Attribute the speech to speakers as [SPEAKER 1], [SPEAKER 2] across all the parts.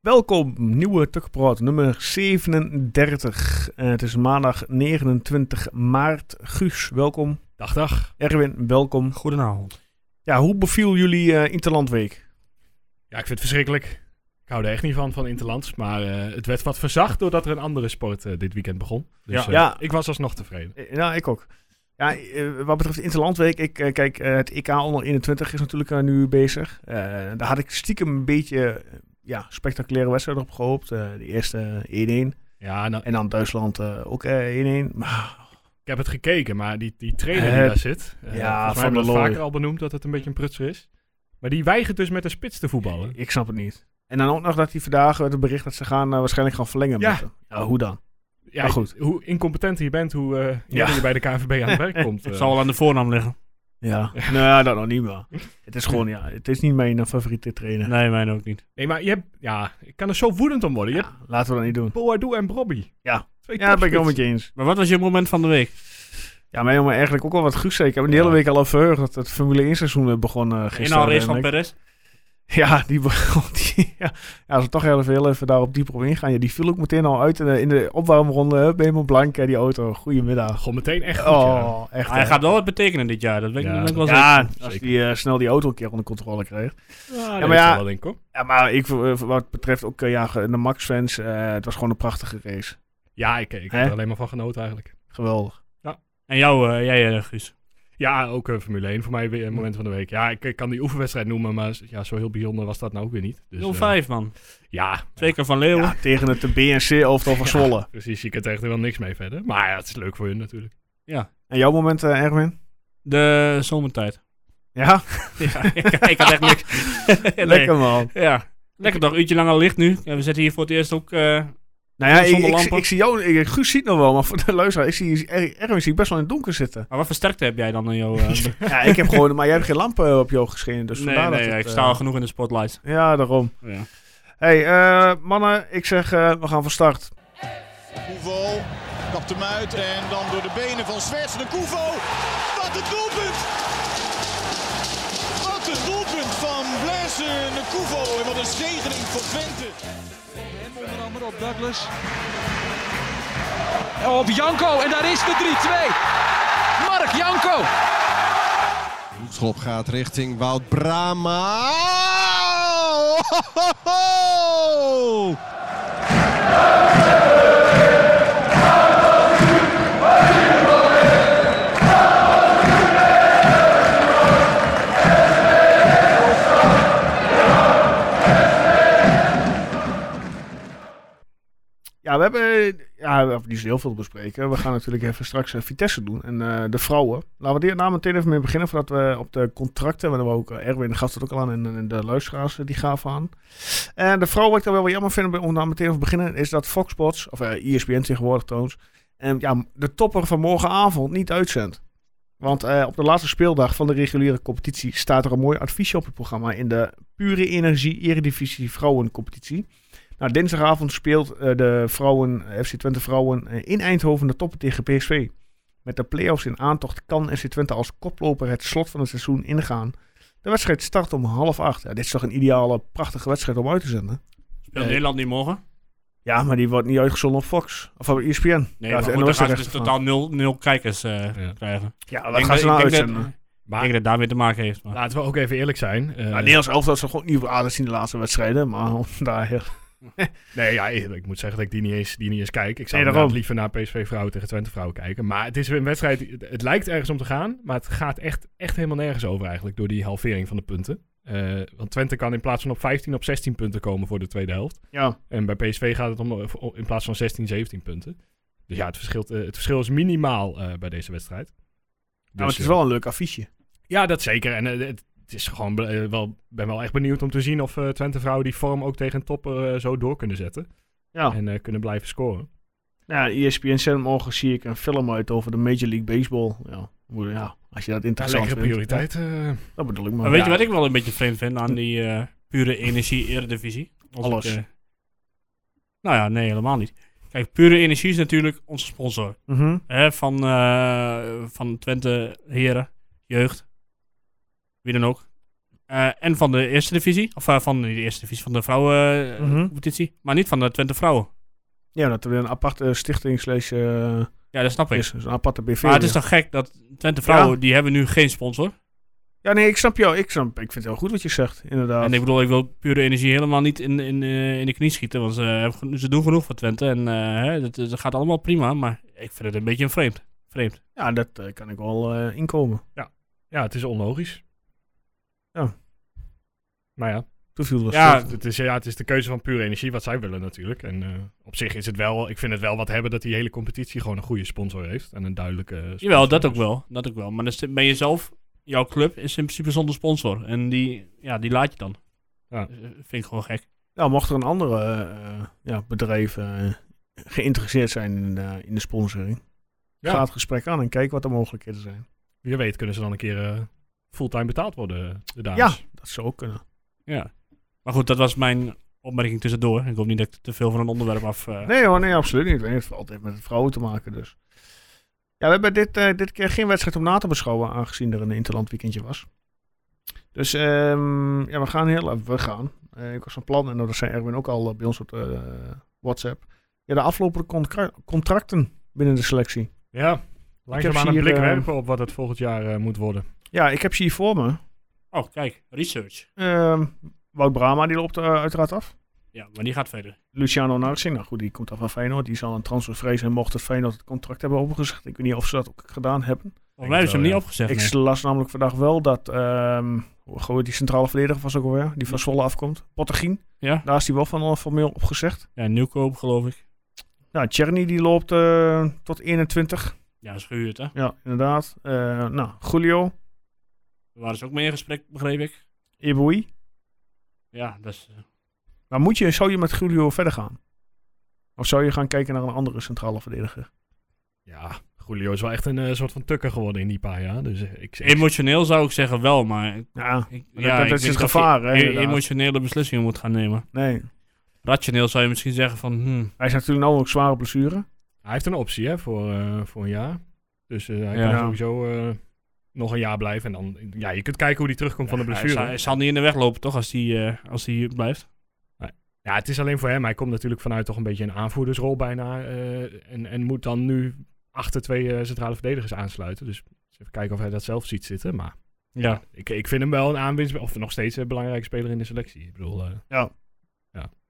[SPEAKER 1] Welkom, nieuwe Tukpraat nummer 37. Eh, het is maandag 29 maart. Guus, welkom.
[SPEAKER 2] Dag, dag.
[SPEAKER 1] Erwin, welkom.
[SPEAKER 3] Goedenavond.
[SPEAKER 1] Ja, hoe beviel jullie eh, Interlandweek?
[SPEAKER 2] Ja, ik vind het verschrikkelijk. Ik hou er echt niet van, van Interlands. Maar eh, het werd wat verzacht doordat er een andere sport eh, dit weekend begon. Dus
[SPEAKER 1] Ja.
[SPEAKER 2] eh,
[SPEAKER 1] Ja.
[SPEAKER 2] ik was alsnog tevreden.
[SPEAKER 1] Eh, nou, ik ook. Ja, eh, wat betreft Interlandweek, ik, eh, kijk, eh, het EK onder 21 is natuurlijk eh, nu bezig. Eh, daar had ik stiekem een beetje eh, ja, spectaculaire wedstrijden op gehoopt. Eh, de eerste 1-1
[SPEAKER 2] Ja, nou,
[SPEAKER 1] en dan Duitsland eh, ook eh, 1-1. Maar
[SPEAKER 2] ik heb het gekeken, maar die, die trainer die
[SPEAKER 1] Het-
[SPEAKER 2] daar zit... eh,
[SPEAKER 1] Ja,
[SPEAKER 2] volgens mij
[SPEAKER 1] Van
[SPEAKER 2] hebben we
[SPEAKER 1] der Looy.
[SPEAKER 2] vaker al benoemd dat het een beetje een prutser is. Maar die weigert dus met de spits te voetballen.
[SPEAKER 1] Ik snap het niet. En dan ook nog dat hij vandaag eh, het bericht dat ze gaan, eh, waarschijnlijk gaan verlengen.
[SPEAKER 2] Ja.
[SPEAKER 1] met hem. ja hoe dan?
[SPEAKER 2] Ja,
[SPEAKER 1] Maar goed.
[SPEAKER 2] Hoe incompetenter je bent, hoe eh
[SPEAKER 1] Ja.
[SPEAKER 2] eerder je bij de KNVB aan het werk komt. eh.
[SPEAKER 3] Het zal wel aan de voornaam liggen.
[SPEAKER 1] Ja. nou, dat nog niet meer. Het is gewoon, ja, het is niet mijn eh, favoriete trainer.
[SPEAKER 3] Nee, mijn ook niet.
[SPEAKER 2] Nee, maar je hebt... Ja, ik kan er zo woedend om worden. Je hebt
[SPEAKER 1] Ja, laten we dat niet doen.
[SPEAKER 2] Boadu en Brobby.
[SPEAKER 1] Ja.
[SPEAKER 2] Twee
[SPEAKER 1] Ja, dat ben ik wel
[SPEAKER 2] topspitsen.
[SPEAKER 1] met je eens.
[SPEAKER 3] Maar wat was je moment van de week?
[SPEAKER 1] Ja, maar jongen, eigenlijk ook wel wat Guus zei. Ik heb me die hele
[SPEAKER 2] Ja.
[SPEAKER 1] week al op verheugd dat het Formule 1 seizoen eh, begon eh,
[SPEAKER 3] In
[SPEAKER 1] gisteren.
[SPEAKER 3] al race
[SPEAKER 1] En
[SPEAKER 3] van
[SPEAKER 1] ik-
[SPEAKER 3] Perez.
[SPEAKER 1] Ja, die begon. Die, ja. ja, als we toch heel even, heel even daarop dieper op ingaan. Ja, die viel ook meteen al uit in de, in de opwarmronde. Hup, helemaal blank, hè, die auto. Goedemiddag.
[SPEAKER 2] Gewoon meteen echt goed, ja. Ah,
[SPEAKER 1] Oh, echt.
[SPEAKER 3] Hij
[SPEAKER 1] hè.
[SPEAKER 3] gaat wel wat betekenen dit jaar. Dat weet ik
[SPEAKER 2] Ja,
[SPEAKER 3] dat ben ik wel
[SPEAKER 2] dat-
[SPEAKER 3] zeker.
[SPEAKER 1] ja, als
[SPEAKER 2] Zeker.
[SPEAKER 1] hij eh, snel die auto een keer onder controle krijgt.
[SPEAKER 2] Ja,
[SPEAKER 1] maar
[SPEAKER 2] maar
[SPEAKER 1] ja,
[SPEAKER 2] ja... Wel, denk ik, hoor.
[SPEAKER 1] Ja, maar ik, eh, wat betreft ook eh, ja, ge- de Max-fans, eh, het was gewoon een prachtige race.
[SPEAKER 2] Ja, ik, ik heb
[SPEAKER 1] Hè?
[SPEAKER 2] er alleen maar van genoten eigenlijk.
[SPEAKER 1] Geweldig.
[SPEAKER 3] En jou, eh, jij eh, Guus.
[SPEAKER 2] Ja, ook eh, Formule 1 voor mij weer een moment van de week. Ja, ik, ik kan die oefenwedstrijd noemen, maar s- ja, zo heel bijzonder was dat nou ook weer niet. Dus, eh,
[SPEAKER 3] 05 man.
[SPEAKER 2] ja,
[SPEAKER 3] Twee keer van Leeuwen.
[SPEAKER 1] Ja, tegen het BNC-elftal van Zwolle.
[SPEAKER 2] precies. Je kunt er echt wel niks mee verder. Maar ja, het is leuk voor hun natuurlijk.
[SPEAKER 1] En jouw moment, eh, Erwin?
[SPEAKER 3] De zomertijd.
[SPEAKER 1] Ja,
[SPEAKER 3] ja, ik, ik had echt niks. Nee.
[SPEAKER 1] lekker man.
[SPEAKER 3] Ja. Lekker toch, uurtje lang al licht nu. En we zitten hier voor het eerst ook... eh,
[SPEAKER 1] Nou ja, ik,
[SPEAKER 3] Zonder
[SPEAKER 1] ik,
[SPEAKER 3] lampen.
[SPEAKER 1] ik zie jou, ik, Guus ziet nog wel, maar voor de luisteraar, ik zie Er- Erwin zie ik best wel in het donker zitten.
[SPEAKER 3] Maar wat voor sterkte heb jij dan in jouw... eh,
[SPEAKER 1] Ja, ik heb gewoon, maar jij hebt geen lampen op je oog geschenen, dus
[SPEAKER 3] nee,
[SPEAKER 1] vandaar
[SPEAKER 3] nee,
[SPEAKER 1] dat het,
[SPEAKER 3] ik
[SPEAKER 1] eh,
[SPEAKER 3] sta al genoeg in de spotlight.
[SPEAKER 1] Ja, daarom.
[SPEAKER 3] Ja.
[SPEAKER 1] hey, eh, mannen, ik zeg, eh, we gaan van start.
[SPEAKER 4] Koevo kapt hem uit en dan door de benen van Zwerts de Koevo. Wat een doelpunt! Wat een doelpunt van Blaise de Koevo en wat een zegening voor Twente.
[SPEAKER 5] En onder andere op Douglas. Op Janko en daar is de 3-2. Mark Janko.
[SPEAKER 4] Hoekschop gaat richting Wout Brama.
[SPEAKER 1] Ja, we hebben ja, we- niet zo heel veel te bespreken. We gaan natuurlijk even straks eh, Vitesse doen en eh, de vrouwen. Laten we die- daar meteen even mee beginnen voordat we op de contracten, want we ook eh, Erwin gaf het ook al aan en, en de luisteraars eh, die gaven aan. En de vrouw wat ik dan wel wel jammer vind om daar meteen over te beginnen, is dat Fox Sports, of eh ESPN tegenwoordig trouwens, en ja, de topper van morgenavond niet uitzendt. Want eh, op de laatste speeldag van de reguliere competitie staat er een mooi adviesje op het programma in de Pure Energie Eredivisie Vrouwencompetitie. Nou, dinsdagavond speelt eh, de vrouwen, eh, FC Twente vrouwen eh, in Eindhoven de toppen tegen PSV. Met de play-offs in aantocht kan FC Twente als koploper het slot van het seizoen ingaan. De wedstrijd start om half acht. Ja, dit is toch een ideale, prachtige wedstrijd om uit te zenden?
[SPEAKER 3] Speelt Nederland niet morgen?
[SPEAKER 1] Ja, maar die wordt niet uitgezonden op Fox. Of op E ESPN.
[SPEAKER 3] Nee,
[SPEAKER 1] ja,
[SPEAKER 3] maar
[SPEAKER 1] de
[SPEAKER 3] goed, dan
[SPEAKER 1] NOS
[SPEAKER 3] gaan ze
[SPEAKER 1] rechten
[SPEAKER 3] dus
[SPEAKER 1] van.
[SPEAKER 3] totaal nul, nul kijkers eh,
[SPEAKER 2] Ja.
[SPEAKER 3] krijgen.
[SPEAKER 1] Ja,
[SPEAKER 3] Ik
[SPEAKER 1] wat
[SPEAKER 3] denk
[SPEAKER 1] gaan ze
[SPEAKER 3] dat-
[SPEAKER 1] nou
[SPEAKER 3] ik denk
[SPEAKER 1] uitzenden?
[SPEAKER 3] dat- Ik
[SPEAKER 2] Maar
[SPEAKER 3] denk dat het daarmee te maken heeft. Maar.
[SPEAKER 2] laten we ook even eerlijk zijn. eh,
[SPEAKER 1] Nou, Nederlands elftal zou gewoon niet aardig zien de laatste wedstrijden. Maar om daar heel...
[SPEAKER 2] nee, ja, ik ik moet zeggen dat ik die niet eens, die niet eens kijk. Ik
[SPEAKER 1] Nee,
[SPEAKER 2] zou
[SPEAKER 1] daarom.
[SPEAKER 2] inderdaad liever naar PSV vrouwen tegen Twente vrouwen kijken. Maar het is weer een wedstrijd, het, het lijkt ergens om te gaan, maar het gaat echt, echt helemaal nergens over eigenlijk door die halvering van de punten. Eh, want Twente kan in plaats van op 15 op 16 punten komen voor de tweede helft.
[SPEAKER 1] Ja,
[SPEAKER 2] En bij PSV gaat het om om- in plaats van 16, 17 punten. Dus ja, het verschil, het verschil is minimaal eh, bij deze wedstrijd.
[SPEAKER 1] maar
[SPEAKER 2] Dus,
[SPEAKER 1] het is
[SPEAKER 2] eh,
[SPEAKER 1] wel een leuk affiche.
[SPEAKER 2] ja, dat zeker. En eh, het, het is gewoon be- eh, wel, ben wel echt benieuwd om te zien of eh, Twente vrouwen die vorm ook tegen een topper eh, zo door kunnen zetten.
[SPEAKER 1] Ja.
[SPEAKER 2] En eh, kunnen blijven scoren.
[SPEAKER 1] Ja, E ESPN zendt morgen zie ik een film uit over de Major League Baseball. Ja, moet- ja als je dat
[SPEAKER 2] Dat
[SPEAKER 1] interessant
[SPEAKER 2] lekkere
[SPEAKER 1] vindt.
[SPEAKER 2] prioriteit. eh.
[SPEAKER 1] Ja, dat bedoel ik
[SPEAKER 3] Maar
[SPEAKER 1] maar.
[SPEAKER 3] weet
[SPEAKER 2] Ja.
[SPEAKER 3] je wat ik wel een beetje vreemd vind aan die eh, pure energie eredivisie? Als
[SPEAKER 1] Alles.
[SPEAKER 3] ik, eh, nou ja, nee, helemaal niet. Kijk, pure energie is natuurlijk onze sponsor.
[SPEAKER 1] Mhm.
[SPEAKER 3] Hè, van, eh, van Twente Heren, Jeugd, wie dan ook. Eh, Eh, en van de eerste divisie. Of eh, van niet de eerste divisie, van de
[SPEAKER 1] Mhm.
[SPEAKER 3] vrouwencompetitie. Maar niet van de Twente Vrouwen.
[SPEAKER 1] Ja, dat er weer een aparte stichting slash, eh,
[SPEAKER 3] Ja, dat snap ik.
[SPEAKER 1] is. Dus een aparte BV.
[SPEAKER 3] maar het
[SPEAKER 1] weer.
[SPEAKER 3] is toch gek dat Twente Vrouwen,
[SPEAKER 1] Ja.
[SPEAKER 3] die hebben nu geen sponsor.
[SPEAKER 1] Ja, nee, ik snap jou. Ik, snap, ik vind het heel goed wat je zegt, inderdaad.
[SPEAKER 3] En ik bedoel, ik wil pure energie helemaal niet in, in, eh, in de knie schieten. Want ze, hebben geno- ze doen genoeg voor Twente. En eh, hè, dat, dat gaat allemaal prima. Maar ik vind het een beetje een vreemd. Vreemd.
[SPEAKER 1] Ja, dat eh, kan ik wel eh, inkomen.
[SPEAKER 2] Ja, het is onlogisch.
[SPEAKER 1] Ja.
[SPEAKER 2] Maar ja,
[SPEAKER 1] Toen viel er
[SPEAKER 3] Ja,
[SPEAKER 1] ja,
[SPEAKER 2] het, het is, ja, het is de keuze van pure energie wat zij willen natuurlijk. En eh, op zich is het wel, ik vind het wel wat hebben dat die hele competitie gewoon een goede sponsor heeft. En een duidelijke sponsor.
[SPEAKER 3] Jawel, dat ook
[SPEAKER 2] Dus-
[SPEAKER 3] wel. Dat ook wel. Maar dan zit- ben je zelf, jouw club is in principe zonder sponsor. En die, ja, die laat je dan.
[SPEAKER 2] Ja.
[SPEAKER 3] Dus, eh, vind ik gewoon gek.
[SPEAKER 1] ja, mocht er een andere eh, ja, bedrijf eh, geïnteresseerd zijn in, eh, in de sponsoring,
[SPEAKER 2] Ja.
[SPEAKER 1] ga het gesprek aan en kijk wat de mogelijkheden zijn.
[SPEAKER 2] Wie weet kunnen ze dan een keer eh, fulltime betaald worden, de dames.
[SPEAKER 1] Ja, dat zou ook kunnen.
[SPEAKER 3] Ja. Maar goed, dat was mijn opmerking tussendoor. Ik hoop niet dat ik te veel van een onderwerp af... eh,
[SPEAKER 1] Nee hoor, nee, absoluut niet. Het heeft altijd met vrouwen te maken dus. Ja, we hebben dit, eh, dit keer geen wedstrijd om na te beschouwen, aangezien er een interland weekendje was. Dus ehm, ja, we gaan heel even, we gaan. Eh, ik was van plan, en dat zei Erwin ook al eh, bij ons op de, eh, WhatsApp. Ja, de aflopende contra- contracten binnen de selectie.
[SPEAKER 2] Ja, langzaam
[SPEAKER 1] ze
[SPEAKER 2] aan een
[SPEAKER 1] hier,
[SPEAKER 2] blik
[SPEAKER 1] eh,
[SPEAKER 2] werpen op wat het volgend jaar eh, moet worden.
[SPEAKER 1] Ja, ik heb ze hier voor me.
[SPEAKER 3] Oh, kijk. Research.
[SPEAKER 1] Ehm, Wout Brama, die loopt eh, uiteraard af.
[SPEAKER 3] Ja, maar die gaat verder.
[SPEAKER 1] Luciano Narsing, nou goed, die komt af van Feyenoord. Die zal een transfer vrezen en mocht het Feyenoord het contract hebben opgezegd. Ik weet niet of ze dat ook gedaan hebben.
[SPEAKER 3] Volgens mij hebben ze
[SPEAKER 2] wel,
[SPEAKER 3] hem niet
[SPEAKER 2] ja.
[SPEAKER 3] opgezegd. nee.
[SPEAKER 1] Ik las namelijk vandaag wel dat ehm, hoe hoe heet die centrale verdediger was ook alweer, die van Zwolle afkomt. Pottergien,
[SPEAKER 3] Ja?
[SPEAKER 1] daar is die wel van al formeel opgezegd.
[SPEAKER 3] ja, nieuwkoop geloof ik.
[SPEAKER 1] Nou, Czerny die loopt eh, tot 21.
[SPEAKER 3] Ja, is gehuurd hè.
[SPEAKER 1] Ja, inderdaad. Eh, nou, Julio,
[SPEAKER 3] Daar waren ze ook mee in gesprek, begreep ik.
[SPEAKER 1] Eboui.
[SPEAKER 3] Ja, dat is... eh,
[SPEAKER 1] Maar Nou, moet je, zou je met Julio verder gaan? Of zou je gaan kijken naar een andere centrale verdediger?
[SPEAKER 2] Ja, Julio is wel echt een eh, soort van tukker geworden in die paar jaar. Dus eh, ik, ik,
[SPEAKER 3] Emotioneel zou ik zeggen wel, maar... Ik,
[SPEAKER 1] Ja,
[SPEAKER 3] ik-
[SPEAKER 1] dat- dat
[SPEAKER 3] ik
[SPEAKER 1] is het
[SPEAKER 3] weet niet of je
[SPEAKER 1] gevaar, hè,
[SPEAKER 3] e-
[SPEAKER 1] inderdaad.
[SPEAKER 3] emotionele beslissingen moet gaan nemen.
[SPEAKER 1] nee.
[SPEAKER 3] Rationeel zou je misschien zeggen van... hmm,
[SPEAKER 1] Hij is natuurlijk nou ook zware blessure.
[SPEAKER 2] hij heeft een optie hè, voor, eh, voor een jaar. Dus eh, hij
[SPEAKER 3] Ja.
[SPEAKER 2] kan sowieso eh, nog een jaar blijven. En dan, ja, je kunt kijken hoe hij terugkomt van de
[SPEAKER 3] hij
[SPEAKER 2] blessure.
[SPEAKER 3] zal- Hij zal niet in de weg lopen toch, als hij eh, als hij hier blijft.
[SPEAKER 2] Ja, het is alleen voor hem. Hij komt natuurlijk vanuit toch een beetje een aanvoerdersrol bijna. eh, en, en moet dan nu achter twee eh, centrale verdedigers aansluiten. Dus even kijken of hij dat zelf ziet zitten. Maar
[SPEAKER 3] Ja.
[SPEAKER 2] ik, ik vind hem wel een aanwinst. Of nog steeds een belangrijke speler in de selectie. Ik bedoel, eh,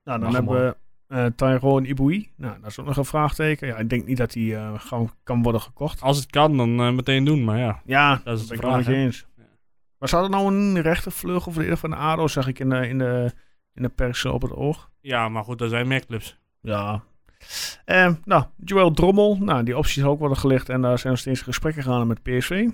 [SPEAKER 1] Nou, dan
[SPEAKER 2] Mag
[SPEAKER 1] hebben we eh Tyrone Eboui. Nou, dat is ook nog een vraagteken. Ja, ik denk niet dat hij eh, gewoon kan worden gekocht.
[SPEAKER 3] Als het kan, dan eh, meteen doen, maar ja.
[SPEAKER 1] Ja,
[SPEAKER 3] Dat
[SPEAKER 1] Dat
[SPEAKER 3] is de
[SPEAKER 1] ben ik wel
[SPEAKER 3] vraag.
[SPEAKER 1] met je
[SPEAKER 3] hè.
[SPEAKER 1] eens.
[SPEAKER 3] Ja.
[SPEAKER 1] Maar zou dat nou een rechtervleugel of verdediger van de ADO, zag ik in de, in de, in de pers eh, op het oog?
[SPEAKER 3] Ja, maar goed, er zijn meer clubs.
[SPEAKER 1] Ja. Ehm, nou, Joel Drommel, nou, die opties ook worden gelicht en daar zijn nog steeds gesprekken gaan met PSV.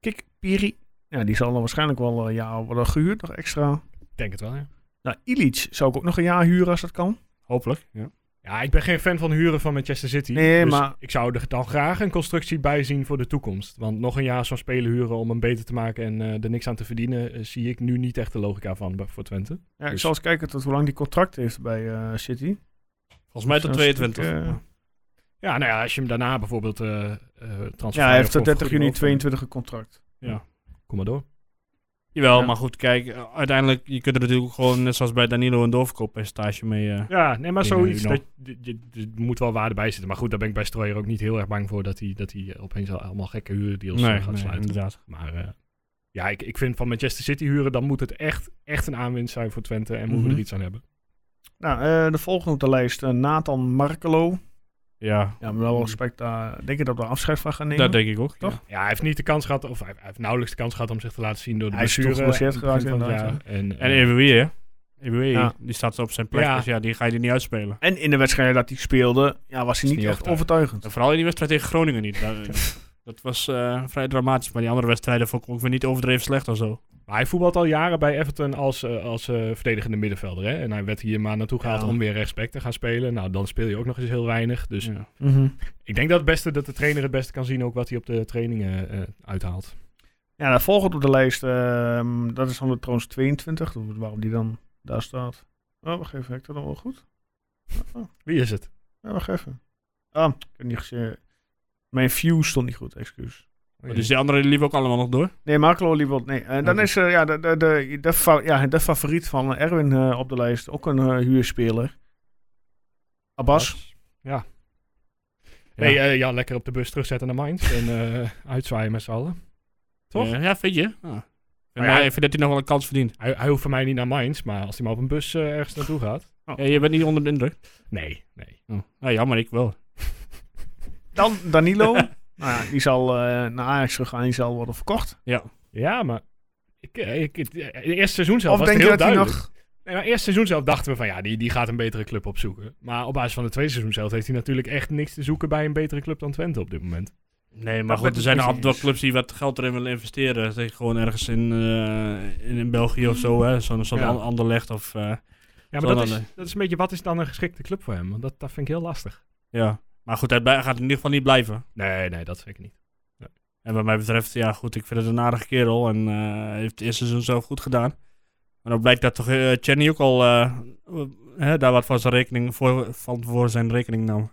[SPEAKER 1] Kik Piri, ja, die zal dan waarschijnlijk wel een jaar worden gehuurd, nog extra.
[SPEAKER 2] ik denk het wel, ja.
[SPEAKER 1] Nou, Ilic zou ik ook nog een jaar huren als dat kan.
[SPEAKER 3] Hopelijk. Ja.
[SPEAKER 2] Ja, ik ben geen fan van huren van Manchester City.
[SPEAKER 1] Nee,
[SPEAKER 2] dus
[SPEAKER 1] maar-
[SPEAKER 2] ik zou er dan graag een constructie bij zien voor de toekomst. Want nog een jaar zo'n speler huren om hem beter te maken en eh, er niks aan te verdienen... eh, zie ik nu niet echt de logica van bij- voor Twente.
[SPEAKER 1] Ja, ik
[SPEAKER 2] Dus-
[SPEAKER 1] zal eens kijken tot hoe lang die contract heeft bij eh, City.
[SPEAKER 3] Volgens mij tot
[SPEAKER 1] Zo'n
[SPEAKER 3] 22.
[SPEAKER 1] stuk, eh,
[SPEAKER 3] Ja.
[SPEAKER 2] Ja, nou ja, als je hem daarna bijvoorbeeld eh eh transfer...
[SPEAKER 1] ja, hij heeft
[SPEAKER 2] of
[SPEAKER 1] tot 30 juni
[SPEAKER 2] vergoeding over-
[SPEAKER 1] 22 een contract.
[SPEAKER 2] Kom maar door.
[SPEAKER 3] Jawel,
[SPEAKER 1] Ja.
[SPEAKER 3] maar goed, kijk, eh, uiteindelijk, je kunt er natuurlijk ook gewoon, net zoals bij Danilo, een doorverkooppercentage mee. eh,
[SPEAKER 2] Ja, nee, maar
[SPEAKER 3] Ik
[SPEAKER 2] zoiets.
[SPEAKER 3] denk dat
[SPEAKER 2] Dat, je- je- je- er moet wel waarde bij zitten. Maar goed, daar ben ik bij Stroyer ook niet heel erg bang voor dat hij, dat hij eh, opeens al- allemaal gekke huurdeals eh, gaat sluiten.
[SPEAKER 3] inderdaad.
[SPEAKER 2] Maar eh, ja, ik, ik vind van Manchester City huren, dan moet het echt, echt een aanwinst zijn voor Twente. En moeten we
[SPEAKER 1] Mhm.
[SPEAKER 2] er iets aan hebben.
[SPEAKER 1] Nou, eh, de volgende op de lijst, eh, Nathan Markelo.
[SPEAKER 3] Ja,
[SPEAKER 1] Ja, maar wel respect daar. Denk je dat we afscheid van gaan nemen?
[SPEAKER 3] dat denk ik ook.
[SPEAKER 1] Toch?
[SPEAKER 3] Ja.
[SPEAKER 2] Ja, hij heeft niet de kans gehad, of hij, hij heeft nauwelijks de kans gehad om zich te laten zien door de
[SPEAKER 1] Hij is toch
[SPEAKER 2] blessure.
[SPEAKER 1] geblesseerd
[SPEAKER 2] aan het begin
[SPEAKER 1] geraakt,
[SPEAKER 2] van het jaar. En,
[SPEAKER 3] En
[SPEAKER 2] eh,
[SPEAKER 3] EWE, hè? EWE,
[SPEAKER 1] Ja.
[SPEAKER 3] die staat op zijn plek,
[SPEAKER 2] Ja.
[SPEAKER 3] dus ja, die ga je er niet uitspelen.
[SPEAKER 1] En in de wedstrijd dat hij speelde, ja, was hij niet,
[SPEAKER 2] niet
[SPEAKER 1] echt overtuigend.
[SPEAKER 3] En vooral in die wedstrijd tegen Groningen niet. Dat, dat was eh, vrij dramatisch, maar die andere wedstrijden vond ik ook weer niet overdreven slecht of zo.
[SPEAKER 2] Maar hij voetbalt al jaren bij Everton als, eh, als eh, verdedigende middenvelder. Hè? En hij werd hier maar naartoe gehaald
[SPEAKER 1] Ja.
[SPEAKER 2] om weer rechtsback te gaan spelen. Nou, dan speel je ook nog eens heel weinig. Dus
[SPEAKER 3] Ja.
[SPEAKER 2] ik denk dat, het beste, dat de trainer het beste kan zien ook wat hij op de trainingen eh, uithaalt.
[SPEAKER 1] Ja, de volgende op de lijst, ehm, dat is dan de Troons 22. Dus Waarom die dan daar staat. Oh, wacht even, heb ik dat dan wel goed?
[SPEAKER 2] Wie is het?
[SPEAKER 1] Ja, wacht even. Ah, ik heb niet gezien. Mijn view stond niet goed, excuus. Oké.
[SPEAKER 3] Dus die anderen liepen ook allemaal nog door.
[SPEAKER 1] Nee, Marco Liebold, nee. En dan
[SPEAKER 3] Oh, Oké.
[SPEAKER 1] is eh, ja, de, de, de, de, fa- ja, de favoriet van Erwin eh, op de lijst. Ook een eh, huurspeler. Abbas.
[SPEAKER 2] Ja. Nee, eh, ja, lekker op de bus terugzetten naar Mainz en eh, uitzwaaien met z'n allen. Toch?
[SPEAKER 3] Ja, ja, vind je? Ah.
[SPEAKER 2] Maar
[SPEAKER 3] Maar
[SPEAKER 2] ja,
[SPEAKER 3] ik vind dat hij nog wel een kans verdient.
[SPEAKER 2] Hij, hij hoeft voor mij niet naar Mainz, maar als hij maar op een bus eh, ergens naartoe gaat.
[SPEAKER 3] Ja, je bent niet onder de indruk.
[SPEAKER 2] Nee, nee.
[SPEAKER 3] Oh. Nou, jammer, ik wel.
[SPEAKER 1] Dan Danilo. nou ja, die zal eh, naar Ajax gaan. Die zal worden verkocht.
[SPEAKER 3] Ja.
[SPEAKER 2] Ja, maar ik, eh, ik, het eh, eerste seizoen zelf
[SPEAKER 1] of
[SPEAKER 2] was het
[SPEAKER 1] denk je
[SPEAKER 2] heel
[SPEAKER 1] dat hij
[SPEAKER 2] duidelijk.
[SPEAKER 1] nog...
[SPEAKER 2] Nee, maar eerste seizoen zelf dachten we van ja, die, die gaat een betere club opzoeken. Maar op basis van het tweede seizoen zelf heeft hij natuurlijk echt niks te zoeken bij een betere club dan Twente op dit moment.
[SPEAKER 3] Nee, maar
[SPEAKER 1] Dat
[SPEAKER 3] goed,
[SPEAKER 1] ben
[SPEAKER 3] er
[SPEAKER 1] ik
[SPEAKER 3] zijn
[SPEAKER 1] met je
[SPEAKER 3] altijd wel
[SPEAKER 1] eens.
[SPEAKER 3] clubs die wat geld erin willen investeren. Dat is gewoon ergens in, eh, in, in België of zo, hè. Zo'n zo'n
[SPEAKER 2] Ja.
[SPEAKER 3] an- ander legt of... eh,
[SPEAKER 2] Ja, maar
[SPEAKER 3] Zal
[SPEAKER 2] dat
[SPEAKER 3] wel,
[SPEAKER 1] eh,
[SPEAKER 2] is, dat is een beetje wat is dan een geschikte club voor hem? Want dat, dat vind ik heel lastig.
[SPEAKER 3] ja. Maar goed, hij bij- gaat in ieder geval niet blijven.
[SPEAKER 2] Nee, nee, dat zeker niet.
[SPEAKER 3] En wat mij betreft, ja goed, ik vind het een aardige kerel. En eh, hij heeft het eerste seizoen zelf goed gedaan. Maar dan blijkt dat toch eh Chenny ook al eh, hè, daar wat van zijn rekening voor, van voor zijn rekening nam.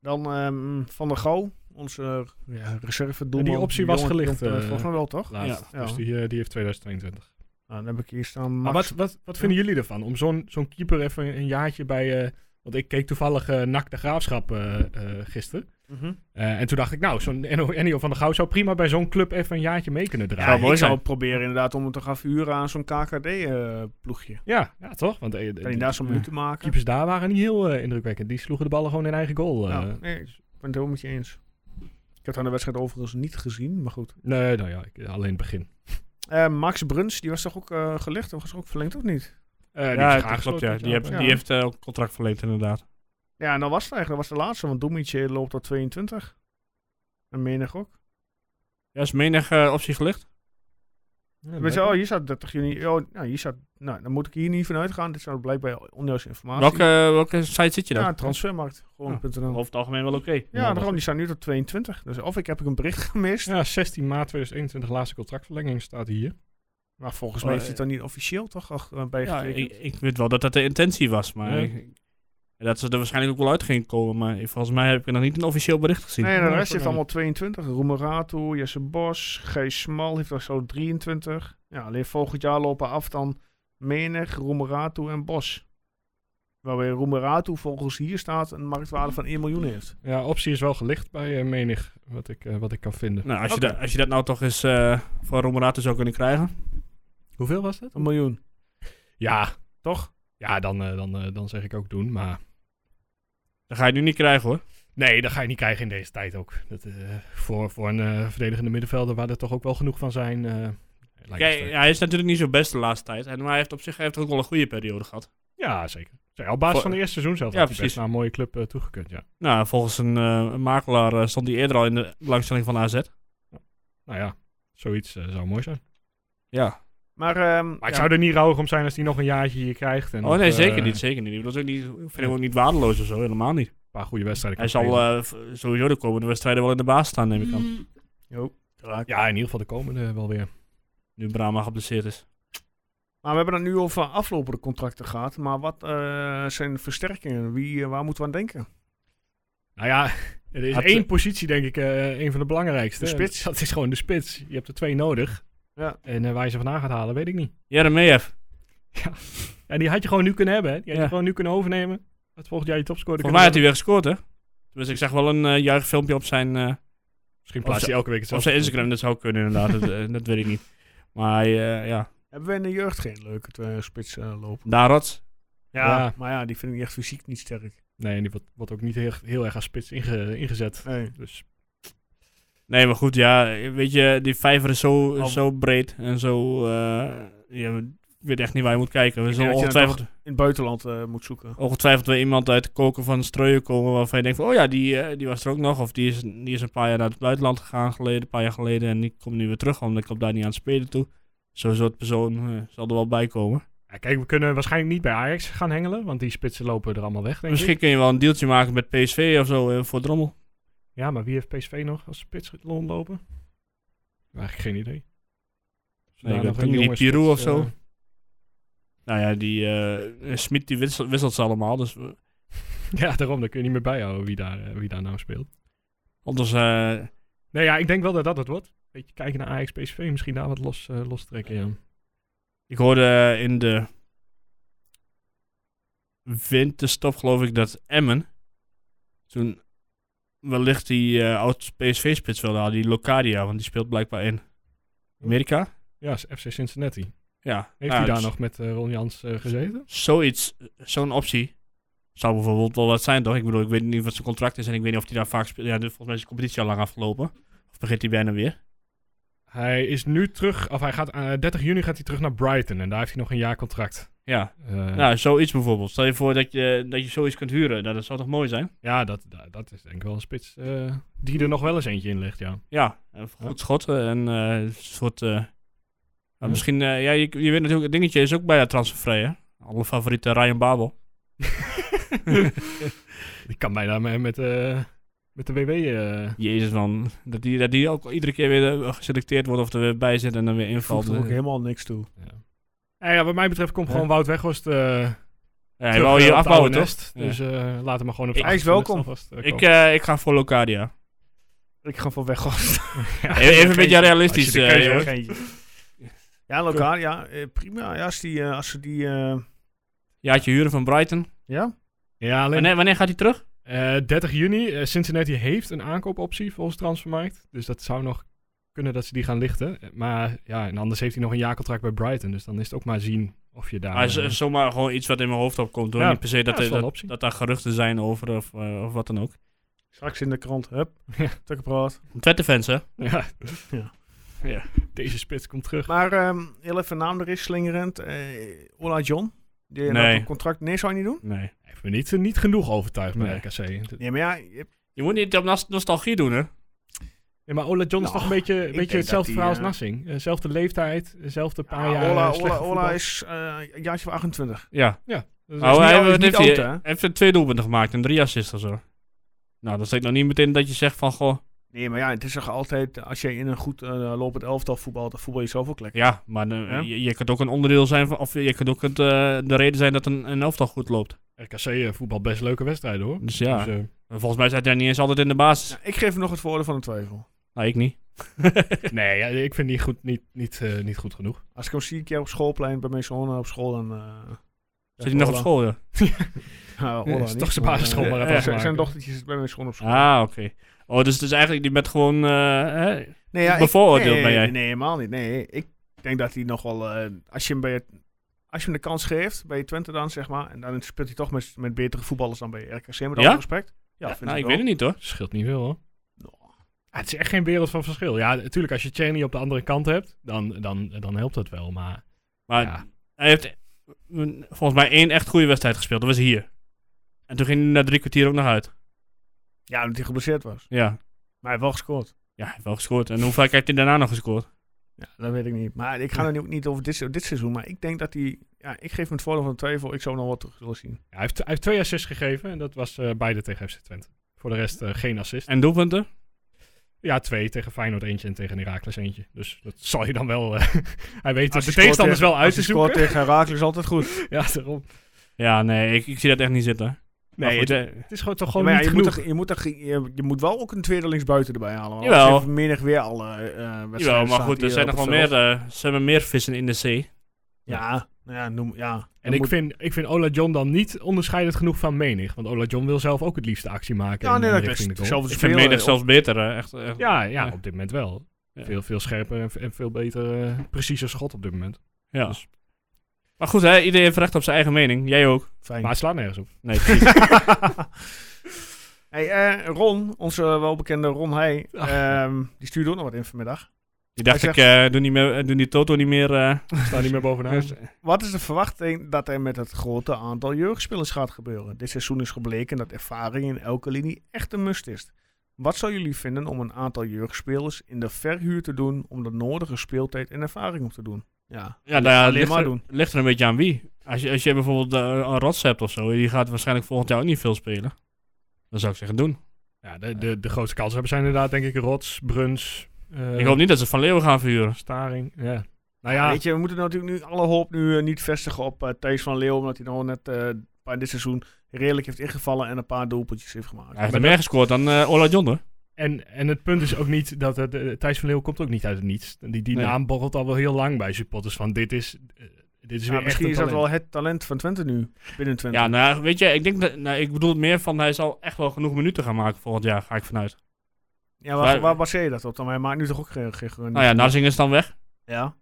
[SPEAKER 1] Dan ehm, Van der Gouw. Onze eh, ja, reserve doelman.
[SPEAKER 2] Die optie was gelicht,
[SPEAKER 1] eh,
[SPEAKER 2] eh,
[SPEAKER 1] volgens mij wel, toch?
[SPEAKER 2] Laatst.
[SPEAKER 1] Ja.
[SPEAKER 2] Dus die, eh, die heeft 2022.
[SPEAKER 1] Nou, dan heb ik hier staan
[SPEAKER 2] Maar
[SPEAKER 1] Max.
[SPEAKER 2] wat, wat, wat vinden jullie ervan? Om zo'n zo'n keeper even een jaartje bij... eh, want ik keek toevallig eh NAC de Graafschap eh, eh, gisteren.
[SPEAKER 1] Mhm.
[SPEAKER 2] Eh, en toen dacht ik, nou, zo'n Enno Ennio van der Gouw zou prima bij zo'n club even een jaartje mee kunnen
[SPEAKER 1] Ja,
[SPEAKER 2] draaien.
[SPEAKER 1] ik zou het proberen inderdaad om hem te gaan verhuren aan zo'n KKD-ploegje.
[SPEAKER 2] Ja, ja, toch? Want eh,
[SPEAKER 1] kan
[SPEAKER 2] de
[SPEAKER 1] eh, je daar zo'n minuten maken?
[SPEAKER 2] keepers daar waren niet heel eh, indrukwekkend. Die sloegen de ballen gewoon in eigen goal. eh.
[SPEAKER 1] Nou, nee, ik ben het helemaal met je eens. Ik heb het aan de wedstrijd overigens niet gezien, maar goed.
[SPEAKER 2] Nee, nou ja, ik- alleen het begin.
[SPEAKER 1] Eh, Max Bruns, die was toch ook eh gelicht? Of was toch ook verlengd, of niet?
[SPEAKER 2] Eh, die
[SPEAKER 3] ja,
[SPEAKER 2] is
[SPEAKER 3] dat klopt,
[SPEAKER 2] aangesloten,
[SPEAKER 3] ja. Die, heeft,
[SPEAKER 1] ja.
[SPEAKER 3] die heeft eh, ook contract verleend, inderdaad.
[SPEAKER 1] Ja, en dan was het eigenlijk. Dat was de laatste, want Doemitje loopt tot 22. En menig ook.
[SPEAKER 3] Ja, is menig eh, optie gelicht?
[SPEAKER 2] Ja,
[SPEAKER 1] Weet je, oh, hier staat 30 juni. Oh, nou, hier staat, nou, dan moet ik hier niet van uitgaan. Dit is nou blijkbaar onjuiste informatie.
[SPEAKER 3] Welke, eh, welke site zit je dan?
[SPEAKER 1] Ja, transfermarkt. Gewoon.nl. Ja,
[SPEAKER 3] Over het algemeen wel oké.
[SPEAKER 1] ja daarom, die staan nu tot 22. Dus of ik heb ik een bericht gemist.
[SPEAKER 2] Ja, 16 maart 2021, laatste contractverlenging staat hier.
[SPEAKER 1] Maar volgens
[SPEAKER 3] Oh,
[SPEAKER 1] mij is dit
[SPEAKER 3] eh,
[SPEAKER 1] dan niet officieel toch al, eh,
[SPEAKER 3] Ja,
[SPEAKER 1] bijgetekend?
[SPEAKER 3] ik, ik weet wel dat dat de intentie was, maar...
[SPEAKER 2] Ja.
[SPEAKER 3] ik- en dat ze er waarschijnlijk ook wel uit gingen komen, maar ik- volgens mij heb ik nog niet een officieel bericht gezien.
[SPEAKER 1] Nee, de
[SPEAKER 2] Nee,
[SPEAKER 1] rest heeft
[SPEAKER 2] vooral.
[SPEAKER 1] allemaal 22. Roemerato, Jesse Bos, Gijs Smal heeft er zo 23. Ja, alleen volgend jaar lopen af dan Menig, Roemerato en Bos. Waarbij Roemerato volgens hier staat een marktwaarde van 1 miljoen heeft.
[SPEAKER 2] Ja, optie is wel gelicht bij eh, menig, wat ik, eh, wat ik kan vinden.
[SPEAKER 3] Nou, als, je
[SPEAKER 1] Oké.
[SPEAKER 3] dat, als je dat nou toch eens eh voor Romerato zou kunnen krijgen.
[SPEAKER 2] Hoeveel was dat?
[SPEAKER 1] Een miljoen.
[SPEAKER 2] Ja,
[SPEAKER 1] Toch?
[SPEAKER 2] ja dan, eh, dan, eh, dan zeg ik ook doen, maar...
[SPEAKER 3] Dat ga je nu niet krijgen hoor.
[SPEAKER 2] Nee, dat ga je niet krijgen in deze tijd ook. Dat, eh, voor, voor een eh, verdedigende middenvelder waar er toch ook wel genoeg van zijn. eh, lijkt me
[SPEAKER 3] Kijk,
[SPEAKER 2] sterk.
[SPEAKER 3] hij is natuurlijk niet zo best de laatste tijd. En, maar hij heeft op zich hij heeft ook wel een goede periode gehad.
[SPEAKER 2] ja, zeker. Zeg, op basis
[SPEAKER 3] Voor-
[SPEAKER 2] van het eerste seizoen zelf
[SPEAKER 3] Ja,
[SPEAKER 2] had hij best
[SPEAKER 3] precies.
[SPEAKER 2] naar een mooie club eh, toegekund, ja.
[SPEAKER 3] Nou, volgens een eh, makelaar eh, stond hij eerder al in de belangstelling van AZ.
[SPEAKER 2] Nou ja, zoiets eh, zou mooi zijn.
[SPEAKER 3] Ja.
[SPEAKER 1] Maar, ehm,
[SPEAKER 2] Maar ik
[SPEAKER 1] ja,
[SPEAKER 2] zou er niet rouwig om zijn als hij nog een jaartje hier krijgt. En
[SPEAKER 3] Oh nee,
[SPEAKER 2] nog, eh,
[SPEAKER 3] zeker niet. Zeker niet. Ik bedoel, Dat is ook niet, vind ik ook niet waardeloos of zo, helemaal niet.
[SPEAKER 2] Een paar goede wedstrijden.
[SPEAKER 3] Hij
[SPEAKER 2] kan
[SPEAKER 3] zal
[SPEAKER 2] spelen.
[SPEAKER 3] eh, v- sowieso de komende wedstrijden wel in de baas staan, neem
[SPEAKER 5] Mm.
[SPEAKER 3] ik aan.
[SPEAKER 1] Jo, raak.
[SPEAKER 2] Ja, in ieder geval de komende eh, wel weer.
[SPEAKER 3] Nu Brahma geblesseerd is.
[SPEAKER 1] maar we hebben het nu over aflopende contracten gehad. Maar wat eh, zijn versterkingen? Wie, eh, waar moeten we aan denken?
[SPEAKER 2] Nou ja, er is
[SPEAKER 3] Had-
[SPEAKER 2] één positie denk ik eh een van de belangrijkste.
[SPEAKER 1] De spits.
[SPEAKER 2] Dat is gewoon de spits. Je hebt er twee nodig.
[SPEAKER 1] Ja.
[SPEAKER 2] En eh, waar je ze vandaan gaat halen, weet ik niet.
[SPEAKER 3] Jeremejeff.
[SPEAKER 2] En die had je gewoon nu kunnen hebben. Hè? Die had
[SPEAKER 3] Ja.
[SPEAKER 2] je gewoon nu kunnen overnemen. Het volgend jaar je topscorer
[SPEAKER 3] Volgens
[SPEAKER 2] kunnen
[SPEAKER 3] mij had
[SPEAKER 2] hebben.
[SPEAKER 3] hij weer gescoord, hè? Dus ik zag wel een eh, juichfilmpje op zijn... eh,
[SPEAKER 2] Misschien
[SPEAKER 3] Op
[SPEAKER 2] plaatst hij
[SPEAKER 3] zijn-
[SPEAKER 2] elke week
[SPEAKER 3] Op
[SPEAKER 2] hetzelfde.
[SPEAKER 3] zijn Instagram, dat zou kunnen inderdaad, dat, eh, dat weet ik niet. Maar eh, ja,
[SPEAKER 1] Hebben we in de jeugd geen leuke eh, spits eh, lopen?
[SPEAKER 3] Darots.
[SPEAKER 2] Ja.
[SPEAKER 1] Maar ja, die vind ik echt fysiek niet sterk.
[SPEAKER 2] Nee, en die wordt, wordt ook niet heel, heel erg als spits inge- ingezet.
[SPEAKER 1] Nee.
[SPEAKER 2] Dus
[SPEAKER 3] Nee, maar goed, ja, weet je, die vijver is zo,
[SPEAKER 1] Al-
[SPEAKER 3] zo breed en zo... eh, ja, ik weet echt niet waar je moet kijken. We
[SPEAKER 1] denk
[SPEAKER 3] zullen
[SPEAKER 1] dat je dan
[SPEAKER 3] ongetwijfeld,
[SPEAKER 1] In het buitenland eh, moet zoeken.
[SPEAKER 3] ongetwijfeld weer iemand uit de koken van Streuer komen waarvan je denkt van, oh ja, die, eh, die was er ook nog. Of die is, die is een paar jaar naar het buitenland gegaan geleden, een paar jaar geleden. En die komt nu weer terug, want ik kom daar niet aan het spelen toe. Zo'n soort persoon eh, zal er wel bij komen.
[SPEAKER 2] ja, kijk, we kunnen waarschijnlijk niet bij Ajax gaan hengelen. Want die spitsen lopen er allemaal weg, denk ik.
[SPEAKER 3] Misschien kun je wel een deeltje maken met PSV of zo eh, voor Drommel.
[SPEAKER 2] Ja, maar wie heeft PSV nog als spits rondlopen? Eigenlijk geen idee. Of ze
[SPEAKER 3] Nee,
[SPEAKER 2] daar
[SPEAKER 3] ik
[SPEAKER 2] nog
[SPEAKER 3] weet
[SPEAKER 2] een
[SPEAKER 3] niet,
[SPEAKER 2] jonge
[SPEAKER 3] die Pirou
[SPEAKER 2] spits,
[SPEAKER 3] of zo?
[SPEAKER 2] eh,
[SPEAKER 3] Nou ja, die eh Smit die wisselt, wisselt ze allemaal. Dus we-
[SPEAKER 2] eh, Ja, daarom. Daar kun je niet meer bijhouden wie daar, eh, wie daar nou speelt.
[SPEAKER 3] anders eh,
[SPEAKER 2] Nee, ja, ik denk wel dat dat het wordt. Beetje kijken naar Ajax PSV, misschien daar wat los, eh, los trekken. Ja.
[SPEAKER 3] Ik hoorde eh, in de winterstop, geloof ik, dat Emmen toen wellicht die eh, oud PSV-spits wilde halen, die Locadia, want die speelt blijkbaar in Amerika.
[SPEAKER 2] ja, is FC Cincinnati.
[SPEAKER 3] Ja,
[SPEAKER 2] Heeft hij
[SPEAKER 3] nou,
[SPEAKER 2] daar
[SPEAKER 3] dus
[SPEAKER 2] nog met eh, Ron Jans eh, gezeten?
[SPEAKER 3] Zoiets, zo'n optie zou bijvoorbeeld wel wat zijn, toch? Ik bedoel, ik weet niet wat zijn contract is en ik weet niet of hij daar vaak speelt. Ja, dus volgens mij is de competitie al lang afgelopen. Of begint hij bijna weer?
[SPEAKER 2] Hij is nu terug, of hij gaat, eh, 30 juni gaat hij terug naar Brighton en daar heeft hij nog een jaar contract.
[SPEAKER 3] Ja,
[SPEAKER 2] Eh,
[SPEAKER 3] nou, zoiets bijvoorbeeld. Stel je voor dat je, dat je zoiets kunt huren. Nou, dat zou toch mooi zijn?
[SPEAKER 2] Ja, dat, dat, dat is denk ik wel een spits eh, die er nog wel eens eentje in ligt, ja.
[SPEAKER 3] Ja, een goed schot eh, en eh, een soort... eh, nou, Misschien, eh, ja, je, je weet natuurlijk, het dingetje is ook bijna transfervrij, hè? Alle favoriete Ryan Babel.
[SPEAKER 2] Die kan bijna me- met, eh, met de WW... eh,
[SPEAKER 3] Jezus man, dat die, dat die ook iedere keer weer eh, geselecteerd wordt of er weer bij zit en dan weer invalt.
[SPEAKER 1] Voegt er ook
[SPEAKER 3] Ja,
[SPEAKER 1] helemaal niks toe.
[SPEAKER 2] Nou ja, wat mij betreft komt
[SPEAKER 1] Ja.
[SPEAKER 2] gewoon Wout Weghorst eh,
[SPEAKER 3] hij
[SPEAKER 2] terug,
[SPEAKER 3] wou
[SPEAKER 2] eh,
[SPEAKER 3] hier
[SPEAKER 2] op het oude
[SPEAKER 3] afbouwen, toch?
[SPEAKER 2] nest. Dus eh laat hem maar gewoon op
[SPEAKER 1] Ik-
[SPEAKER 2] zijn
[SPEAKER 1] Hij is
[SPEAKER 2] achterste nest
[SPEAKER 1] welkom.
[SPEAKER 2] alvast, eh,
[SPEAKER 3] Ik,
[SPEAKER 2] komen.
[SPEAKER 3] eh, ik ga voor Locadia.
[SPEAKER 1] Ik ga van weg.
[SPEAKER 3] Even een beetje realistisch.
[SPEAKER 2] Als je de
[SPEAKER 3] eh,
[SPEAKER 2] keuze
[SPEAKER 3] joh.
[SPEAKER 2] hebt.
[SPEAKER 1] Ja, lokaal, ja, eh, prima. Ja, als, die, eh, als ze die... eh,
[SPEAKER 3] Jaartje huren van Brighton.
[SPEAKER 1] ja?
[SPEAKER 2] eh, ja, alleen
[SPEAKER 3] Wanneer, wanneer gaat hij terug?
[SPEAKER 2] Eh, 30 juni. eh, Cincinnati heeft een aankoopoptie volgens Transfermarkt. Dus dat zou nog kunnen dat ze die gaan lichten. Eh, Maar ja, en anders heeft hij nog een jaarcontract bij Brighton. Dus dan is het ook maar zien of je daar...
[SPEAKER 3] Maar Ah, is-
[SPEAKER 2] eh,
[SPEAKER 3] is zomaar gewoon iets wat in mijn hoofd opkomt. Hoor.
[SPEAKER 2] Ja.
[SPEAKER 3] Niet per se dat,
[SPEAKER 2] Ja, is
[SPEAKER 3] er-
[SPEAKER 2] wel een
[SPEAKER 3] dat,
[SPEAKER 2] optie.
[SPEAKER 3] dat daar geruchten zijn over of, eh, of wat dan ook.
[SPEAKER 1] Straks in de krant. Hup.
[SPEAKER 2] Ja.
[SPEAKER 1] Tukkenpraat.
[SPEAKER 3] Twente-fans, hè?
[SPEAKER 2] ja.
[SPEAKER 1] Ja.
[SPEAKER 3] Ja.
[SPEAKER 2] Deze spits komt terug.
[SPEAKER 1] Maar ehm, heel even naam erin slingerend. eh Ola John. Die had
[SPEAKER 3] Nee.
[SPEAKER 1] een contract. Nee, zou je niet doen?
[SPEAKER 3] Nee.
[SPEAKER 2] Heeft me niet, eh, niet genoeg overtuigd
[SPEAKER 3] Nee.
[SPEAKER 2] bij RKC. D-
[SPEAKER 1] Nee, maar ja, je hebt-
[SPEAKER 3] Je moet niet op nas- nostalgie doen, hè?
[SPEAKER 2] Ja, maar Ola John is
[SPEAKER 1] Nou,
[SPEAKER 2] toch een beetje, een
[SPEAKER 1] denk
[SPEAKER 2] beetje hetzelfde
[SPEAKER 1] dat die,
[SPEAKER 2] verhaal als
[SPEAKER 1] eh,
[SPEAKER 2] Nassing. Eh, Zelfde leeftijd, dezelfde paar
[SPEAKER 1] ja,
[SPEAKER 2] jaar
[SPEAKER 1] Ola,
[SPEAKER 2] eh, slecht
[SPEAKER 1] Ola, Ola
[SPEAKER 2] voetbal. Dus, eh,
[SPEAKER 1] is eh, een jaartje van 28.
[SPEAKER 3] Ja.
[SPEAKER 2] Dat is
[SPEAKER 3] Nou,
[SPEAKER 1] niet
[SPEAKER 3] hij
[SPEAKER 1] oud,
[SPEAKER 3] heeft,
[SPEAKER 1] Dus is niet
[SPEAKER 3] heeft,
[SPEAKER 1] oud,
[SPEAKER 3] hij,
[SPEAKER 1] hè?
[SPEAKER 3] heeft er twee doelpunten gemaakt en drie assists of zo. Nou, dat zit nog niet meteen dat je zegt van, goh,
[SPEAKER 1] Nee, maar ja, het is toch altijd... Als je in een goed eh, lopend elftal voetbalt, dan voetbal je zoveel plekken.
[SPEAKER 3] ja, maar eh,
[SPEAKER 1] Ja.
[SPEAKER 3] Je, je kunt ook een onderdeel zijn van, of je kunt ook het, eh, de reden zijn dat een, een elftal goed loopt.
[SPEAKER 2] RKC eh, voetbal best leuke wedstrijden hoor.
[SPEAKER 3] Dus ja,
[SPEAKER 2] Dus, eh,
[SPEAKER 3] volgens mij zit hij niet eens altijd in de basis.
[SPEAKER 1] Nou, ik geef hem nog het voordeel van de twijfel.
[SPEAKER 3] Nou, ik niet.
[SPEAKER 2] nee, ja, ik vind die goed, niet, niet, eh, niet goed genoeg.
[SPEAKER 1] Als ik hem zie een keer op schoolplein bij mijn zoon op school, dan... eh,
[SPEAKER 3] Zit hij nog op
[SPEAKER 1] Ola.
[SPEAKER 3] school, ja?
[SPEAKER 1] Ja,
[SPEAKER 2] Ja,
[SPEAKER 1] Ola
[SPEAKER 2] is
[SPEAKER 1] niet,
[SPEAKER 2] toch zijn
[SPEAKER 1] maar,
[SPEAKER 2] basisschool
[SPEAKER 1] eh,
[SPEAKER 2] maar
[SPEAKER 1] ja,
[SPEAKER 2] even
[SPEAKER 1] zijn- Zijn
[SPEAKER 2] maken.
[SPEAKER 1] dochtertje zit bij mijn schoon op school.
[SPEAKER 3] Ah, oké. Oh, dus het is eigenlijk, die bent gewoon, eh, eh,
[SPEAKER 1] nee, ja, ik-
[SPEAKER 3] bevooroordeeld
[SPEAKER 1] nee,
[SPEAKER 3] ben jij.
[SPEAKER 1] Nee, helemaal niet. Nee, ik denk dat hij nog wel... eh, als, je hem bij, als je hem de kans geeft, bij Twente dan, zeg maar... En dan speelt hij toch met, met betere voetballers dan bij RKC, met
[SPEAKER 3] Ja?
[SPEAKER 1] alle respect. Ja, vind
[SPEAKER 3] nou, ik
[SPEAKER 1] ik
[SPEAKER 3] weet
[SPEAKER 1] wel.
[SPEAKER 3] het niet hoor.
[SPEAKER 2] Scheelt niet veel hoor.
[SPEAKER 1] Nou.
[SPEAKER 2] Ja, het is echt geen wereld van verschil. Ja, natuurlijk, als je Cheney op de andere kant hebt, dan, dan, dan helpt dat wel. Maar
[SPEAKER 3] Maar
[SPEAKER 2] ja,
[SPEAKER 3] Hij heeft eh, volgens mij één echt goede wedstrijd gespeeld. Dat was hier. En toen ging hij na drie kwartier ook nog uit.
[SPEAKER 1] Ja, omdat hij geblesseerd was.
[SPEAKER 3] Ja.
[SPEAKER 1] Maar hij heeft wel gescoord.
[SPEAKER 3] Ja, hij heeft wel gescoord. En hoe vaak heeft hij daarna nog gescoord?
[SPEAKER 1] Ja, dat weet ik niet. Maar ik ga er nu ook niet over dit, se- dit seizoen. Maar ik denk dat hij... Ja, ik geef hem het voordeel van de twijfel. Ik zou nog wat terug willen zien.
[SPEAKER 2] hij, heeft, hij heeft twee assists gegeven en dat was eh, beide tegen FC Twente. Voor de rest eh, geen assist.
[SPEAKER 3] En doelpunten?
[SPEAKER 2] Ja, twee tegen Feyenoord eentje en tegen Heracles eentje. Dus dat zal je dan wel... eh,
[SPEAKER 1] Als
[SPEAKER 2] hij weet de
[SPEAKER 1] hij scoort
[SPEAKER 2] tegenstanders
[SPEAKER 1] tegen-
[SPEAKER 2] wel uit
[SPEAKER 1] als
[SPEAKER 2] te
[SPEAKER 1] hij
[SPEAKER 2] zoeken.
[SPEAKER 1] scoort tegen Herakles is altijd goed.
[SPEAKER 2] Ja, daarom.
[SPEAKER 3] Ja, nee, ik, ik zie dat echt niet zitten. Maar
[SPEAKER 2] Nee,
[SPEAKER 3] goed,
[SPEAKER 2] het,
[SPEAKER 3] eh,
[SPEAKER 2] het is gewoon toch gewoon
[SPEAKER 1] maar ja,
[SPEAKER 2] niet
[SPEAKER 1] je, moet
[SPEAKER 2] genoeg.
[SPEAKER 1] toch- je, moet toch- je, je moet wel ook een tweede linksbuiten erbij halen. want
[SPEAKER 3] Jawel.
[SPEAKER 1] anders heeft Menig weer alle eh, wedstrijden.
[SPEAKER 3] jawel, maar
[SPEAKER 1] staat
[SPEAKER 3] goed,
[SPEAKER 1] hier
[SPEAKER 3] er zijn
[SPEAKER 1] op
[SPEAKER 3] nog wel
[SPEAKER 1] het
[SPEAKER 3] meer,
[SPEAKER 1] veld.
[SPEAKER 3] eh, ze hebben meer vissen in de zee. Dus
[SPEAKER 1] Ja, nou ja, noem, ja.
[SPEAKER 2] En ik vind, ik vind Ola John dan niet onderscheidend genoeg van menig. Want Ola John wil zelf ook het liefste actie maken.
[SPEAKER 1] Ja,
[SPEAKER 2] en,
[SPEAKER 1] nee,
[SPEAKER 2] eh,
[SPEAKER 1] dat is
[SPEAKER 2] richting de goal.
[SPEAKER 1] hetzelfde
[SPEAKER 3] Ik vind
[SPEAKER 1] spelen.
[SPEAKER 3] Medig zelfs beter, hè. Echt, eh, echt.
[SPEAKER 2] Ja, ja,
[SPEAKER 3] Ja.
[SPEAKER 2] op dit moment wel.
[SPEAKER 3] Ja.
[SPEAKER 2] Veel, veel scherper en, en veel beter, eh, preciezer schot op dit moment.
[SPEAKER 3] Ja. dus. Maar goed, hè, iedereen heeft recht op zijn eigen mening. Jij ook.
[SPEAKER 1] Fijn.
[SPEAKER 2] Maar het slaat nergens op.
[SPEAKER 3] Nee, precies.
[SPEAKER 1] hey, eh, Ron, onze welbekende Ron Heij, ehm, die stuurde ook nog wat in vanmiddag.
[SPEAKER 3] Die dacht
[SPEAKER 1] Hij
[SPEAKER 3] ik, eh, doe, niet meer, eh, doe die Toto niet meer... eh, nou
[SPEAKER 2] We staan niet meer bovenaan.
[SPEAKER 1] Wat is de verwachting dat er met het grote aantal jeugdspelers gaat gebeuren? Dit seizoen is gebleken dat ervaring in elke linie echt een must is. Wat zou jullie vinden om een aantal jeugdspelers in de verhuur te doen om de nodige speeltijd en ervaring op te doen? Ja,
[SPEAKER 3] Ja, nou ja, het
[SPEAKER 1] Alleen
[SPEAKER 3] ligt,
[SPEAKER 1] maar
[SPEAKER 3] er,
[SPEAKER 1] doen.
[SPEAKER 3] ligt er een beetje aan wie. Als je, als je bijvoorbeeld eh, een Rots hebt of zo, die gaat waarschijnlijk volgend jaar ook niet veel spelen. Dan zou ik zeggen doen.
[SPEAKER 2] Ja, de, de, de grootste kansen hebben zijn inderdaad denk ik Rots, Bruns, eh,
[SPEAKER 3] ik hoop niet dat ze Van Leeuwen gaan verhuren.
[SPEAKER 2] Staring. Ja. Nou ja,
[SPEAKER 1] Weet je, we moeten natuurlijk nu alle hoop nu eh, niet vestigen op eh Thijs van Leeuwen. Omdat hij nog net eh, een paar dit seizoen redelijk heeft ingevallen en een paar doelpuntjes heeft gemaakt.
[SPEAKER 3] Hij heeft er meer gescoord dan eh Ola John hoor.
[SPEAKER 2] En, en het punt is ook niet dat het, eh, Thijs van Leeuw komt ook niet uit het niets. Die, die
[SPEAKER 3] Nee.
[SPEAKER 2] naam borrelt al wel heel lang bij supporters van dit is, eh, dit is
[SPEAKER 1] Ja,
[SPEAKER 2] weer echt
[SPEAKER 1] misschien
[SPEAKER 2] een
[SPEAKER 1] is dat
[SPEAKER 2] talent.
[SPEAKER 1] wel het talent van Twente nu, binnen Twente.
[SPEAKER 3] Ja, nou weet je, ik denk dat, nou, ik bedoel meer van hij zal echt wel genoeg minuten gaan maken volgend jaar, ga ik vanuit.
[SPEAKER 1] ja, waar,
[SPEAKER 3] wij-
[SPEAKER 1] waar baseer je dat op dan? Hij maakt nu toch ook geen... geen, geen-
[SPEAKER 3] Nou ja, Narsing is dan weg.
[SPEAKER 1] ja.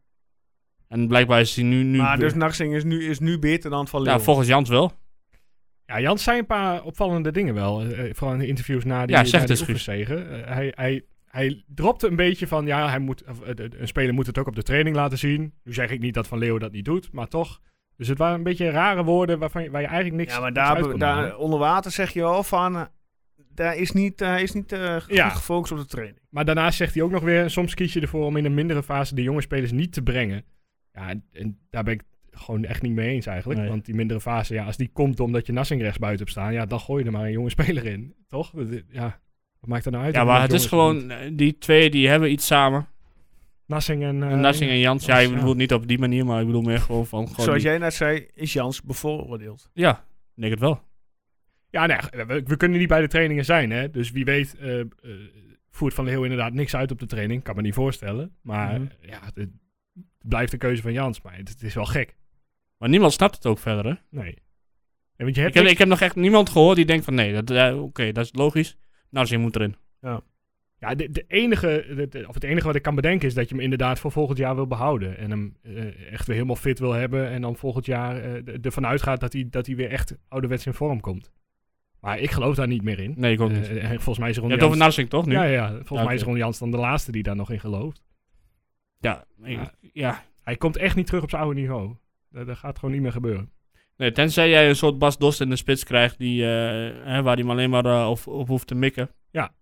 [SPEAKER 3] En blijkbaar is hij nu... nu
[SPEAKER 1] Maar dus Narsing is nu, is nu beter dan Van Leeuwen.
[SPEAKER 3] ja, volgens Jans wel.
[SPEAKER 2] Ja, Jans zei een paar opvallende dingen wel. eh, vooral in de interviews na die,
[SPEAKER 3] Ja, zeg
[SPEAKER 2] na die
[SPEAKER 3] het, Guus.
[SPEAKER 2] oefenzege. Eh, hij, hij, hij dropte een beetje van, ja, hij moet, of, eh, de- een speler moet het ook op de training laten zien. Nu zeg ik niet dat Van Leeuwen dat niet doet, maar toch. Dus het waren een beetje rare woorden waarvan, je- waar je eigenlijk niks
[SPEAKER 1] ja, maar
[SPEAKER 2] niks uit
[SPEAKER 1] daar,
[SPEAKER 2] kon
[SPEAKER 1] daar
[SPEAKER 2] halen.
[SPEAKER 1] onder water zeg je wel van... eh, Daar is niet, eh, is niet eh, goed
[SPEAKER 2] Ja.
[SPEAKER 1] gefocust op de training.
[SPEAKER 2] Maar daarnaast zegt hij ook nog weer, soms kies je ervoor om in een mindere fase de jonge spelers niet te brengen. Ja, en, en daar ben ik het gewoon echt niet mee eens eigenlijk.
[SPEAKER 3] Nee.
[SPEAKER 2] Want die mindere fase, ja, als die komt omdat je Nassing rechts buiten hebt staan, ja, dan gooi je er maar een jonge speler in. Toch? Dat- Ja, wat maakt dat nou uit?
[SPEAKER 3] Ja,
[SPEAKER 2] of
[SPEAKER 3] maar het
[SPEAKER 2] iemand
[SPEAKER 3] is
[SPEAKER 2] jong of niet?
[SPEAKER 3] gewoon, eh, die twee die hebben iets samen.
[SPEAKER 2] Nassing en... eh,
[SPEAKER 3] Narsing en Jans, ja, ik
[SPEAKER 2] ja.
[SPEAKER 3] bedoel niet op die manier, maar ik bedoel meer gewoon van... Gewoon
[SPEAKER 1] Zoals
[SPEAKER 3] die-
[SPEAKER 1] jij net zei, is Jans bevooroordeeld.
[SPEAKER 3] Ja, ik denk het wel.
[SPEAKER 2] Ja, nee, we, we kunnen niet bij de trainingen zijn, hè. Dus wie weet eh, eh, voert Van Leeuw inderdaad niks uit op de training. Kan me niet voorstellen. Maar
[SPEAKER 3] Mhm.
[SPEAKER 2] ja, het, het blijft de keuze van Jans. Maar het, het is wel gek.
[SPEAKER 3] Maar niemand snapt het ook verder, hè?
[SPEAKER 2] Nee. En want je
[SPEAKER 3] Ik
[SPEAKER 2] hebt
[SPEAKER 3] heb,
[SPEAKER 2] niks-
[SPEAKER 3] ik heb nog echt niemand gehoord die denkt van nee, dat, eh, oké, dat is logisch. Narsing moet erin.
[SPEAKER 2] Ja, de, de enige, de- de- of het enige wat ik kan bedenken is dat je hem inderdaad voor volgend jaar wil behouden. En hem eh, echt weer helemaal fit wil hebben. En dan volgend jaar eh, d- ervan uitgaat dat hij, dat hij weer echt ouderwets in vorm komt. Maar ik geloof daar niet meer in.
[SPEAKER 3] Nee, ik ook niet.
[SPEAKER 2] Eh, en volgens mij is
[SPEAKER 3] Je
[SPEAKER 2] Ron
[SPEAKER 3] hebt
[SPEAKER 2] Jans...
[SPEAKER 3] over Narsing toch nu?
[SPEAKER 2] ja, nou
[SPEAKER 3] Ja,
[SPEAKER 2] ja, volgens
[SPEAKER 3] Ja,
[SPEAKER 2] mij is
[SPEAKER 3] oké.
[SPEAKER 2] Ron Jans dan de laatste die daar nog in gelooft.
[SPEAKER 3] ja,
[SPEAKER 2] Ja.
[SPEAKER 3] ik- ja.
[SPEAKER 2] Hij komt echt niet terug op zijn oude niveau. Dat, dat gaat gewoon niet meer gebeuren.
[SPEAKER 3] Nee, tenzij jij een soort Bas Dost in de spits krijgt die, eh, hè, waar hij hem alleen maar eh, op, op hoeft te mikken.
[SPEAKER 2] Ja.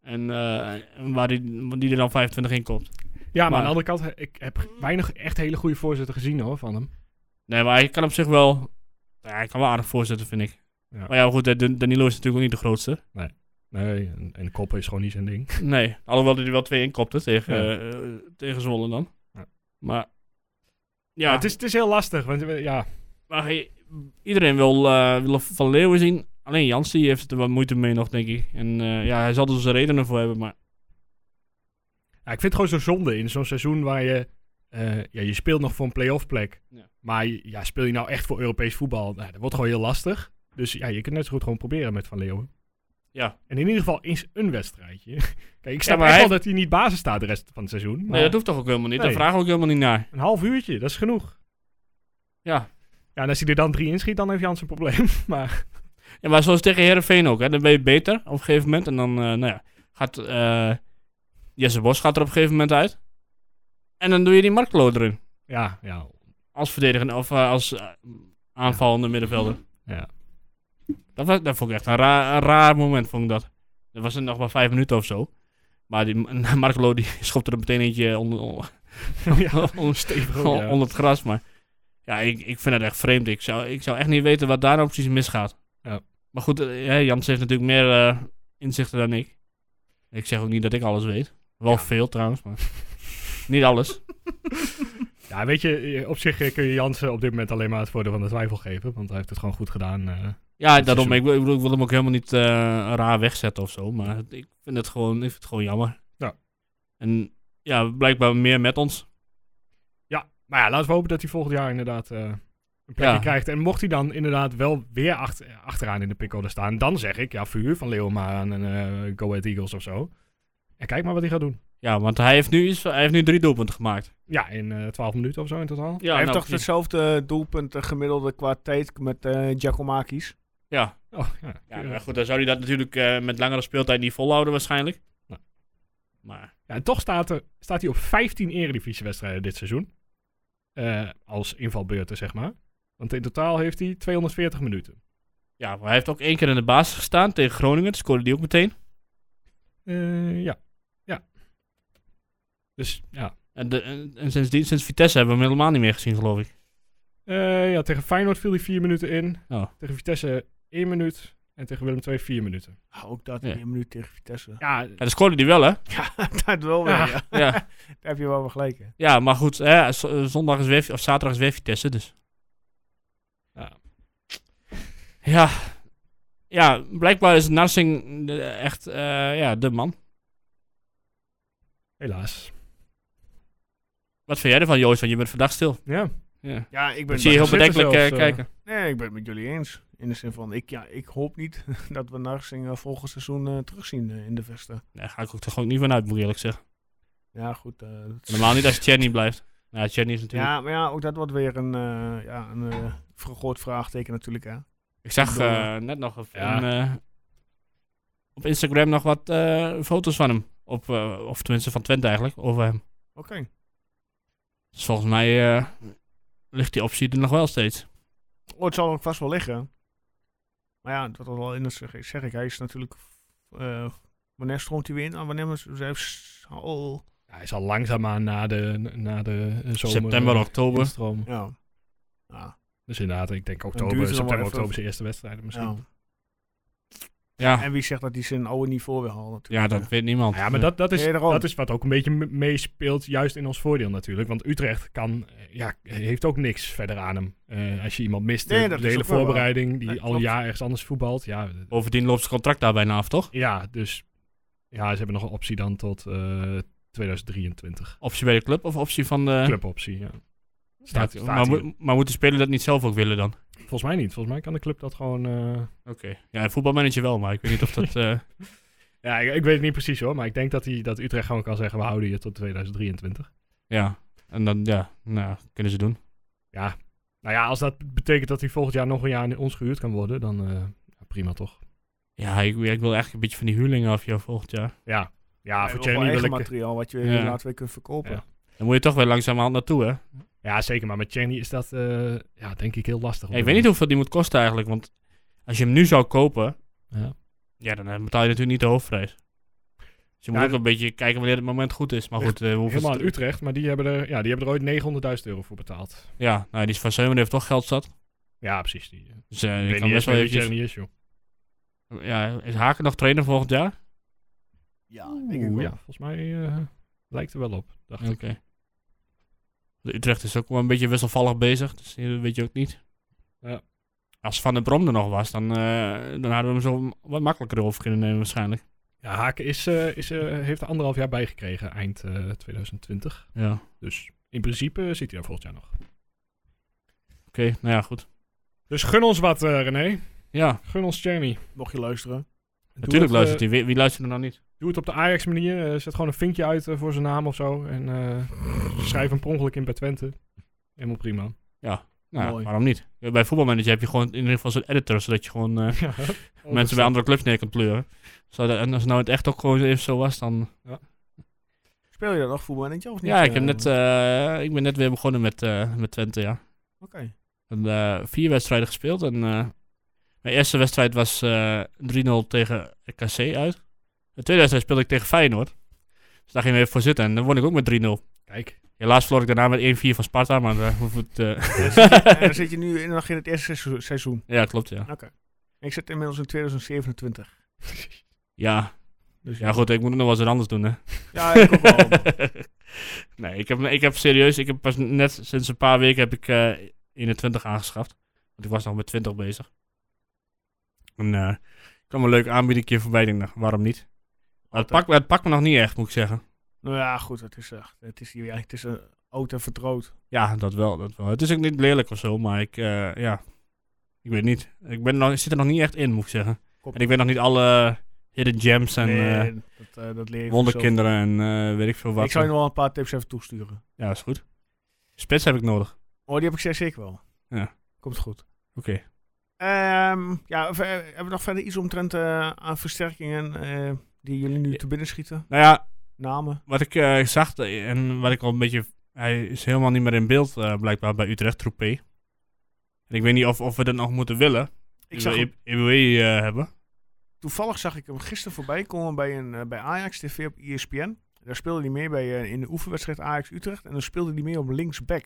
[SPEAKER 3] En eh, en waar die, die er dan 25 in komt.
[SPEAKER 2] Ja, maar,
[SPEAKER 3] Maar-
[SPEAKER 2] aan de andere kant, ik heb weinig echt hele goede voorzetten gezien hoor, van hem.
[SPEAKER 3] Nee, maar hij kan op zich wel... Ja, hij kan wel aardig voorzetten, vind ik.
[SPEAKER 2] Ja.
[SPEAKER 3] Maar ja, goed, eh, Dan- Danilo is natuurlijk ook niet de grootste.
[SPEAKER 2] Nee, en, en koppen is gewoon niet zijn ding.
[SPEAKER 3] Nee, alhoewel hij er wel twee inkopte tegen,
[SPEAKER 2] Ja.
[SPEAKER 3] eh, eh, tegen Zwolle dan.
[SPEAKER 2] Ja.
[SPEAKER 3] Maar...
[SPEAKER 2] Ja,
[SPEAKER 3] Ja,
[SPEAKER 2] het, is, het is heel lastig, want eh, ja,
[SPEAKER 3] Maar hij- iedereen wil, eh, wil Van Leeuwen zien. Alleen Jans die heeft er wat moeite mee nog, denk ik. En eh, ja, hij zal er zijn redenen voor hebben, maar...
[SPEAKER 2] Ja, ik vind het gewoon zo zonde in zo'n seizoen waar je... eh, ja, je speelt nog voor een play-off plek.
[SPEAKER 3] Ja.
[SPEAKER 2] Maar je- ja, speel je nou echt voor Europees voetbal? Nou, dat wordt gewoon heel lastig. Dus ja, je kunt net zo goed gewoon proberen met Van Leeuwen.
[SPEAKER 3] Ja.
[SPEAKER 2] En in ieder geval eens een wedstrijdje. Kijk, ik snap
[SPEAKER 3] maar
[SPEAKER 2] echt
[SPEAKER 3] hij-
[SPEAKER 2] wel dat hij niet basis staat de rest van het seizoen. Maar
[SPEAKER 3] Nee, dat hoeft toch ook helemaal niet.
[SPEAKER 2] Nee.
[SPEAKER 3] Daar vragen we ook helemaal niet naar.
[SPEAKER 2] een half uurtje, dat is genoeg.
[SPEAKER 3] Ja.
[SPEAKER 2] Ja, en als hij er dan drie inschiet, dan heeft Jans een probleem. maar
[SPEAKER 3] ja, maar zoals tegen Herenveen ook, hè. Dan ben je beter op een gegeven moment. En dan, eh, nou ja, gaat... eh, Jesse Bos gaat er op een gegeven moment uit. En dan doe je die Marklo erin.
[SPEAKER 2] ja, ja,
[SPEAKER 3] Als verdediger of eh, als eh, aanvallende middenvelder.
[SPEAKER 2] Ja.
[SPEAKER 3] Dat, was, dat vond ik echt een raar, een raar moment, vond ik dat. Dat was nog maar vijf minuten of zo. Maar die, Marco die schopte er meteen eentje onder, onder,
[SPEAKER 2] ja.
[SPEAKER 3] onder,
[SPEAKER 2] Stevig ook, ja.
[SPEAKER 3] onder het gras. Maar ja, ik, ik vind het echt vreemd. Ik zou, ik zou echt niet weten wat daar nou precies misgaat.
[SPEAKER 2] Ja.
[SPEAKER 3] Maar goed, eh, hè, Jans heeft natuurlijk meer eh, inzichten dan ik. Ik zeg ook niet dat ik alles weet. Wel
[SPEAKER 2] Ja.
[SPEAKER 3] veel trouwens, maar niet alles.
[SPEAKER 2] Ja, weet je, eh, op zich eh, kun je Jansen op dit moment alleen maar het voordeel van de twijfel geven. Want hij heeft het gewoon goed gedaan. eh.
[SPEAKER 3] Ja,
[SPEAKER 2] Dat is
[SPEAKER 3] daarom.
[SPEAKER 2] zo.
[SPEAKER 3] Ik, wil- ik bedoel, ik wil hem ook helemaal niet eh, raar wegzetten of zo. Maar het- ik vind het gewoon, ik vind het gewoon jammer.
[SPEAKER 2] Ja.
[SPEAKER 3] En ja, blijkbaar meer met ons.
[SPEAKER 2] Ja, maar ja, laten we hopen dat hij volgend jaar inderdaad eh, een plekje
[SPEAKER 3] Ja.
[SPEAKER 2] krijgt. En mocht hij dan inderdaad wel weer acht- achteraan in de pickorde staan, dan zeg ik, ja, vuur van Leeuwen maar aan een eh, Go Ahead Eagles of zo. En kijk maar wat hij gaat doen.
[SPEAKER 3] Ja, want hij heeft nu, iets, hij heeft nu drie doelpunten gemaakt.
[SPEAKER 2] Ja, in eh 12 minuten of zo in totaal.
[SPEAKER 3] Ja,
[SPEAKER 1] hij heeft
[SPEAKER 3] nou,
[SPEAKER 1] toch hetzelfde doelpunt eh, gemiddelde qua tijd met eh Giacomakis.
[SPEAKER 3] Ja.
[SPEAKER 2] Oh, ja.
[SPEAKER 3] ja maar goed, dan zou hij dat natuurlijk eh, met langere speeltijd niet volhouden waarschijnlijk.
[SPEAKER 2] Ja.
[SPEAKER 3] Maar
[SPEAKER 2] Ja, en toch staat, er, staat hij op 15 eredivisiewedstrijden dit seizoen. Eh, als invalbeurten, zeg maar. Want in totaal heeft hij 240 minuten.
[SPEAKER 3] ja, maar hij heeft ook één keer in de basis gestaan tegen Groningen. Toen scoorde die ook meteen.
[SPEAKER 2] Eh, ja. Ja. Dus ja,
[SPEAKER 3] En, de, en, en sindsdien, sinds Vitesse hebben we hem helemaal niet meer gezien, geloof ik.
[SPEAKER 2] Eh, ja, tegen Feyenoord viel hij vier minuten in.
[SPEAKER 3] Oh.
[SPEAKER 2] Tegen Vitesse één minuut. En tegen Willem II vier minuten.
[SPEAKER 1] Ah, Ook dat
[SPEAKER 3] Ja.
[SPEAKER 1] in een minuut tegen Vitesse.
[SPEAKER 2] Ja,
[SPEAKER 3] Ja, dan scoorde hij wel, hè?
[SPEAKER 1] Ja, dat wel weer.
[SPEAKER 2] Ja.
[SPEAKER 1] Ja.
[SPEAKER 3] Ja.
[SPEAKER 1] Daar heb je wel weer gelijk. hè.
[SPEAKER 3] Ja, maar goed, hè, z- eh, zondag is weer, of zaterdag is weer Vitesse, dus.
[SPEAKER 2] Ja.
[SPEAKER 3] Ja, ja, blijkbaar is Narsing de- echt eh, ja, de man.
[SPEAKER 2] Helaas.
[SPEAKER 3] Wat vind jij ervan, Joost? Want je bent vandaag stil.
[SPEAKER 2] Ja.
[SPEAKER 3] Ja.
[SPEAKER 1] Ja, ik ben
[SPEAKER 3] Ik zie je heel
[SPEAKER 2] zitten
[SPEAKER 3] bedenkelijk eh,
[SPEAKER 2] zelfs, eh,
[SPEAKER 3] kijken.
[SPEAKER 1] Nee, ik ben het met jullie eens. In de zin van, ik, ja, ik hoop niet dat we Narsing eh, volgend seizoen eh, terugzien eh, in de vesten.
[SPEAKER 3] Daar ga ik ook toch ook niet van uit, moet ik eerlijk zeggen.
[SPEAKER 1] Ja, goed. eh, dat-
[SPEAKER 3] Normaal niet als Chenny blijft. Ja, Chenny is natuurlijk...
[SPEAKER 1] ja, maar ja, ook dat wordt weer een, eh, ja, een eh, vergroot vraagteken natuurlijk. Hè.
[SPEAKER 3] Ik zag
[SPEAKER 1] Door.
[SPEAKER 3] eh, net nog op-
[SPEAKER 2] Ja.
[SPEAKER 3] een, eh, op Instagram nog wat eh, foto's van hem. Op, eh, of tenminste van Twente eigenlijk, over hem.
[SPEAKER 1] Oké.
[SPEAKER 3] Dus volgens mij eh, ligt die optie er nog wel steeds.
[SPEAKER 1] Oh, het zal ook vast wel liggen. Maar ja, dat was wel in zeg, zeg ik. Hij is natuurlijk. eh, wanneer stroomt hij weer in? Ah, wanneer was hij oh, heeft- al-
[SPEAKER 2] Hij is al langzaamaan na de, na de eh, zomer.
[SPEAKER 3] September,
[SPEAKER 2] eh,
[SPEAKER 3] oktober.
[SPEAKER 2] instromen.
[SPEAKER 1] Ja. Ja.
[SPEAKER 2] Dus inderdaad, ik denk
[SPEAKER 1] duurt
[SPEAKER 2] oktober,
[SPEAKER 1] het nog wel
[SPEAKER 2] september,
[SPEAKER 1] even.
[SPEAKER 2] oktober zijn eerste wedstrijden misschien.
[SPEAKER 1] ja.
[SPEAKER 2] Nou
[SPEAKER 3] Ja,
[SPEAKER 1] En wie zegt dat hij zijn oude niveau weer haalt?
[SPEAKER 3] Ah. ja
[SPEAKER 1] Natuurlijk.
[SPEAKER 3] dat weet niemand.
[SPEAKER 2] Nou Ja, maar dat, dat, is,
[SPEAKER 1] Nee, daarom.
[SPEAKER 2] dat is wat ook een beetje me- meespeelt, juist in ons voordeel natuurlijk. Want Utrecht kan, eh, ja, heeft ook niks verder aan hem. Eh, als je iemand mist, eh,
[SPEAKER 1] Nee, dat
[SPEAKER 2] de
[SPEAKER 1] is
[SPEAKER 2] hele
[SPEAKER 1] ook wel waar.
[SPEAKER 2] voorbereiding, die
[SPEAKER 1] Nee,
[SPEAKER 2] al een
[SPEAKER 1] klopt.
[SPEAKER 2] jaar ergens anders voetbalt. Ja, eh,
[SPEAKER 3] Bovendien loopt zijn contract daar bijna af, toch?
[SPEAKER 2] ja dus ja, ze hebben nog een optie dan tot eh, 2023.
[SPEAKER 3] Optie bij de club of optie van de...
[SPEAKER 2] Cluboptie, ja.
[SPEAKER 3] Ja,
[SPEAKER 2] Staat, staat
[SPEAKER 3] maar,
[SPEAKER 2] hier.
[SPEAKER 3] moet- maar moet de speler dat niet zelf ook willen dan?
[SPEAKER 2] Volgens mij niet. Volgens mij kan de club dat gewoon... eh,
[SPEAKER 3] Oké. Ja, een voetbalmanager wel, maar ik weet niet of dat... eh,
[SPEAKER 2] Ja, ik, ik weet het niet precies hoor, maar ik denk dat, hij, dat Utrecht gewoon kan zeggen, we houden je tot 2023.
[SPEAKER 3] ja, en dan, ja, nou, kunnen ze doen.
[SPEAKER 2] Ja, nou ja, als dat betekent dat hij volgend jaar nog een jaar in ons gehuurd kan worden, dan eh, ja, prima toch.
[SPEAKER 3] Ja, ik, ik wil eigenlijk een beetje van die huurlingen af, jou volgend jaar.
[SPEAKER 2] Ja, ja
[SPEAKER 1] Hij
[SPEAKER 2] voor
[SPEAKER 1] wil wel
[SPEAKER 2] Cherry wil
[SPEAKER 1] eigen
[SPEAKER 2] ik...
[SPEAKER 1] materiaal wat je
[SPEAKER 3] Ja.
[SPEAKER 1] later weer kunt verkopen.
[SPEAKER 2] Ja.
[SPEAKER 3] Dan moet je toch weer langzamerhand naartoe, hè?
[SPEAKER 2] Ja, zeker, maar met Cherry is dat eh, ja, denk ik heel lastig.
[SPEAKER 3] Ja, ik weet niet hoeveel die moet kosten eigenlijk, want als je hem nu zou kopen,
[SPEAKER 2] Ja.
[SPEAKER 3] ja, dan eh, betaal je natuurlijk niet de hoofdprijs. Dus je moet
[SPEAKER 2] Ja,
[SPEAKER 3] ook een beetje kijken wanneer het moment goed is. Maar goed, eh, hoeveel
[SPEAKER 2] Helemaal
[SPEAKER 3] is
[SPEAKER 2] in
[SPEAKER 3] het-
[SPEAKER 2] Utrecht, maar die hebben er, ja, die hebben er ooit 900.000 euro voor betaald.
[SPEAKER 3] Ja, nou, die is van Seumen heeft toch geld zat.
[SPEAKER 2] Ja, precies. Die, eh, ik
[SPEAKER 3] Dus eh, ik
[SPEAKER 2] weet
[SPEAKER 3] kan
[SPEAKER 2] niet eens
[SPEAKER 3] best wel
[SPEAKER 2] meer wie
[SPEAKER 3] eventjes...
[SPEAKER 2] Cherry is, joh.
[SPEAKER 3] Ja, is Haken nog trainer volgend jaar?
[SPEAKER 1] Ja, denk ik
[SPEAKER 2] Oeh,
[SPEAKER 1] wel.
[SPEAKER 2] ja, volgens mij eh, lijkt er wel op, dacht
[SPEAKER 3] Oké.
[SPEAKER 2] ik.
[SPEAKER 3] De Utrecht is ook wel een beetje wisselvallig bezig, dus dat weet je ook niet.
[SPEAKER 2] Ja.
[SPEAKER 3] Als Van der Brom er nog was, dan, eh, dan hadden we hem zo wat makkelijker over kunnen nemen waarschijnlijk.
[SPEAKER 2] Ja, Haken is, eh, is, eh, heeft er anderhalf jaar bijgekregen eind eh, 2020.
[SPEAKER 3] Ja.
[SPEAKER 2] Dus in principe zit hij er volgend jaar nog.
[SPEAKER 3] Oké, nou ja, goed.
[SPEAKER 2] Dus gun ons wat, eh, René.
[SPEAKER 3] Ja,
[SPEAKER 2] Gun ons Cherry.
[SPEAKER 1] Mocht je luisteren.
[SPEAKER 3] natuurlijk
[SPEAKER 2] het,
[SPEAKER 3] luistert
[SPEAKER 2] eh,
[SPEAKER 3] hij. Wie, wie luistert er nou niet?
[SPEAKER 2] Doe het op de Ajax-manier. Eh, zet gewoon een vinkje uit eh, voor zijn naam of zo. En eh, schrijf hem per ongeluk in bij Twente. Helemaal prima.
[SPEAKER 3] Nou,
[SPEAKER 1] Mooi.
[SPEAKER 3] waarom niet? Ja, Bij voetbalmanager heb je gewoon in ieder geval zo'n editor, zodat je gewoon eh,
[SPEAKER 1] Oh,
[SPEAKER 2] Ja.
[SPEAKER 3] mensen bij andere clubs neer kunt pleuren. Zodat- en als het nou het echt ook gewoon even zo was, dan...
[SPEAKER 1] Speel je dat nog voetballetje of niet?
[SPEAKER 3] Ja, ik, heb
[SPEAKER 1] Eh,
[SPEAKER 3] net, eh, ik ben net weer begonnen met, eh, met Twente, ja.
[SPEAKER 1] Oké.
[SPEAKER 3] En, eh, vier wedstrijden gespeeld en eh, mijn eerste wedstrijd was eh 3-0 tegen RKC uit. De tweede wedstrijd speelde ik tegen Feyenoord. Dus daar ging ik even voor zitten en dan won ik ook met 3-0.
[SPEAKER 2] Kijk.
[SPEAKER 3] Helaas verloor ik daarna met 1-4 van Sparta, maar daar hoef ik het...
[SPEAKER 1] En dan
[SPEAKER 3] eh,
[SPEAKER 1] zit je nu in, nog in het eerste seizoen- seizoen.
[SPEAKER 3] ja, klopt, ja.
[SPEAKER 1] Oké. Ik zit inmiddels in 2027.
[SPEAKER 3] Ja.
[SPEAKER 1] Dus
[SPEAKER 3] Ja, goed, ik moet nog wel eens wat anders doen, hè.
[SPEAKER 1] Ja, ik ook wel.
[SPEAKER 3] nee, ik heb, ik heb serieus, ik heb pas net sinds een paar weken heb ik eh 21 aangeschaft. Want ik was nog met 20 bezig. En eh ik kwam een leuk aanbiedingje voorbij, ik denk nou, waarom niet? Maar het, pakt, het pakt me nog niet echt, moet ik zeggen.
[SPEAKER 1] Nou ja, goed, het is, eh, het is, hier- ja, het is een oud en vertrouwd.
[SPEAKER 3] Ja, dat wel, dat wel. Het is ook niet lelijk of zo, maar ik, eh, ja, ik weet niet. Ik, ben nog, ik zit er nog niet echt in, moet ik zeggen.
[SPEAKER 1] Klopt.
[SPEAKER 3] En ik weet nog niet alle hidden gems en eh,
[SPEAKER 1] Nee, dat, eh, dat leer je
[SPEAKER 3] wonderkinderen en eh, weet ik veel
[SPEAKER 1] vanzelf.
[SPEAKER 3] wat.
[SPEAKER 1] Ik zou je nog wel een paar tips even toesturen.
[SPEAKER 3] Ja, is goed. Spits heb ik nodig.
[SPEAKER 1] Oh, die heb ik zeer zeker wel.
[SPEAKER 3] Ja.
[SPEAKER 1] Komt goed.
[SPEAKER 3] Oké.
[SPEAKER 1] Ehm, ja, ver- hebben we nog verder iets omtrent eh, aan versterkingen eh, die jullie nu
[SPEAKER 3] Ja.
[SPEAKER 1] te binnen schieten?
[SPEAKER 3] Nou ja,
[SPEAKER 1] Namen?
[SPEAKER 3] wat ik eh, zag eh, en wat ik al een beetje. Hij is helemaal niet meer in beeld, eh, blijkbaar bij Utrecht Troepé. En ik weet niet of, of we dat nog moeten willen.
[SPEAKER 1] Ik zag hem-
[SPEAKER 3] EWE hebben.
[SPEAKER 1] toevallig zag ik hem gisteren voorbij komen bij, een, eh, bij Ajax TV op E ESPN. Daar speelde hij mee bij, eh, in de oefenwedstrijd Ajax-Utrecht. En dan speelde hij mee op linksback.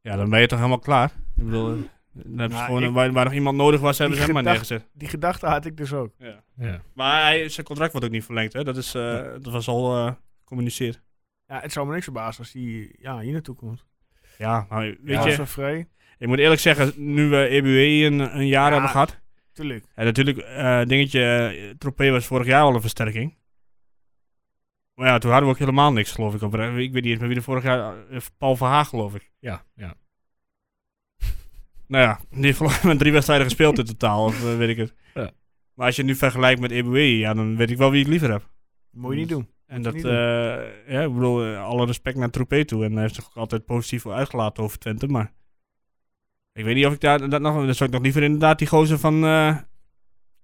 [SPEAKER 3] Ja, dan ben je toch helemaal klaar. Ik bedoel, eh, dan hebben ze
[SPEAKER 1] Nou,
[SPEAKER 3] gewoon,
[SPEAKER 1] ik-
[SPEAKER 3] waar, waar nog iemand nodig was, hebben ze
[SPEAKER 1] Ik
[SPEAKER 3] hem maar
[SPEAKER 1] gedacht-
[SPEAKER 3] neergezet.
[SPEAKER 1] Die gedachte had ik dus ook.
[SPEAKER 2] Ja.
[SPEAKER 3] Maar hij, zijn contract wordt ook niet verlengd, hè? Dat, is, eh, dat was al eh, gecommuniceerd.
[SPEAKER 1] Ja, het zou me niks verbazen als hij ja, hier naartoe komt.
[SPEAKER 3] Ja, maar weet
[SPEAKER 2] Ja.
[SPEAKER 3] je,
[SPEAKER 1] Transfervrij.
[SPEAKER 3] ik moet eerlijk zeggen, nu we EBUE een, een jaar
[SPEAKER 1] Ja.
[SPEAKER 3] hebben gehad,
[SPEAKER 1] tuurlijk.
[SPEAKER 3] En natuurlijk, eh, dingetje, eh, Tropee was vorig jaar al een versterking. Maar ja, toen hadden we ook helemaal niks, geloof ik. Op, ik weet niet eens meer wie er vorig jaar... eh, Paul Verhaag, geloof ik.
[SPEAKER 2] Ja, ja.
[SPEAKER 3] Nou ja, die heeft volgens mij drie wedstrijden gespeeld in totaal, of eh, weet ik het.
[SPEAKER 2] Ja.
[SPEAKER 3] Maar als je het nu vergelijkt met Eboué, ja, dan weet ik wel wie ik liever heb.
[SPEAKER 1] Moet je niet doen.
[SPEAKER 3] En
[SPEAKER 1] Moet
[SPEAKER 3] dat,
[SPEAKER 1] je
[SPEAKER 3] eh
[SPEAKER 1] niet
[SPEAKER 3] ja, ik bedoel, eh, alle respect naar Troepé toe. En hij heeft zich ook altijd positief uitgelaten over Twente, maar... Ik weet niet of ik daar dat nog... Dan zou ik nog liever inderdaad die gozer van, eh,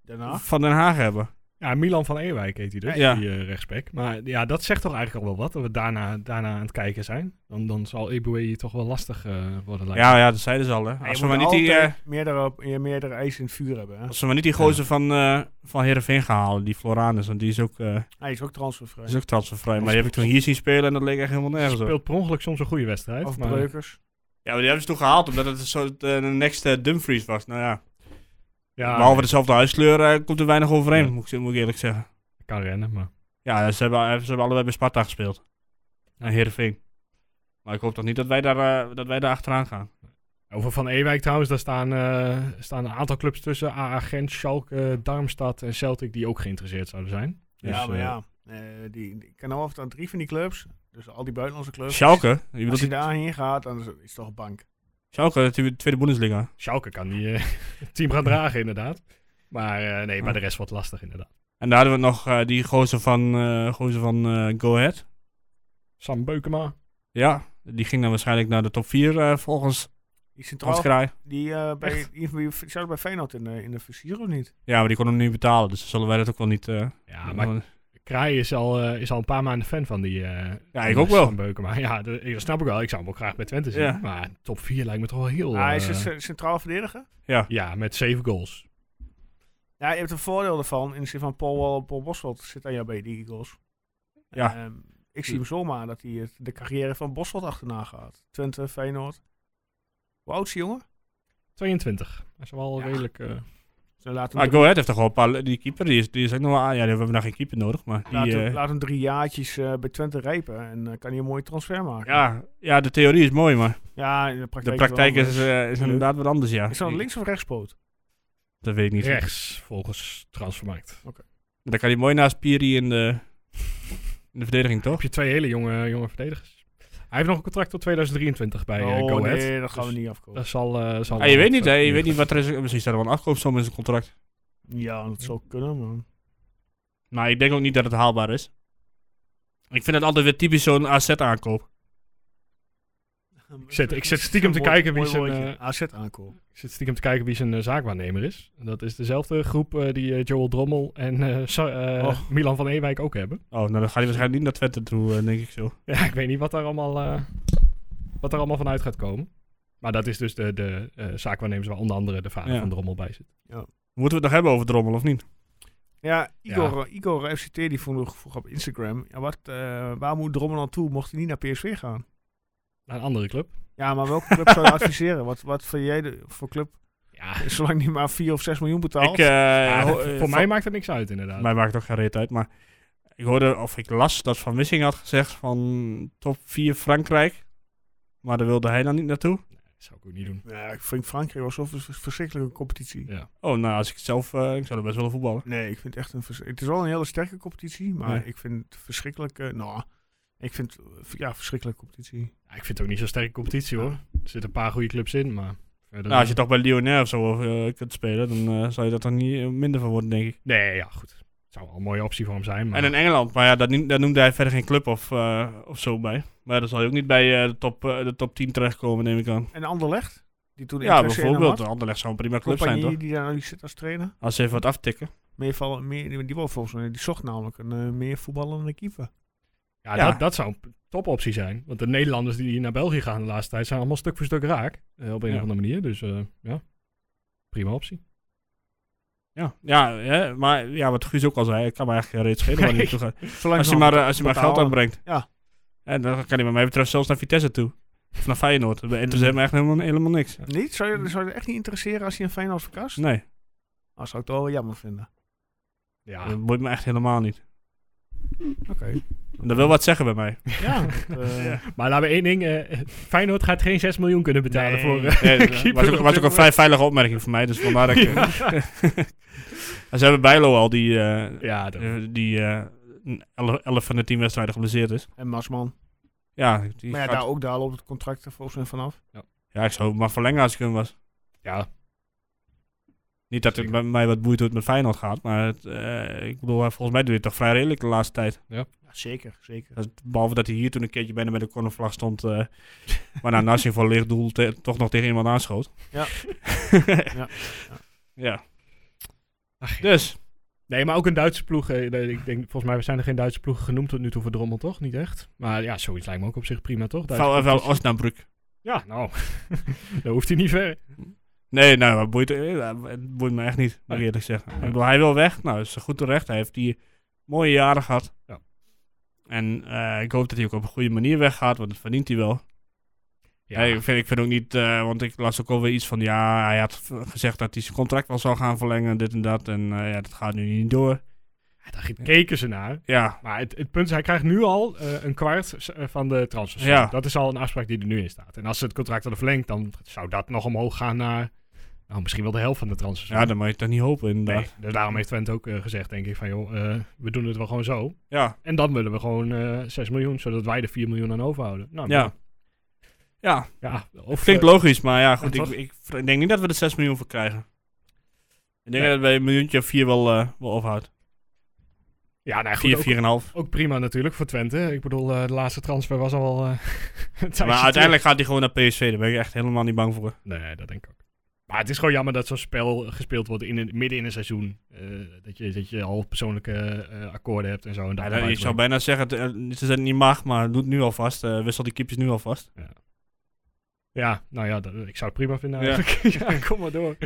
[SPEAKER 1] Daarna?
[SPEAKER 3] van Den Haag hebben.
[SPEAKER 2] Ja, Milan van Ewijk heet hij dus,
[SPEAKER 3] Ja.
[SPEAKER 2] die eh rechtsback. Maar ja, dat zegt toch eigenlijk al wel wat, dat we daarna, daarna aan het kijken zijn. Dan, dan zal Eboué hier toch wel lastig eh, worden lijkt
[SPEAKER 3] Ja, ja, dat zeiden ze al, hè.
[SPEAKER 1] Ja, je
[SPEAKER 3] Als we
[SPEAKER 1] moet
[SPEAKER 3] maar niet die... eh,
[SPEAKER 1] altijd meerdere, je meerdere eisen in het vuur hebben. Hè?
[SPEAKER 3] Als ze maar niet die gozer van, eh van Heerenveen gaan halen, die Floranus, want die is ook, eh
[SPEAKER 1] Hij is ook transfervrij.
[SPEAKER 3] is ook transfervrij. Maar die heb ik toen hier zien spelen en dat leek echt helemaal
[SPEAKER 2] me.
[SPEAKER 3] nergens op.
[SPEAKER 2] Speelt per ongeluk soms een goede wedstrijd.
[SPEAKER 1] of
[SPEAKER 2] maar-
[SPEAKER 1] breukers.
[SPEAKER 3] Ja, maar die hebben ze toen gehaald omdat het een soort eh, een next eh, Dumfries was. Nou ja,
[SPEAKER 2] ja,
[SPEAKER 3] behalve dezelfde huiskleur eh, komt er weinig overeen,
[SPEAKER 2] Ja.
[SPEAKER 3] moet, ik, moet ik eerlijk zeggen.
[SPEAKER 2] kan rennen, maar...
[SPEAKER 3] Ja, ze hebben, eh, ze hebben allebei bij Sparta gespeeld. En Heerenveen. Maar ik hoop toch niet dat wij daar, eh, dat wij daar achteraan gaan.
[SPEAKER 2] Over Van Ewijk trouwens, daar staan, eh, staan een aantal clubs tussen. AA Gent, Schalke, Darmstad en Celtic die ook geïnteresseerd zouden zijn. Dus,
[SPEAKER 1] ja, maar
[SPEAKER 2] eh,
[SPEAKER 1] ja. Eh, die, die- ik ken al af en toe drie van die clubs. Dus al die buitenlandse clubs.
[SPEAKER 3] Schalke? Je bedoelt
[SPEAKER 1] Als je
[SPEAKER 3] die-
[SPEAKER 1] daarheen gaat, dan is het toch een bank.
[SPEAKER 3] Schalke, de tweede- tweede Bundesliga.
[SPEAKER 2] Schalke kan die eh, team gaan dragen inderdaad. Maar eh, nee, maar de rest wordt lastig inderdaad.
[SPEAKER 3] En daar hadden we nog eh, die gozer van, eh, gozer van eh, Go Ahead.
[SPEAKER 2] Sam Beukema.
[SPEAKER 3] Ja, die ging dan waarschijnlijk naar de top 4 volgens
[SPEAKER 1] Die centraal,
[SPEAKER 3] Hans Kraai.
[SPEAKER 1] die eh, bij,
[SPEAKER 3] Echt?
[SPEAKER 1] die die zat bij Feyenoord in de, in de versier of niet?
[SPEAKER 3] Ja, maar die kon hem niet betalen, dus zullen wij dat ook wel niet... eh,
[SPEAKER 2] Ja, maar Kraai is al, eh, is al een paar maanden fan van die. eh,
[SPEAKER 3] ja,
[SPEAKER 2] van
[SPEAKER 3] ik ook
[SPEAKER 2] de
[SPEAKER 3] wel.
[SPEAKER 2] Sam Beukema. Ja, dat, dat snap ik wel. Ik zou hem ook graag bij Twente zien.
[SPEAKER 3] Ja.
[SPEAKER 2] Maar top 4 lijkt me toch wel heel...
[SPEAKER 1] hij is
[SPEAKER 2] eh,
[SPEAKER 1] een
[SPEAKER 3] dus,
[SPEAKER 1] ce- centraal verdediger.
[SPEAKER 2] ja, met 7 goals.
[SPEAKER 1] Ja, je hebt een voordeel ervan. In de zin van Paul, Wall- Paul Bosveld zit aan jou bij die Eagles.
[SPEAKER 3] Ja.
[SPEAKER 1] Ehm, ik zie hem zomaar dat hij het- de carrière van Bosveld achterna gaat. Twente, Feyenoord. Hoe oud is die jongen?
[SPEAKER 2] 22. Hij is wel redelijk... eh,
[SPEAKER 1] Ze laten
[SPEAKER 3] Maar
[SPEAKER 1] hem,
[SPEAKER 3] Ah, Go Ahead heeft toch wel een paar... Die keeper, die is, die is ook nog wel... ah, Ja, we hebben nog geen keeper nodig, maar
[SPEAKER 1] drie, laat,
[SPEAKER 3] die...
[SPEAKER 1] hem,
[SPEAKER 3] eh,
[SPEAKER 1] laat hem drie jaartjes eh, bij Twente rijpen. En eh, kan hij een mooie transfer maken.
[SPEAKER 3] ja, ja, de theorie is mooi, maar
[SPEAKER 1] Ja, in de
[SPEAKER 3] de
[SPEAKER 1] praktijk,
[SPEAKER 3] praktijk
[SPEAKER 1] wel
[SPEAKER 3] is,
[SPEAKER 1] anders.
[SPEAKER 3] eh, is inderdaad wat anders, ja.
[SPEAKER 1] Is dat een
[SPEAKER 3] Ik-
[SPEAKER 1] links- of rechtspoot?
[SPEAKER 3] Dat weet ik niet.
[SPEAKER 2] rechts, volgens Transfermarkt.
[SPEAKER 3] Dan kan hij mooi naast Piri in de, in de verdediging, toch?
[SPEAKER 2] Heb je twee hele jonge, jonge verdedigers. Hij heeft nog een contract tot 2023 bij eh,
[SPEAKER 1] oh
[SPEAKER 2] Go Ahead.
[SPEAKER 1] nee, dat gaan
[SPEAKER 2] Dus
[SPEAKER 1] we niet afkomen.
[SPEAKER 2] Dat zal... eh, zal
[SPEAKER 3] Ah, je
[SPEAKER 2] wel
[SPEAKER 3] weet niet, hè.
[SPEAKER 2] wat, eh,
[SPEAKER 3] Je weet niet wat er is. Misschien staat er wel een afkoopsom in zijn contract.
[SPEAKER 1] Ja, dat zou kunnen, man.
[SPEAKER 3] Maar ik denk ook niet dat het haalbaar is. Ik vind het altijd weer typisch zo'n AZ-aankoop.
[SPEAKER 2] Ik zit- ik zit stiekem te kijken wie zijn, eh,
[SPEAKER 1] AZ aankomt.
[SPEAKER 2] Ik zit stiekem te kijken wie zijn eh, zaakwaarnemer is. Dat is dezelfde groep eh, die eh, Joel Drommel en eh, Sa- eh,
[SPEAKER 1] Och.
[SPEAKER 2] Milan van Ewijk ook hebben.
[SPEAKER 3] Oh, nou dan gaat hij waarschijnlijk niet naar Twente toe, eh, denk ik zo.
[SPEAKER 2] Ja, ik weet niet wat daar allemaal, eh, wat daar allemaal vanuit gaat komen. Maar dat is dus de, de eh, zaak waarnemers waar onder andere de vader
[SPEAKER 3] Ja.
[SPEAKER 2] van Drommel bij zit.
[SPEAKER 3] Moeten we het nog hebben over Drommel of niet?
[SPEAKER 1] Ja, Igor, eh, Igor FCT die vroeg, vroeg op Instagram. Ja, wat, eh, waar moet Drommel naartoe? Mocht hij niet naar PSV gaan?
[SPEAKER 2] Naar een andere club.
[SPEAKER 1] Ja, maar welke club zou je adviseren? Wat, wat vind jij de, voor club? Eh,
[SPEAKER 2] Ja,
[SPEAKER 1] Zolang die maar 4 of 6 miljoen betaalt.
[SPEAKER 3] Ik, eh,
[SPEAKER 2] ja,
[SPEAKER 3] ho-
[SPEAKER 2] dat-
[SPEAKER 3] eh,
[SPEAKER 2] voor
[SPEAKER 3] van-
[SPEAKER 2] mij maakt het niks uit inderdaad.
[SPEAKER 3] mij maakt het ook geen reet uit, maar ik hoorde of ik las dat Van Wissing had gezegd van top 4 Frankrijk. Maar daar wilde hij dan niet naartoe.
[SPEAKER 2] dat zou ik ook niet doen.
[SPEAKER 1] ja, Nou, ik vind Frankrijk wel zo'n vers- verschrikkelijke competitie.
[SPEAKER 2] Ja.
[SPEAKER 3] Oh, nou, als ik het zelf, eh, ik zou er best willen voetballen.
[SPEAKER 1] Nee, ik vind het echt een vers- Het is wel een hele sterke competitie, maar
[SPEAKER 3] Nee.
[SPEAKER 1] ik vind het verschrikkelijk. eh, nou, ik vind het, eh, ja, verschrikkelijke competitie.
[SPEAKER 2] Ja, ik vind het ook niet zo'n sterke competitie hoor. Er zitten een paar goede clubs in, maar... verder-
[SPEAKER 3] Nou, als je toch bij Lyonnais of zo eh, kunt spelen, dan eh, zou je dat er niet eh, minder van worden, denk ik.
[SPEAKER 2] Nee, ja goed. Het zou wel een mooie optie voor hem zijn, maar...
[SPEAKER 3] En in Engeland, maar ja, daar, nie- daar noemde hij verder geen club of, eh, of zo bij. Maar dan zal je ook niet bij eh, de, top, eh, de top 10 terechtkomen, neem ik aan.
[SPEAKER 1] En Anderlecht? Die toen
[SPEAKER 3] Ja, bijvoorbeeld. Anderlecht zou een prima club zijn, toch?
[SPEAKER 1] Compagnie die daar nu zit als trainer.
[SPEAKER 3] Als ze even wat aftikken.
[SPEAKER 1] Meer val- meer, die, die wou volgens mij, die zocht namelijk een eh, meer voetballende keeper.
[SPEAKER 2] Ja,
[SPEAKER 3] Ja.
[SPEAKER 2] Dat, dat zou een p- topoptie zijn. Want de Nederlanders die naar België gaan de laatste tijd zijn allemaal stuk voor stuk raak. eh, op een
[SPEAKER 3] Ja.
[SPEAKER 2] of andere manier. Dus eh, ja, prima optie.
[SPEAKER 3] Ja, ja hè, maar ja, wat Guus ook al zei, het kan me eigenlijk geen reet schelen waar hij
[SPEAKER 2] Nee.
[SPEAKER 3] naartoe gaat.
[SPEAKER 1] Zolang
[SPEAKER 3] Als
[SPEAKER 1] ze
[SPEAKER 3] hij maar, eh, als hij maar
[SPEAKER 1] betalen.
[SPEAKER 3] geld aanbrengt.
[SPEAKER 1] Ja.
[SPEAKER 3] En dan kan hij wat mij betreft zelfs naar Vitesse toe. Of naar Feyenoord. Dat interesseert me echt helemaal, helemaal niks. Dus
[SPEAKER 1] Niet? Zou je, zou je het echt niet interesseren als hij een Feyenoord verkast?
[SPEAKER 3] Nee,
[SPEAKER 1] Dat zou ik toch wel jammer vinden.
[SPEAKER 2] Ja,
[SPEAKER 3] dat boeit me echt helemaal niet.
[SPEAKER 1] Oké.
[SPEAKER 3] Dus, Dat wil wat zeggen bij mij.
[SPEAKER 1] Ja, dat, eh,
[SPEAKER 2] Maar laten we één ding. eh, Feyenoord gaat geen 6 miljoen kunnen betalen
[SPEAKER 1] Nee.
[SPEAKER 2] voor. eh,
[SPEAKER 3] Nee, dat
[SPEAKER 2] keeper
[SPEAKER 3] was,
[SPEAKER 2] op dit
[SPEAKER 3] ook, was ook een
[SPEAKER 2] moment.
[SPEAKER 3] vrij veilige opmerking voor mij, dus vandaar dat ik... eh, Ze hebben Bijlo al, die, eh,
[SPEAKER 2] ja, dat-
[SPEAKER 3] eh, die eh, 11 11 van de 10 wedstrijden geblesseerd is.
[SPEAKER 1] en Masman.
[SPEAKER 3] Ja, die
[SPEAKER 1] Maar ja,
[SPEAKER 3] gaat-
[SPEAKER 1] daar ook daar loopt het contract er volgens mij vanaf.
[SPEAKER 3] ja, ik zou hem maar verlengen als ik hem was.
[SPEAKER 2] ja.
[SPEAKER 3] Niet dat het
[SPEAKER 2] Zeker.
[SPEAKER 3] bij mij wat boeit hoe het met Feyenoord gaat, maar het, eh, ik bedoel, hij- volgens mij doet hij het toch vrij redelijk de laatste tijd.
[SPEAKER 1] Ja, zeker, zeker.
[SPEAKER 3] Dat- Behalve dat hij hier toen een keerje bijna met de cornervlag stond, eh waarna Nassing voor licht doel te- toch nog tegen iemand aanschoot.
[SPEAKER 1] Ja.
[SPEAKER 3] ja.
[SPEAKER 1] Ja.
[SPEAKER 2] Ach, ja.
[SPEAKER 3] Dus,
[SPEAKER 2] Nee, maar ook een Duitse ploeg. eh, nee, ik denk, volgens mij zijn er geen Duitse ploegen genoemd tot nu toe voor Drommel, toch? Niet echt. Maar ja, zoiets lijkt me ook op zich prima, toch? Duitse
[SPEAKER 3] VfL
[SPEAKER 2] competitie.
[SPEAKER 3] Osnabrück.
[SPEAKER 2] Ja, nou. dan hoeft hij niet ver.
[SPEAKER 3] Nee, nou, maar boeit, eh, ja, het boeit me echt niet, moet ik eerlijk zeggen. Ik bedoel, hij wil weg. Nou, is goed terecht. Hij heeft die mooie jaren gehad.
[SPEAKER 2] Ja.
[SPEAKER 3] En eh, ik hoop dat hij ook op een goede manier weggaat, want dat verdient hij wel.
[SPEAKER 2] Ja,
[SPEAKER 3] Nee, ik, vind, ik vind ook niet, eh, want ik las ook alweer iets van, ja, hij had v- gezegd dat hij zijn contract wel zou gaan verlengen, dit en dat. En eh, ja, dat gaat nu niet door.
[SPEAKER 2] daar keken ze naar.
[SPEAKER 3] Ja,
[SPEAKER 2] Maar het, het punt is, hij krijgt nu al eh, een kwart s- eh, van de transfers.
[SPEAKER 3] Ja.
[SPEAKER 2] Dat is al een afspraak die er nu in staat. En als ze het contract hadden verlengd, dan zou dat nog omhoog gaan naar nou, misschien wel de helft van de transfers.
[SPEAKER 3] ja dan mag je het toch niet hopen, inderdaad.
[SPEAKER 2] nee, dus daarom heeft Twente ook eh, gezegd, denk ik, van joh, eh, we doen het wel gewoon zo.
[SPEAKER 3] Ja,
[SPEAKER 2] En dan willen we gewoon eh 6 miljoen, zodat wij er 4 miljoen aan overhouden. Nou,
[SPEAKER 3] ja.
[SPEAKER 2] nou,
[SPEAKER 3] Ja,
[SPEAKER 2] ja of,
[SPEAKER 3] klinkt
[SPEAKER 2] eh,
[SPEAKER 3] logisch, maar ja, goed,
[SPEAKER 2] ja,
[SPEAKER 3] ik,
[SPEAKER 2] toch?
[SPEAKER 3] ik vr- denk niet dat we er 6 miljoen voor krijgen. Ik denk
[SPEAKER 2] Nee.
[SPEAKER 3] dat wij een miljoentje of 4 wel, eh wel overhoudt.
[SPEAKER 2] Ja, nou, goed,
[SPEAKER 3] 4,
[SPEAKER 2] ook,
[SPEAKER 3] 4,5.
[SPEAKER 2] ook prima natuurlijk voor Twente. Ik bedoel, eh, de laatste transfer was al... eh, een tijdje
[SPEAKER 3] Maar
[SPEAKER 2] terug.
[SPEAKER 3] uiteindelijk gaat hij gewoon naar PSV, daar ben ik echt helemaal niet bang voor.
[SPEAKER 2] Nee, dat denk ik ook. Maar het is gewoon jammer dat zo'n spel gespeeld wordt in een, midden in een seizoen. Eh, dat, je, dat je al persoonlijke eh, akkoorden hebt en zo. En
[SPEAKER 3] Ja,
[SPEAKER 2] dat
[SPEAKER 3] dan- ik zou bijna zeggen, het, eh, niet dat het niet mag, maar doe het nu alvast. eh wissel die keepjes nu alvast.
[SPEAKER 2] ja, nou ja, dat- ik zou het prima vinden
[SPEAKER 3] Ja.
[SPEAKER 2] eigenlijk. Ja, kom maar door.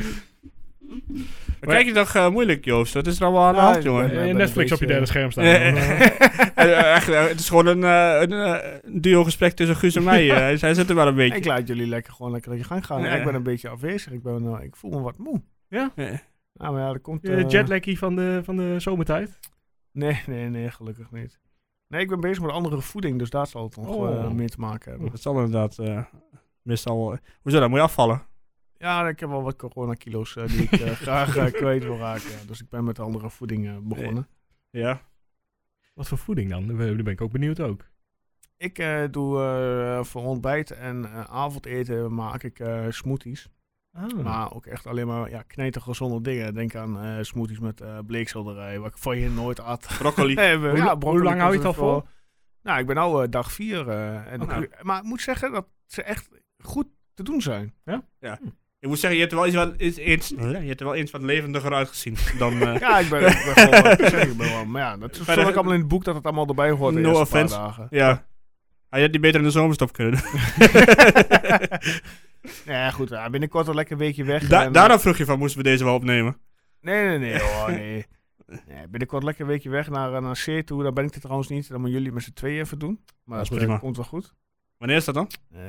[SPEAKER 3] Dan kijk je toch eh, moeilijk, Joost. Dat is er allemaal aan de
[SPEAKER 1] Ja,
[SPEAKER 3] hand, jongen.
[SPEAKER 1] ik ben-
[SPEAKER 2] Eh,
[SPEAKER 1] ben
[SPEAKER 2] Netflix
[SPEAKER 1] een
[SPEAKER 2] op je
[SPEAKER 1] beetje-
[SPEAKER 2] derde scherm staan.
[SPEAKER 3] Eh,
[SPEAKER 2] dan, eh,
[SPEAKER 3] eh, echt, eh, het is gewoon een, eh, een, eh, een duo-gesprek tussen Guus en mij. eh. zij zitten wel een
[SPEAKER 1] Ik
[SPEAKER 3] beetje.
[SPEAKER 1] laat jullie lekker gewoon lekker in je gang gaan.
[SPEAKER 3] Ja.
[SPEAKER 1] Ik ben een beetje afwezig. Ik, ben, eh, ik voel me wat moe.
[SPEAKER 3] Eh,
[SPEAKER 1] Nou, maar ja, dat komt...
[SPEAKER 2] je
[SPEAKER 1] eh,
[SPEAKER 2] jetlaggie van de, van de zomertijd.
[SPEAKER 1] Nee, nee, nee, gelukkig niet. Nee, ik ben bezig met andere voeding, dus daar zal het nog
[SPEAKER 2] Oh.
[SPEAKER 1] eh, mee te maken hebben.
[SPEAKER 3] Dat zal inderdaad eh, meestal wel... Hoezo, dan moet je afvallen.
[SPEAKER 1] Ja, ik heb wel wat corona-kilo's eh, die ik eh, graag eh, kwijt wil raken. ja. Dus ik ben met andere voeding eh, begonnen.
[SPEAKER 3] Ja.
[SPEAKER 2] Wat voor voeding dan? Daar ben ik ook benieuwd ook.
[SPEAKER 1] Ik eh, doe eh, voor ontbijt en eh, avondeten maak ik eh, smoothies.
[SPEAKER 2] Ah. Hmm.
[SPEAKER 1] Maar ook echt alleen maar ja, knijtergezonde dingen. Denk aan eh, smoothies met eh, bleekselderij, wat ik voorheen nooit at.
[SPEAKER 3] Broccoli.
[SPEAKER 1] Eh, we-
[SPEAKER 2] hoe,
[SPEAKER 1] ja,
[SPEAKER 2] lang- hoe
[SPEAKER 1] broccoli
[SPEAKER 2] lang hou je het al
[SPEAKER 1] komt er
[SPEAKER 2] vol?
[SPEAKER 1] Nou, ik ben nu dag vier. eh, en,
[SPEAKER 3] Oké.
[SPEAKER 1] Maar ik moet zeggen dat ze echt goed te doen zijn.
[SPEAKER 3] Ik moet zeggen, je hebt er wel eens, wat, eens, eens- je hebt er wel eens wat levendiger uitgezien dan... eh,
[SPEAKER 1] Ja, ik ben, ik ben gewoon... ik zeg, ik ben wel- maar ja, dat stond
[SPEAKER 3] Verder-
[SPEAKER 1] ook allemaal in het boek dat het allemaal erbij hoort. de
[SPEAKER 3] No
[SPEAKER 1] eerste paar
[SPEAKER 3] offense.
[SPEAKER 1] dagen.
[SPEAKER 3] Ja. Hij had die beter in de zomerstop kunnen doen.
[SPEAKER 1] Nou ja, goed. ja, binnenkort een lekker weekje weg.
[SPEAKER 3] Da-
[SPEAKER 1] en-
[SPEAKER 3] daarom vroeg je van, moesten we deze wel opnemen?
[SPEAKER 1] Nee, nee, nee. Oh, nee. nee. Binnenkort lekker een weekje weg naar, eh, naar C toe. Daar ben ik er trouwens niet. Dan moeten jullie met z'n tweeën even doen. Maar
[SPEAKER 3] Dat is
[SPEAKER 1] dat, eh,
[SPEAKER 3] prima.
[SPEAKER 1] komt wel goed.
[SPEAKER 3] Wanneer is dat dan?
[SPEAKER 1] Eh,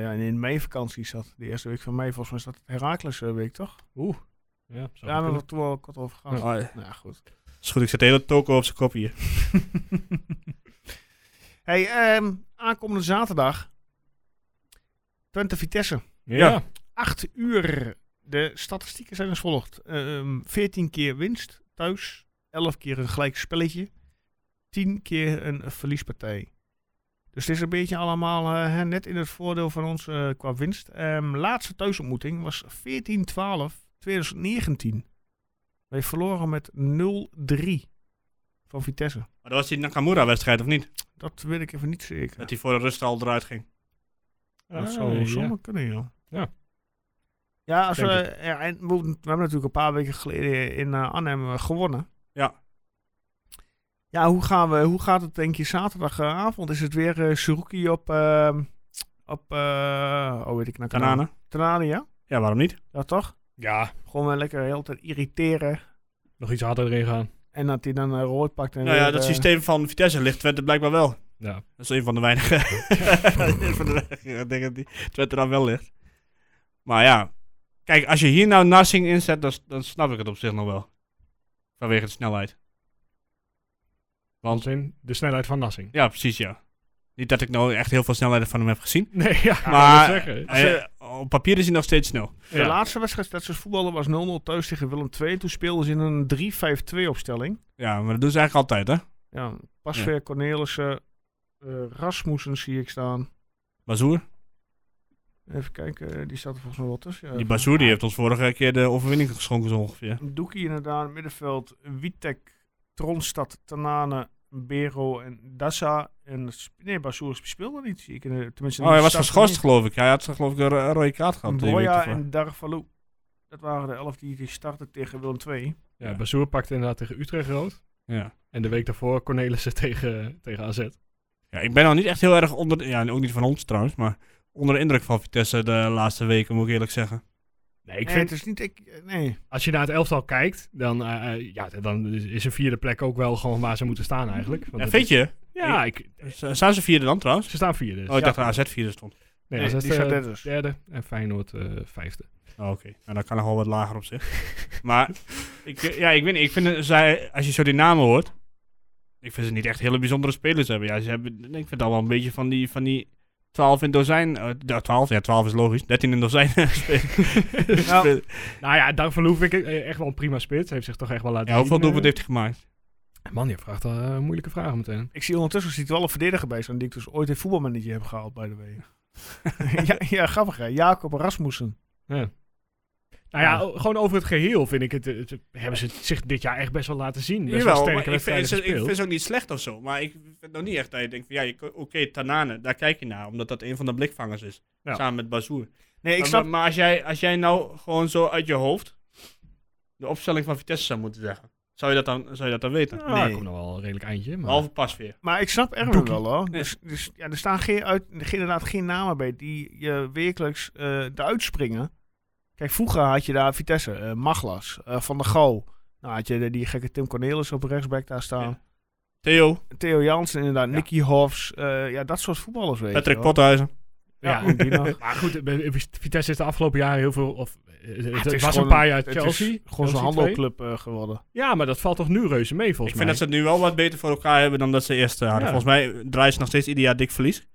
[SPEAKER 1] ja, en in mei vakantie zat. De eerste week van mei, volgens mij is dat Herakles eh, week, toch?
[SPEAKER 2] Ja,
[SPEAKER 1] Daar hebben we het toen wel kort over gehad.
[SPEAKER 3] Oh, ja.
[SPEAKER 1] Nou ja, goed.
[SPEAKER 3] Is goed, ik zet de hele toko op zijn kop hier.
[SPEAKER 1] Hey, ehm, aankomende zaterdag. Twente Vitesse.
[SPEAKER 2] ja.
[SPEAKER 1] 8 uur. De statistieken zijn als volgt. Ehm 14 keer winst thuis. 11 keer een gelijk spelletje. 10 keer een verliespartij. Dus het is een beetje allemaal eh, hè, net in het voordeel van ons eh, qua winst. Ehm, laatste thuisontmoeting was 14-12-2019. Wij verloren met 0-3 van Vitesse.
[SPEAKER 3] Maar dat was die Nakamura-wedstrijd, of niet?
[SPEAKER 1] Dat weet ik even niet zeker.
[SPEAKER 3] Dat hij voor de rust al eruit ging.
[SPEAKER 1] Dat
[SPEAKER 2] Ah,
[SPEAKER 1] zou
[SPEAKER 2] ja.
[SPEAKER 1] zomaar kunnen, joh.
[SPEAKER 2] Ja.
[SPEAKER 1] Ja, als we,
[SPEAKER 2] Denk
[SPEAKER 1] ja, en we, we hebben natuurlijk een paar weken geleden in eh, Arnhem eh, gewonnen.
[SPEAKER 3] Ja.
[SPEAKER 1] Ja, hoe, gaan we, hoe gaat het denk je zaterdagavond? Is het weer eh Suruki op, eh, op eh, oh weet ik nou.
[SPEAKER 3] Kanana.
[SPEAKER 1] Kanane, ja?
[SPEAKER 3] Ja, waarom niet?
[SPEAKER 1] Ja, toch?
[SPEAKER 2] Ja,
[SPEAKER 1] Gewoon weer lekker de hele tijd irriteren.
[SPEAKER 2] nog iets harder erin gaan.
[SPEAKER 1] En dat hij dan eh, rood pakt. En
[SPEAKER 3] Nou ja,
[SPEAKER 1] weer,
[SPEAKER 3] dat
[SPEAKER 1] eh,
[SPEAKER 3] systeem van Vitesse ligt Twente blijkbaar wel.
[SPEAKER 2] Ja.
[SPEAKER 3] Dat is een van de weinige, een van de weinige dingen die Twente dan wel ligt. Maar ja, kijk, als je hier nou Narsing inzet, dan, dan snap ik het op zich nog wel. Vanwege de snelheid.
[SPEAKER 2] Als in de snelheid van Nassing.
[SPEAKER 3] Ja, precies, ja. Niet dat ik nou echt heel veel snelheden van hem heb gezien.
[SPEAKER 2] Nee, ja.
[SPEAKER 3] Maar- eh,
[SPEAKER 2] ik wou zeggen.
[SPEAKER 3] Hij- op papier is hij nog steeds snel.
[SPEAKER 1] De
[SPEAKER 2] Ja.
[SPEAKER 1] laatste wedstrijd dat ze voetballen was 0-0 thuis tegen Willem II. Toen speelden ze in een 3-5-2 opstelling.
[SPEAKER 3] Ja, maar dat doen ze eigenlijk altijd, hè?
[SPEAKER 1] Ja, Pasveer, Cornelissen, eh, Rasmussen zie ik staan.
[SPEAKER 3] Bazoer.
[SPEAKER 1] Even kijken, eh, die staat er volgens mij wel tussen. ja.
[SPEAKER 3] Die Bazoer die heeft ons vorige keer de overwinning geschonken, zo ongeveer.
[SPEAKER 1] Doekie inderdaad, middenveld, Witek, Tronstad, Tanane, Bero en Dassa. En, Sp- nee, Bassoer speelde niet, zie ik. in de- Tenminste,
[SPEAKER 3] Oh, hij was geschorst, geloof ik. Hij had, geloof ik, een ro- een rode kaart gehad. twee weken
[SPEAKER 1] Boya
[SPEAKER 3] voor.
[SPEAKER 1] en Darvalou. Dat waren de elf die, die startten tegen Willem II.
[SPEAKER 2] ja, Bazoer pakte inderdaad tegen Utrecht rood.
[SPEAKER 3] Ja.
[SPEAKER 2] En de week daarvoor Cornelissen tegen, tegen AZ.
[SPEAKER 3] ja, ik ben al niet echt heel erg onder... Ja, en ook niet van ons trouwens, maar onder de indruk van Vitesse de laatste weken, moet ik eerlijk zeggen.
[SPEAKER 2] Nee, ik
[SPEAKER 1] nee,
[SPEAKER 2] vind,
[SPEAKER 1] het is niet... Ik, eh, nee.
[SPEAKER 2] als je naar het elftal kijkt, dan, eh, eh, ja, dan is een vierde plek ook wel gewoon waar ze moeten staan eigenlijk. Want
[SPEAKER 3] Ja,
[SPEAKER 2] dat
[SPEAKER 3] vind
[SPEAKER 2] is-
[SPEAKER 3] je?
[SPEAKER 2] Ja, ik,
[SPEAKER 3] Z- Staan ze vierde dan trouwens?
[SPEAKER 2] ze staan vierde. dus.
[SPEAKER 3] Oh, ik dacht dat AZ vierde stond.
[SPEAKER 2] nee,
[SPEAKER 1] Nee,
[SPEAKER 2] AZ,
[SPEAKER 1] die staat dus.
[SPEAKER 2] eh,
[SPEAKER 1] derde.
[SPEAKER 2] derde en Feyenoord eh, vijfde.
[SPEAKER 3] Oh, Oké, nou dat kan nog wel wat lager op zich. maar ik, eh, ja, ik weet niet, ik vind eh, zij, als je zo die namen hoort, ik vind ze niet echt hele bijzondere spelers hebben. Ja, ze hebben, ik vind het allemaal een beetje van die, van die 12 in dozijn, eh, nou, 12, ja 12 is logisch, 13 in dozijn spelers.
[SPEAKER 1] Nou,
[SPEAKER 2] Nou ja, Dank van Loef vind ik eh, echt wel een prima spits. Heeft zich toch echt wel laten
[SPEAKER 3] ja, hoeveel
[SPEAKER 2] zien, eh.
[SPEAKER 3] doelpunten heeft hij gemaakt?
[SPEAKER 2] Man, je vraagt al eh, moeilijke vragen meteen.
[SPEAKER 1] Ik zie ondertussen ziet er wel een verdediger bij staan die ik dus ooit in voetbalmanager heb gehaald, by the way. ja, ja, grappig hè. Jacob Rasmussen.
[SPEAKER 2] Nou ja, o- gewoon over het geheel vind ik het, eh, het- Hebben ze het zich dit jaar echt best wel laten zien. Best wel
[SPEAKER 3] Jawel, maar
[SPEAKER 2] sterke
[SPEAKER 3] ik vind,
[SPEAKER 2] wedstrijden
[SPEAKER 3] ze- ik
[SPEAKER 2] gespeeld.
[SPEAKER 3] vind ze ook niet slecht of zo, maar ik vind nog niet echt dat je denkt van, ja, je- oké, Tanane, daar kijk je naar, omdat dat een van de blikvangers is,
[SPEAKER 2] Ja.
[SPEAKER 3] samen met Bazoer.
[SPEAKER 1] Nee, ik
[SPEAKER 3] maar,
[SPEAKER 1] snap...
[SPEAKER 3] maar- maar als, jij, als jij nou gewoon zo uit je hoofd de opstelling van Vitesse zou moeten zeggen, zou je dat dan, zou je dat dan weten?
[SPEAKER 2] Nou, daar
[SPEAKER 1] Nee.
[SPEAKER 2] komt nog wel een redelijk eindje. Maar...
[SPEAKER 3] Behalve pas weer.
[SPEAKER 1] Maar ik snap Erwin
[SPEAKER 2] Doekie.
[SPEAKER 1] wel hoor.
[SPEAKER 3] Nee.
[SPEAKER 1] Dus, dus, ja, er staan geen uit, geen- inderdaad geen namen bij die je wekelijks eh eruit springen. Kijk, vroeger had je daar Vitesse, eh, Maglas, eh, Van der Gaal. Nou had je de- die gekke Tim Cornelis op rechtsback daar staan.
[SPEAKER 3] Theo,
[SPEAKER 1] Theo Jansen inderdaad, Nicky Hofs. eh, ja, dat soort voetballers weet
[SPEAKER 3] Patrick
[SPEAKER 1] je wel.
[SPEAKER 3] Pothuizen.
[SPEAKER 1] Ja,
[SPEAKER 2] Ja.
[SPEAKER 1] ook die nog.
[SPEAKER 2] Maar goed, eh, Vitesse is de afgelopen jaren heel veel... Of, eh, het
[SPEAKER 1] Ah,
[SPEAKER 2] het was
[SPEAKER 1] gewoon
[SPEAKER 2] een paar jaar
[SPEAKER 1] het is
[SPEAKER 2] Chelsea.
[SPEAKER 1] Gewoon zo'n
[SPEAKER 2] Chelsea twee.
[SPEAKER 1] handelclub eh, geworden.
[SPEAKER 2] Ja, maar dat valt toch nu reuze mee
[SPEAKER 3] Ik
[SPEAKER 2] volgens
[SPEAKER 3] vind
[SPEAKER 2] mij.
[SPEAKER 3] dat ze het nu wel wat beter voor elkaar hebben dan dat ze eerst eh, hadden.
[SPEAKER 2] Ja.
[SPEAKER 3] Volgens mij draaien ze nog steeds ieder jaar dik verlies.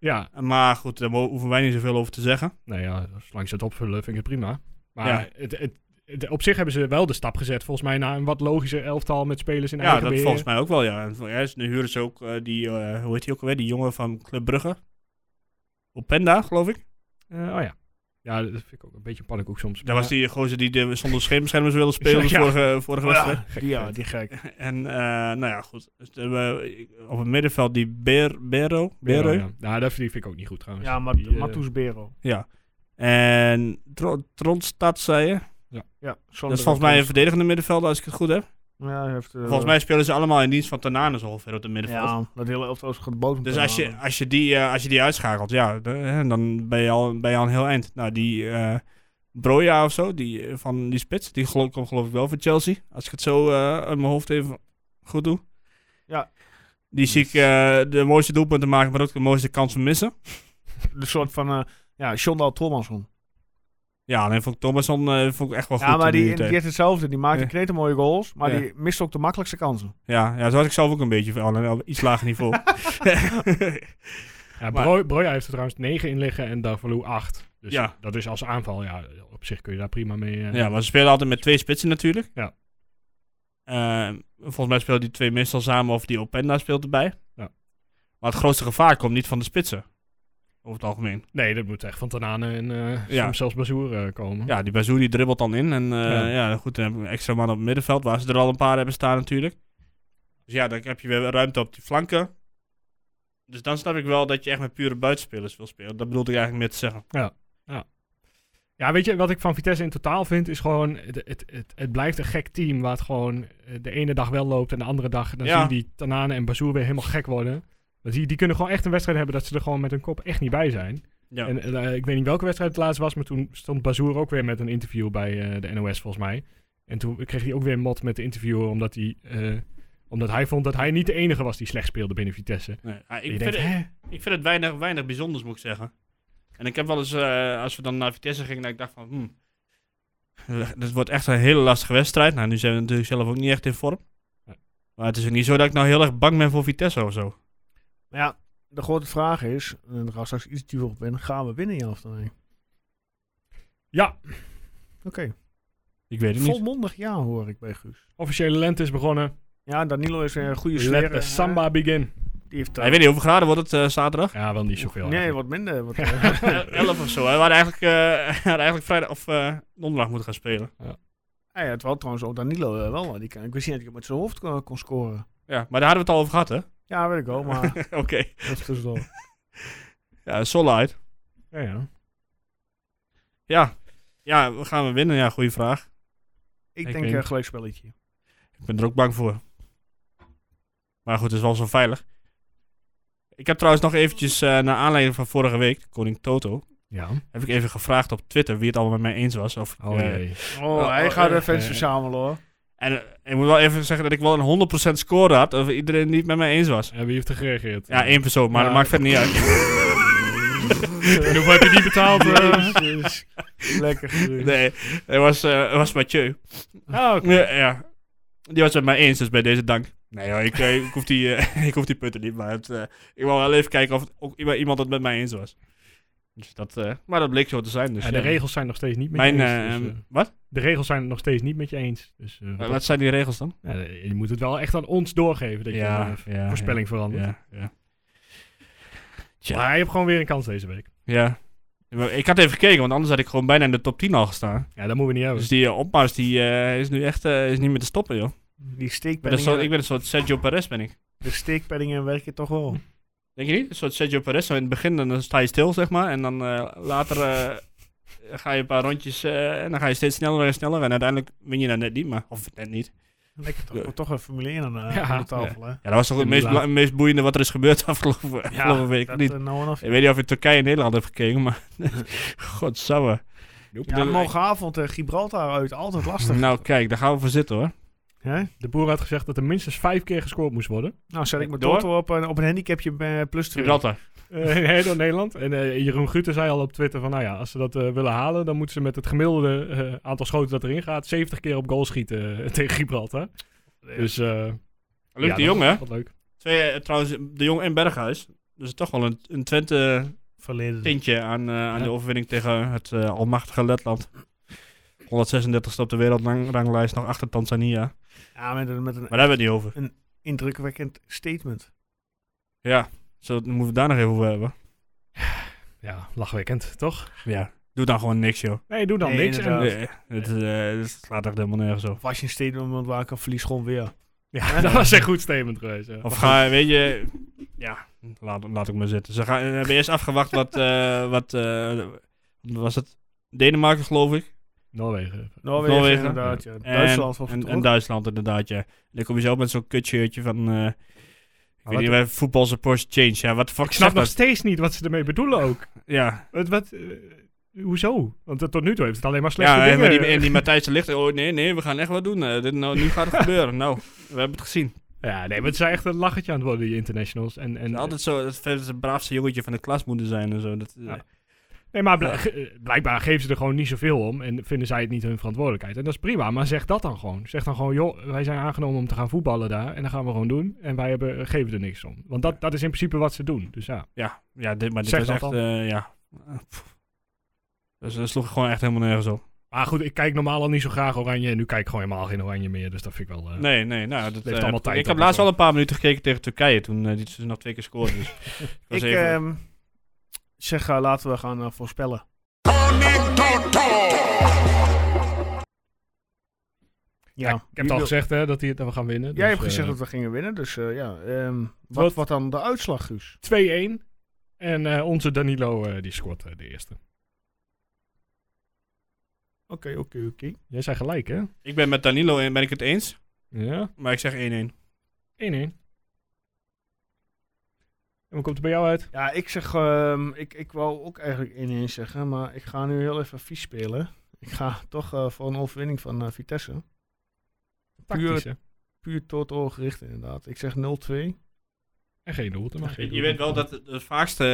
[SPEAKER 2] Ja,
[SPEAKER 3] Maar goed, daar mo- hoeven wij niet zoveel over te zeggen.
[SPEAKER 2] nou ja, zolang ze het opvullen vind ik het prima. Maar
[SPEAKER 3] Ja.
[SPEAKER 2] het, het, het- op zich hebben ze wel de stap gezet volgens mij naar een wat logischer elftal met spelers in
[SPEAKER 3] Ja,
[SPEAKER 2] eigen
[SPEAKER 3] dat
[SPEAKER 2] beheer.
[SPEAKER 3] volgens mij ook wel, ja. En voor- ja, ze- nu huren ze ook eh, die, eh, hoe heet die ook alweer, die jongen van Club Brugge. Openda, geloof ik.
[SPEAKER 2] Eh, oh ja. Ja, dat vind ik ook een beetje een pannenkoek soms.
[SPEAKER 3] Daar was
[SPEAKER 2] Maar-
[SPEAKER 3] die gozer die de, zonder schermbeschermers wilde spelen de
[SPEAKER 2] Ja.
[SPEAKER 3] vorige, vorige wedstrijd.
[SPEAKER 1] Die- ja, die gek.
[SPEAKER 3] En eh, nou ja, goed. Dus dan hebben we op het middenveld die Ber Bero. Bero.
[SPEAKER 2] Ja,
[SPEAKER 3] Ja.
[SPEAKER 2] ja. Nou, dat vind ik ook niet goed trouwens.
[SPEAKER 1] Ja, maar
[SPEAKER 2] Die, eh,
[SPEAKER 1] Matus Bero.
[SPEAKER 3] En Tro Trondstad, zei je.
[SPEAKER 1] Ja,
[SPEAKER 3] Dat is volgens mij een verdedigende middenvelder, als ik het goed heb.
[SPEAKER 1] Ja, hij heeft, eh,
[SPEAKER 3] Volgens mij spelen ze allemaal in dienst van Tanane zo ongeveer op het middenveld.
[SPEAKER 1] Ja, dat hele elftal is geboden.
[SPEAKER 3] Dus als
[SPEAKER 1] Oh.
[SPEAKER 3] je, als, je die, eh, als je die uitschakelt, ja, de- hè, dan ben je, al, ben je al een heel eind. Nou, die eh Broja of zo, die, eh, van die spits, die gelo- komt geloof ik wel voor Chelsea. Als ik het zo eh, uit mijn hoofd even goed doe.
[SPEAKER 1] Ja.
[SPEAKER 3] Die zie ik eh, de mooiste doelpunten maken, maar ook de mooiste kansen missen.
[SPEAKER 1] Een soort van, eh ja, Sjondal Thomasson.
[SPEAKER 3] Ja, alleen vond ik Thomasson eh, vond ik echt wel goed.
[SPEAKER 1] Ja, maar
[SPEAKER 3] toen
[SPEAKER 1] die,
[SPEAKER 3] die
[SPEAKER 1] die
[SPEAKER 3] tijd.
[SPEAKER 1] heeft hetzelfde. Die maakt
[SPEAKER 3] Ja.
[SPEAKER 1] de kneten mooie goals, maar
[SPEAKER 3] Ja.
[SPEAKER 1] die mist ook de makkelijkste kansen.
[SPEAKER 3] ja, ja, zo had ik zelf ook een beetje van, alleen op iets lager niveau.
[SPEAKER 2] Ja,
[SPEAKER 3] Maar-
[SPEAKER 2] Broy- Broja heeft er trouwens 9 in liggen en Darvalu 8. Dus
[SPEAKER 3] Ja.
[SPEAKER 2] dat is als aanval, ja, op zich kun je daar prima mee. eh,
[SPEAKER 3] ja, maar ze spelen altijd met twee spitsen natuurlijk.
[SPEAKER 2] Ja.
[SPEAKER 3] Ehm, volgens mij spelen die twee meestal samen of die Openda speelt erbij.
[SPEAKER 2] Ja.
[SPEAKER 3] Maar het grootste gevaar komt niet van de spitsen. Over het algemeen.
[SPEAKER 2] Nee, dat moet echt van Tanane en eh,
[SPEAKER 3] Ja.
[SPEAKER 2] soms zelfs Bazoer eh, komen.
[SPEAKER 3] Ja, die Bazoer die dribbelt dan in. En eh,
[SPEAKER 2] Ja.
[SPEAKER 3] ja. goed, dan hebben we een extra man op het middenveld, waar ze er al een paar hebben staan natuurlijk. Dus ja, dan heb je weer ruimte op die flanken. Dus dan snap ik wel dat je echt met pure buitenspelers wil spelen. Dat bedoelde ik eigenlijk meer te zeggen.
[SPEAKER 2] Ja, weet je, wat ik van Vitesse in totaal vind, is gewoon, het, het, het, het blijft een gek team, waar het gewoon eh, de ene dag wel loopt en de andere dag, dan
[SPEAKER 3] Ja.
[SPEAKER 2] zie je die Tanane en Bazoer weer helemaal gek worden. Want die, die kunnen gewoon echt een wedstrijd hebben dat ze er gewoon met hun kop echt niet bij zijn.
[SPEAKER 3] Ja.
[SPEAKER 2] En eh, ik weet niet welke wedstrijd het laatst was, maar toen stond Bazoer ook weer met een interview bij eh, de NOS volgens mij. En toen kreeg hij ook weer een mot met de interviewer, omdat hij, eh, omdat hij vond dat hij niet de enige was die slecht speelde binnen Vitesse.
[SPEAKER 3] Nee,
[SPEAKER 2] En
[SPEAKER 3] ah, ik,
[SPEAKER 2] je
[SPEAKER 3] vind
[SPEAKER 2] denkt,
[SPEAKER 3] het,
[SPEAKER 2] hè?
[SPEAKER 3] ik vind het weinig, weinig bijzonders, moet ik zeggen. En ik heb wel eens, eh, als we dan naar Vitesse gingen, dat ik dacht van, hmm, dit wordt echt een hele lastige wedstrijd. Nou, nu zijn we natuurlijk zelf ook niet echt in vorm.
[SPEAKER 2] Nee.
[SPEAKER 3] Maar het is ook niet zo dat ik nou heel erg bang ben voor Vitesse of zo.
[SPEAKER 1] Maar ja, de grote vraag is, en daar gaan we straks iets dieper op in, gaan we winnen ja of nee?
[SPEAKER 2] Ja,
[SPEAKER 1] Oké,
[SPEAKER 3] Ik weet het niet.
[SPEAKER 1] volmondig ja hoor ik bij Guus.
[SPEAKER 2] officiële lente is begonnen.
[SPEAKER 1] Ja, Danilo is weer een goede sfeer.
[SPEAKER 2] Let the
[SPEAKER 1] en, eh,
[SPEAKER 2] samba begin.
[SPEAKER 1] Die heeft, eh,
[SPEAKER 3] Hij weet niet hoeveel graden wordt het eh, zaterdag.
[SPEAKER 2] Ja, wel niet zoveel.
[SPEAKER 1] nee,
[SPEAKER 2] eigenlijk.
[SPEAKER 1] wat minder. Wat, eh,
[SPEAKER 3] 11 of zo. Hij had eigenlijk, eh, hij had eigenlijk vrijdag of eh, donderdag moeten gaan spelen.
[SPEAKER 1] ja, het was trouwens ook Danilo eh, wel. eh, Die kan, ik wist niet dat ik met zijn hoofd kon, kon scoren.
[SPEAKER 3] Ja, maar daar hadden we het al over gehad, hè?
[SPEAKER 1] Ja, weet ik wel, maar
[SPEAKER 3] Oké.
[SPEAKER 1] even tussendoor.
[SPEAKER 3] Ja, Solide.
[SPEAKER 2] Ja, ja.
[SPEAKER 3] Ja. Ja, we gaan we winnen? Ja, goede vraag.
[SPEAKER 1] Ik,
[SPEAKER 3] Ik
[SPEAKER 1] denk
[SPEAKER 3] weet
[SPEAKER 1] een
[SPEAKER 3] niet.
[SPEAKER 1] gelijkspelletje.
[SPEAKER 3] Ik ben er ook bang voor. Maar goed, het is wel zo veilig. Ik heb trouwens nog eventjes, eh, naar aanleiding van vorige week, Koning Toto,
[SPEAKER 2] Ja.
[SPEAKER 3] heb ik even gevraagd op Twitter wie het allemaal met mij eens was. Of, ik,
[SPEAKER 2] Oh
[SPEAKER 3] eh,
[SPEAKER 2] jee.
[SPEAKER 1] Oh,
[SPEAKER 3] Oh,
[SPEAKER 1] hij
[SPEAKER 3] oh,
[SPEAKER 1] gaat
[SPEAKER 3] eh,
[SPEAKER 1] even
[SPEAKER 2] eh,
[SPEAKER 1] verzamelen hoor.
[SPEAKER 3] en eh, ik moet wel even zeggen dat ik wel een 100% score had, of iedereen die het met mij eens was.
[SPEAKER 2] En wie heeft er gereageerd?
[SPEAKER 3] Ja, één persoon, maar
[SPEAKER 2] Ja.
[SPEAKER 3] dat maakt verder niet uit.
[SPEAKER 2] En hoeveel heb je die betaald? eh?
[SPEAKER 1] Jezus. Lekker Guus.
[SPEAKER 3] Nee, het was, eh, het was Mathieu.
[SPEAKER 2] Ah, oké.
[SPEAKER 3] Ja, ja. Die was het met mij eens, dus bij deze dank. Nee hoor, ik, eh, ik, hoef, die, eh, ik hoef die punten niet, maar het, eh, ik wil wel even kijken of het ook iemand- iemand het met mij eens was. Dus dat, eh, maar dat bleek zo te zijn. Dus,
[SPEAKER 2] Ja, de
[SPEAKER 3] eh,
[SPEAKER 2] regels zijn nog steeds niet met
[SPEAKER 3] Mijn,
[SPEAKER 2] je eens.
[SPEAKER 3] eh,
[SPEAKER 2] dus, eh,
[SPEAKER 3] wat?
[SPEAKER 2] de regels zijn het nog steeds niet met je eens. Dus, eh,
[SPEAKER 3] wat zijn die regels dan?
[SPEAKER 2] ja, je moet het wel echt aan ons doorgeven dat je eh, voorspelling verandert.
[SPEAKER 3] Ja, ja. ja.
[SPEAKER 2] Maar je hebt gewoon weer een kans deze week.
[SPEAKER 3] Ja. Maar Ik had even gekeken, want anders had ik gewoon bijna in de top 10 al gestaan.
[SPEAKER 2] Ja, dat moeten we niet hebben.
[SPEAKER 3] Dus die eh, opmars die, eh, is nu echt eh, is niet meer te stoppen, joh.
[SPEAKER 1] Die
[SPEAKER 3] Ik ben, een soort, ik
[SPEAKER 1] steekpenningen,
[SPEAKER 3] ben een soort Sergio Perez, ben ik.
[SPEAKER 1] de steekpenningen werken toch wel.
[SPEAKER 3] Denk je niet? Een soort Sergio Perez. Zo in het begin dan sta je stil, zeg maar. En dan eh, later eh, ga je een paar rondjes eh, en dan ga je steeds sneller en sneller. En uiteindelijk win je dan net niet, maar... Of net niet.
[SPEAKER 1] Lekker toch,
[SPEAKER 3] Ja.
[SPEAKER 1] wordt toch een Formule 1 aan de,
[SPEAKER 2] Ja.
[SPEAKER 1] aan de tafel hè.
[SPEAKER 3] Ja, dat was toch het meest, bela- meest boeiende wat er is gebeurd afgelopen, afgelopen week.
[SPEAKER 1] Dat,
[SPEAKER 3] niet.
[SPEAKER 1] eh, nou en af.
[SPEAKER 3] Ik weet niet of je Turkije en Nederland hebt gekeken, maar... Godsamme.
[SPEAKER 1] Ja, morgenavond eh, Gibraltar uit, altijd lastig.
[SPEAKER 3] Nou, kijk, daar gaan we voor zitten, hoor.
[SPEAKER 1] Hè?
[SPEAKER 2] De boer had gezegd dat er minstens vijf keer gescoord moest worden.
[SPEAKER 1] Nou, zet ik mijn
[SPEAKER 3] Door?
[SPEAKER 1] toto op, een- op een handicapje eh, plus 2.
[SPEAKER 3] Gibraltar.
[SPEAKER 2] Eh, door Nederland. En eh, Jeroen Guter zei al op Twitter van, nou ja, als ze dat eh, willen halen, dan moeten ze met het gemiddelde eh, aantal schoten dat erin gaat, 70 keer op goal schieten eh, tegen Gibraltar. Dus, eh
[SPEAKER 3] Luc
[SPEAKER 2] ja,
[SPEAKER 3] de
[SPEAKER 2] dat-
[SPEAKER 3] Jong, hè?
[SPEAKER 2] Wat leuk.
[SPEAKER 3] Twee, eh, trouwens, de Jong en Berghuis. Dus toch wel een, een Twente
[SPEAKER 1] Verleden.
[SPEAKER 3] tintje aan, eh, aan
[SPEAKER 2] Ja.
[SPEAKER 3] de overwinning tegen het eh, almachtige Letland. 136ste op de wereldranglijst, nog achter Tanzania.
[SPEAKER 1] Ja, met, een- met een
[SPEAKER 3] Maar daar hebben we het niet over.
[SPEAKER 1] indrukwekkend statement.
[SPEAKER 3] Ja, zo dan moeten we het daar nog even over hebben.
[SPEAKER 2] Ja, lachwekkend, toch?
[SPEAKER 3] Ja. Doe dan gewoon niks, joh.
[SPEAKER 2] Nee, doe dan
[SPEAKER 1] Nee,
[SPEAKER 2] niks. En,
[SPEAKER 1] inderdaad.
[SPEAKER 3] Nee, het, is, eh, het slaat echt helemaal nergens op.
[SPEAKER 1] Of als je een statement moet maken, verlies gewoon weer.
[SPEAKER 2] ja, dat was een goed statement geweest. ja.
[SPEAKER 3] Of ga, weet je... Ja, laat, laat ik maar zitten. Ze gaan, we hebben eerst afgewacht wat... eh, wat eh, was het? Denemarken, geloof ik.
[SPEAKER 2] Noorwegen.
[SPEAKER 1] Noorwegen,
[SPEAKER 3] Noorwegen.
[SPEAKER 1] inderdaad. Ja.
[SPEAKER 3] En-
[SPEAKER 1] Duitsland was het
[SPEAKER 3] En,
[SPEAKER 1] ook.
[SPEAKER 3] en Duitsland inderdaad, ja. En dan kom je zo met zo'n kutshirtje van... eh ik
[SPEAKER 1] wat-
[SPEAKER 3] weet niet, wij voetbal support change. Ja, wat de fuck
[SPEAKER 2] Ik snap
[SPEAKER 3] zegt
[SPEAKER 2] nog
[SPEAKER 3] dat?
[SPEAKER 2] steeds niet wat ze ermee bedoelen ook.
[SPEAKER 3] Ja,
[SPEAKER 2] Wat, wat, eh, hoezo? Want eh, tot nu toe heeft het alleen maar slechte
[SPEAKER 3] ja en,
[SPEAKER 2] dingen.
[SPEAKER 3] die, en die Matthijs de Ligt. Oh nee, nee, we gaan echt wat doen. Eh, dit, nou, nu gaat het gebeuren. Nou, we hebben het gezien.
[SPEAKER 2] Ja, nee, maar het zijn echt een lachertje aan het worden, die internationals. En, en,
[SPEAKER 3] En altijd zo, dat verder het braafste jongetje van de klas moeten zijn en zo. Dat, eh,
[SPEAKER 2] Ja. nee, maar bl- ge- eh, blijkbaar geven ze er gewoon niet zoveel om en vinden zij het niet hun verantwoordelijkheid. En dat is prima, maar zeg dat dan gewoon. Zeg dan gewoon, joh, wij zijn aangenomen om te gaan voetballen daar en dat gaan we gewoon doen. En wij hebben, eh, geven er niks om. Want dat, dat is in principe wat ze doen. Dus ja,
[SPEAKER 3] ja, ja dit, maar dit
[SPEAKER 2] Zeg
[SPEAKER 3] is
[SPEAKER 2] dat
[SPEAKER 3] echt,
[SPEAKER 2] dan.
[SPEAKER 3] eh, ja. Pff. Dus dat sloeg gewoon echt helemaal nergens op.
[SPEAKER 2] maar goed, ik kijk normaal al niet zo graag oranje en nu kijk ik gewoon helemaal geen oranje meer. Dus dat vind ik wel... eh,
[SPEAKER 3] Nee, nee, nou, dat
[SPEAKER 2] heeft
[SPEAKER 3] eh,
[SPEAKER 2] allemaal tijd
[SPEAKER 3] Ik
[SPEAKER 2] dan
[SPEAKER 3] heb laatst
[SPEAKER 2] zo.
[SPEAKER 3] wel een paar minuten gekeken tegen Turkije toen eh, die ze nog twee keer scoorden. Dus ik
[SPEAKER 1] Ik
[SPEAKER 3] was even-
[SPEAKER 2] eh,
[SPEAKER 1] ehm, zeg, eh, laten we gaan eh, voorspellen. Ja,
[SPEAKER 2] Ja, ik heb
[SPEAKER 1] wie
[SPEAKER 2] het al
[SPEAKER 1] wil-
[SPEAKER 2] gezegd hè, dat, die, dat we gaan winnen.
[SPEAKER 1] Jij
[SPEAKER 2] dus,
[SPEAKER 1] hebt gezegd
[SPEAKER 2] eh,
[SPEAKER 1] dat we gingen winnen, dus eh, ja. ehm, wat
[SPEAKER 2] Wat?
[SPEAKER 1] wordt dan de uitslag, Guus?
[SPEAKER 2] 2-1. En eh, onze Danilo, eh, die scoort eh, de eerste.
[SPEAKER 1] Oké, oké, oké.
[SPEAKER 2] Jij zei gelijk, hè?
[SPEAKER 3] Ik ben met Danilo en ben ik het eens,
[SPEAKER 2] Ja. 1-1.
[SPEAKER 3] maar ik zeg 1-1.
[SPEAKER 2] En hoe komt het bij jou uit?
[SPEAKER 1] Ja, ik zeg, ehm, ik, ik wou ook eigenlijk 1-1 zeggen, maar ik ga nu heel even vies spelen. Ik ga toch eh, voor een overwinning van eh, Vitesse.
[SPEAKER 2] Tactisch, hè?
[SPEAKER 1] Puur tot oog gericht, inderdaad. Ik zeg 0-2.
[SPEAKER 2] En geen doelten, maar geen
[SPEAKER 3] Je
[SPEAKER 2] doelten.
[SPEAKER 3] weet wel dat het vaakste,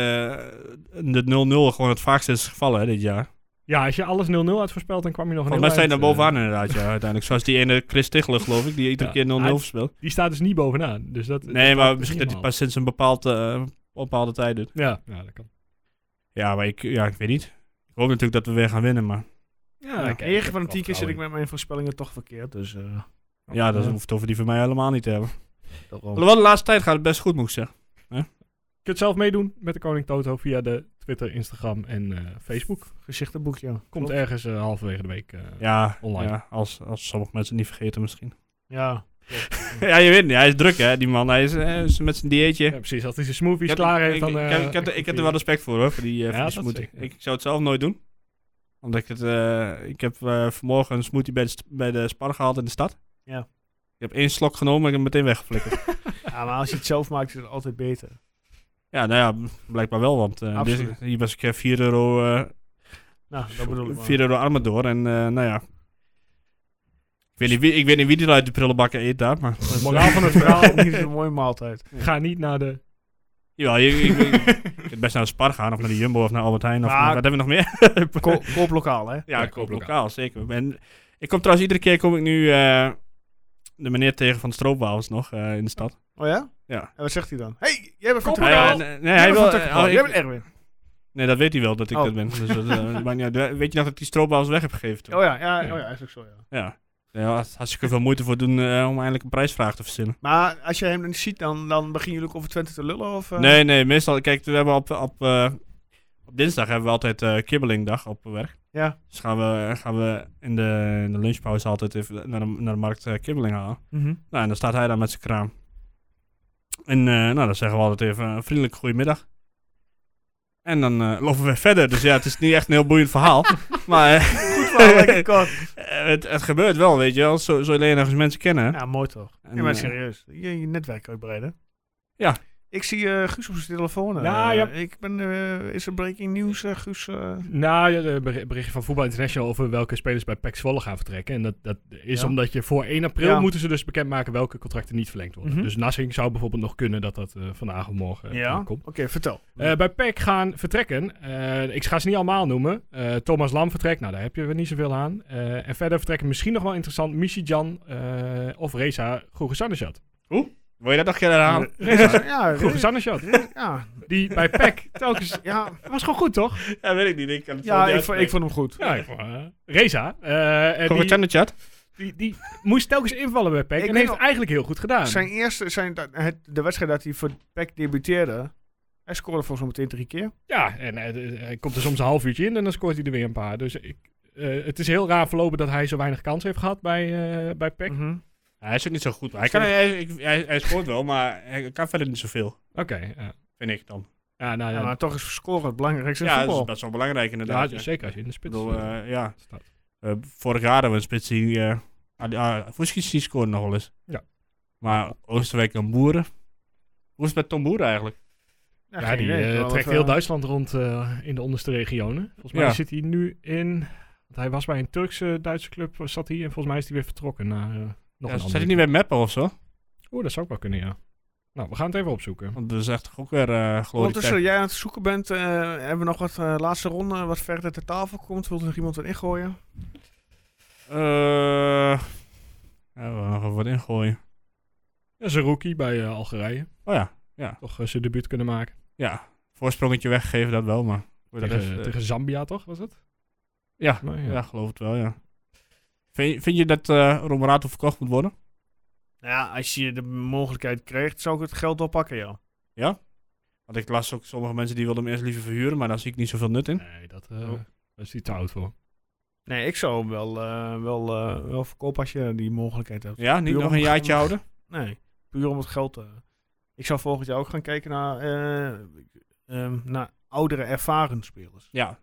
[SPEAKER 3] eh, de 0-0 gewoon het vaakste is gevallen hè, dit jaar.
[SPEAKER 2] Ja, als je alles 0-0 had voorspeld, dan kwam je nog een
[SPEAKER 3] Volgens
[SPEAKER 2] heel
[SPEAKER 3] mij zijn
[SPEAKER 2] eind, eh,
[SPEAKER 3] daar bovenaan inderdaad, ja, uiteindelijk. Zoals die ene Chris Tichelen, geloof ik, die iedere
[SPEAKER 2] Ja,
[SPEAKER 3] keer 0-0
[SPEAKER 2] hij-
[SPEAKER 3] speelt.
[SPEAKER 2] Die staat dus niet bovenaan. Dus dat,
[SPEAKER 3] Nee,
[SPEAKER 2] dat
[SPEAKER 3] maar
[SPEAKER 2] helpt
[SPEAKER 3] misschien dat
[SPEAKER 2] niet
[SPEAKER 3] hij pas sinds een bepaald, eh, bepaalde tijd doet.
[SPEAKER 2] helemaal. Ja, ja, dat kan.
[SPEAKER 3] Ja, maar ik, ja, ik weet niet. Ik hoop natuurlijk dat we weer gaan winnen,
[SPEAKER 1] Ja,
[SPEAKER 3] maar
[SPEAKER 2] Ja,
[SPEAKER 1] ja
[SPEAKER 2] kijk, ik heb
[SPEAKER 1] enige van de
[SPEAKER 2] wel
[SPEAKER 1] tien keer zit ik
[SPEAKER 2] vertrouwen
[SPEAKER 1] met mijn voorspellingen toch verkeerd. Dus eh,
[SPEAKER 3] ja, dat
[SPEAKER 1] Ja.
[SPEAKER 3] hoeft over die van mij helemaal niet te hebben.
[SPEAKER 1] dat wel.
[SPEAKER 3] Alhoewel, de laatste tijd gaat het best goed, moet ik zeggen.
[SPEAKER 2] Je kunt zelf meedoen met de Koning Toto via de Twitter, Instagram en eh, Facebook.
[SPEAKER 1] Gezichtenboekje. ja.
[SPEAKER 2] Komt
[SPEAKER 1] Klopt.
[SPEAKER 2] ergens eh, halverwege de week. eh,
[SPEAKER 3] Ja,
[SPEAKER 2] online.
[SPEAKER 3] ja als, als sommige mensen het niet vergeten misschien.
[SPEAKER 1] Ja.
[SPEAKER 3] ja, je weet niet. Hij is druk, hè, die man. Hij is, eh, is met zijn dieetje.
[SPEAKER 2] ja, precies. Als hij zijn smoothies
[SPEAKER 3] Ik heb-
[SPEAKER 2] klaar heeft,
[SPEAKER 3] ik,
[SPEAKER 2] dan...
[SPEAKER 3] ik,
[SPEAKER 2] eh,
[SPEAKER 3] heb- ik, heb, er- ik heb er wel respect voor, hoor, voor die, eh,
[SPEAKER 2] Ja,
[SPEAKER 3] voor die
[SPEAKER 2] dat
[SPEAKER 3] smoothie.
[SPEAKER 2] zeker.
[SPEAKER 3] Ik, ik zou het zelf nooit doen. Omdat ik het... eh, ik heb eh, vanmorgen een smoothie bij de, st- bij de spar gehaald in de stad.
[SPEAKER 1] Ja.
[SPEAKER 3] Ik heb één slok genomen en ik heb hem meteen weggeflikkerd.
[SPEAKER 1] ja, maar als je het zelf maakt, is het altijd beter.
[SPEAKER 3] ja, nou ja, blijkbaar wel, want eh,
[SPEAKER 1] Absoluut.
[SPEAKER 3] deze- hier was ik eh, 4 euro... eh,
[SPEAKER 1] Nou, dat bedoel ik maar.
[SPEAKER 3] 4 euro Armador. En eh, nou ja. Ik weet, niet wie, ik weet niet wie die uit de prullenbakken eet daar. Maar.
[SPEAKER 2] Het moraal van het verhaal.
[SPEAKER 1] Niet zo'n mooie maaltijd.
[SPEAKER 2] Ga niet naar de...
[SPEAKER 3] Jawel, je- ik, ik, ik kan best naar de Spar gaan. Of naar de Jumbo. Of naar Albert Heijn. Of
[SPEAKER 1] Maar-
[SPEAKER 3] naar- wat hebben we nog meer?
[SPEAKER 1] Ko- Koop lokaal, hè?
[SPEAKER 3] ja,
[SPEAKER 2] Ja,
[SPEAKER 3] ik koop
[SPEAKER 2] kooplokaal.
[SPEAKER 3] lokaal. Zeker. En ik kom trouwens iedere keer kom ik nu eh, de meneer tegen van de stroopbouwers nog eh, in de stad.
[SPEAKER 1] Oh ja?
[SPEAKER 3] Ja.
[SPEAKER 1] En wat zegt hij dan? hey, jij bent van
[SPEAKER 2] Koop
[SPEAKER 1] Tukker.
[SPEAKER 2] lokaal.
[SPEAKER 1] Jij
[SPEAKER 3] Eh, nee, nee, hij
[SPEAKER 1] bent
[SPEAKER 3] wil,
[SPEAKER 1] van Tukker.
[SPEAKER 3] eh,
[SPEAKER 1] Jij
[SPEAKER 3] oh,
[SPEAKER 1] bent
[SPEAKER 3] ik-
[SPEAKER 1] Erwin.
[SPEAKER 3] nee, dat weet hij wel dat ik
[SPEAKER 1] Oh.
[SPEAKER 3] dat ben. Dus dat, eh, maakt niet uit. weet je nog dat die stroopbouwers weg heb gegeven? toen?
[SPEAKER 1] Oh ja, ja, oh ja, eigenlijk zo, ja.
[SPEAKER 3] Ja. Daar had hartstikke veel moeite voor doen eh, om eindelijk een prijsvraag te verzinnen.
[SPEAKER 1] Maar als je hem niet ziet, dan, dan beginnen jullie ook over Twente te lullen? Of, eh?
[SPEAKER 3] Nee, nee, meestal. Kijk, we hebben op, op, eh, op dinsdag hebben we altijd eh, kibbelingdag op werk.
[SPEAKER 1] Ja.
[SPEAKER 3] Dus gaan we, gaan we in, de, in de lunchpauze altijd even naar de, naar de markt eh, kibbeling halen.
[SPEAKER 1] Mhm.
[SPEAKER 3] Nou, en dan staat hij daar met zijn kraam. En eh, nou, dan zeggen we altijd even een vriendelijk goedemiddag. En dan eh, lopen we weer verder. Dus ja, het is niet echt een heel boeiend verhaal. maar eh,
[SPEAKER 1] Goed verhaal, lekker kort.
[SPEAKER 3] het, het gebeurt wel, weet je wel. Zo, zo leer je nog eens mensen kennen. hè.
[SPEAKER 1] Ja, mooi toch?
[SPEAKER 3] En,
[SPEAKER 1] ja, maar
[SPEAKER 3] eh,
[SPEAKER 1] serieus. Je, je netwerk uitbreiden.
[SPEAKER 3] Ja.
[SPEAKER 1] Ik zie eh Guus op zijn telefoon. eh.
[SPEAKER 2] Ja, ja.
[SPEAKER 1] Ik ben, eh, is er breaking news, eh, Guus? eh?
[SPEAKER 2] Nou, ja, de beri- berichtje van Voetbal International over welke spelers bij PEC Zwolle gaan vertrekken. En dat, dat is
[SPEAKER 1] Ja.
[SPEAKER 2] omdat je voor 1 april
[SPEAKER 1] Ja.
[SPEAKER 2] moeten ze dus bekendmaken welke contracten niet verlengd worden.
[SPEAKER 1] Mhm.
[SPEAKER 2] Dus Nassing zou bijvoorbeeld nog kunnen dat dat eh, vandaag of morgen eh,
[SPEAKER 1] ja.
[SPEAKER 2] komt.
[SPEAKER 1] Oké, vertel.
[SPEAKER 2] Eh, bij PEC gaan vertrekken. Eh, ik ga ze niet allemaal noemen. Eh, Thomas Lam vertrekt. Nou, daar heb je weer niet zoveel aan. Eh, en verder vertrekken misschien nog wel interessant Michi Jan eh, of Reza Goegesannesjat.
[SPEAKER 3] Wil je dat nog een keer herhalen?
[SPEAKER 1] Reza, ja, Reza,
[SPEAKER 2] Goegesannesjat.
[SPEAKER 1] ja,
[SPEAKER 2] Die bij PEC telkens...
[SPEAKER 1] ja,
[SPEAKER 2] was gewoon goed, toch?
[SPEAKER 3] Ja, weet ik niet. Ik kan het zo
[SPEAKER 1] ja
[SPEAKER 3] niet
[SPEAKER 1] ik, vond, ik
[SPEAKER 3] uitspreken.
[SPEAKER 1] vond hem goed.
[SPEAKER 2] Ja, ik vond, eh, Reza. eh, eh,
[SPEAKER 3] Kom
[SPEAKER 2] die-
[SPEAKER 3] het in de chat.
[SPEAKER 2] Die, die moest telkens invallen bij PEC
[SPEAKER 1] Ik
[SPEAKER 2] en
[SPEAKER 1] weet
[SPEAKER 2] heeft
[SPEAKER 1] nog-
[SPEAKER 2] eigenlijk heel goed gedaan.
[SPEAKER 1] Zijn eerste, zijn, dat- het, de wedstrijd dat hij voor Peck debuteerde, hij scoorde volgens mij meteen drie keer.
[SPEAKER 2] Ja, en eh, eh, hij komt er soms een half uurtje in en dan scoort hij er weer een paar. Dus ik, eh, het is heel raar verlopen dat hij zo weinig kans heeft gehad bij, eh, bij PEC.
[SPEAKER 1] Mhm.
[SPEAKER 3] Ja, hij is ook niet zo goed. maar Hij, kan, hij, ik- hij, hij scoort wel, maar hij kan verder niet zoveel.
[SPEAKER 2] Oké, ja.
[SPEAKER 3] Vind ik dan.
[SPEAKER 2] ja, nou, ja,
[SPEAKER 1] Ja, maar toch is scoren het belangrijkste in
[SPEAKER 3] ja, dat is
[SPEAKER 1] voetbal.
[SPEAKER 3] best wel belangrijk
[SPEAKER 2] ja,
[SPEAKER 3] inderdaad. Ja, Ik
[SPEAKER 2] zeker als je in de spits
[SPEAKER 3] bedoel,
[SPEAKER 2] eh,
[SPEAKER 3] eh, ja.
[SPEAKER 2] staat.
[SPEAKER 3] Eh, vorig jaar hadden we een spits die... eh Adi- ah, Vuskic die scoorde nog wel eens.
[SPEAKER 2] Ja.
[SPEAKER 3] Maar Oosterwijk en Boeren... Hoe is het met Tom Boeren eigenlijk?
[SPEAKER 2] Ja,
[SPEAKER 1] geen
[SPEAKER 2] die
[SPEAKER 1] idee.
[SPEAKER 2] eh,
[SPEAKER 1] Wel wat,
[SPEAKER 2] trekt
[SPEAKER 1] eh,
[SPEAKER 2] heel Duitsland rond eh, in de onderste regionen. Volgens mij
[SPEAKER 3] Ja.
[SPEAKER 2] zit hij nu in... Want hij was bij een Turkse Duitse club, eh, zat hij. En volgens mij is hij weer vertrokken naar eh, nog
[SPEAKER 3] Ja,
[SPEAKER 2] een
[SPEAKER 3] zit
[SPEAKER 2] andere
[SPEAKER 3] hij niet bij Meppen of zo?
[SPEAKER 2] Oeh, dat zou ook wel kunnen, ja. Nou, we gaan het even opzoeken.
[SPEAKER 3] Want dat is echt ook weer eh glorie.
[SPEAKER 1] Ondertussen jij aan het zoeken bent, eh, hebben we nog wat eh, laatste ronde wat verder ter tafel komt. Wilt er nog iemand wat ingooien?
[SPEAKER 3] Eh, ja, we gaan nog even wat ingooien.
[SPEAKER 2] Dat is een rookie bij eh, Algerije.
[SPEAKER 3] Oh ja.
[SPEAKER 2] Toch eh, zijn debuut kunnen maken.
[SPEAKER 3] Ja. Voorsprongetje weggegeven, dat wel, maar... voor de
[SPEAKER 2] Tegen,
[SPEAKER 3] rest, eh,
[SPEAKER 2] tegen Zambia, toch? Was het?
[SPEAKER 3] Ja,
[SPEAKER 2] Nou,
[SPEAKER 3] Ja, geloof het wel, ja. Vind, vind je dat eh Romerato verkocht moet worden?
[SPEAKER 1] Ja, als je de mogelijkheid krijgt, zou ik het geld wel pakken, ja.
[SPEAKER 3] Want ik las ook sommige mensen die wilden hem eerst liever verhuren, maar daar zie ik niet zoveel nut in.
[SPEAKER 1] Hm?
[SPEAKER 2] Nee, dat, eh,
[SPEAKER 1] Oh.
[SPEAKER 2] daar is hij te oud voor.
[SPEAKER 1] Nee, ik zou hem wel, eh, wel, eh, wel verkopen als je die mogelijkheid hebt.
[SPEAKER 3] Ja, niet
[SPEAKER 1] Puur
[SPEAKER 3] nog
[SPEAKER 1] om-
[SPEAKER 3] een jaartje houden?
[SPEAKER 1] Nee, puur om het geld. eh. ik zou volgend jaar ook gaan kijken naar, eh, ehm, naar oudere ervaren spelers.
[SPEAKER 3] Ja.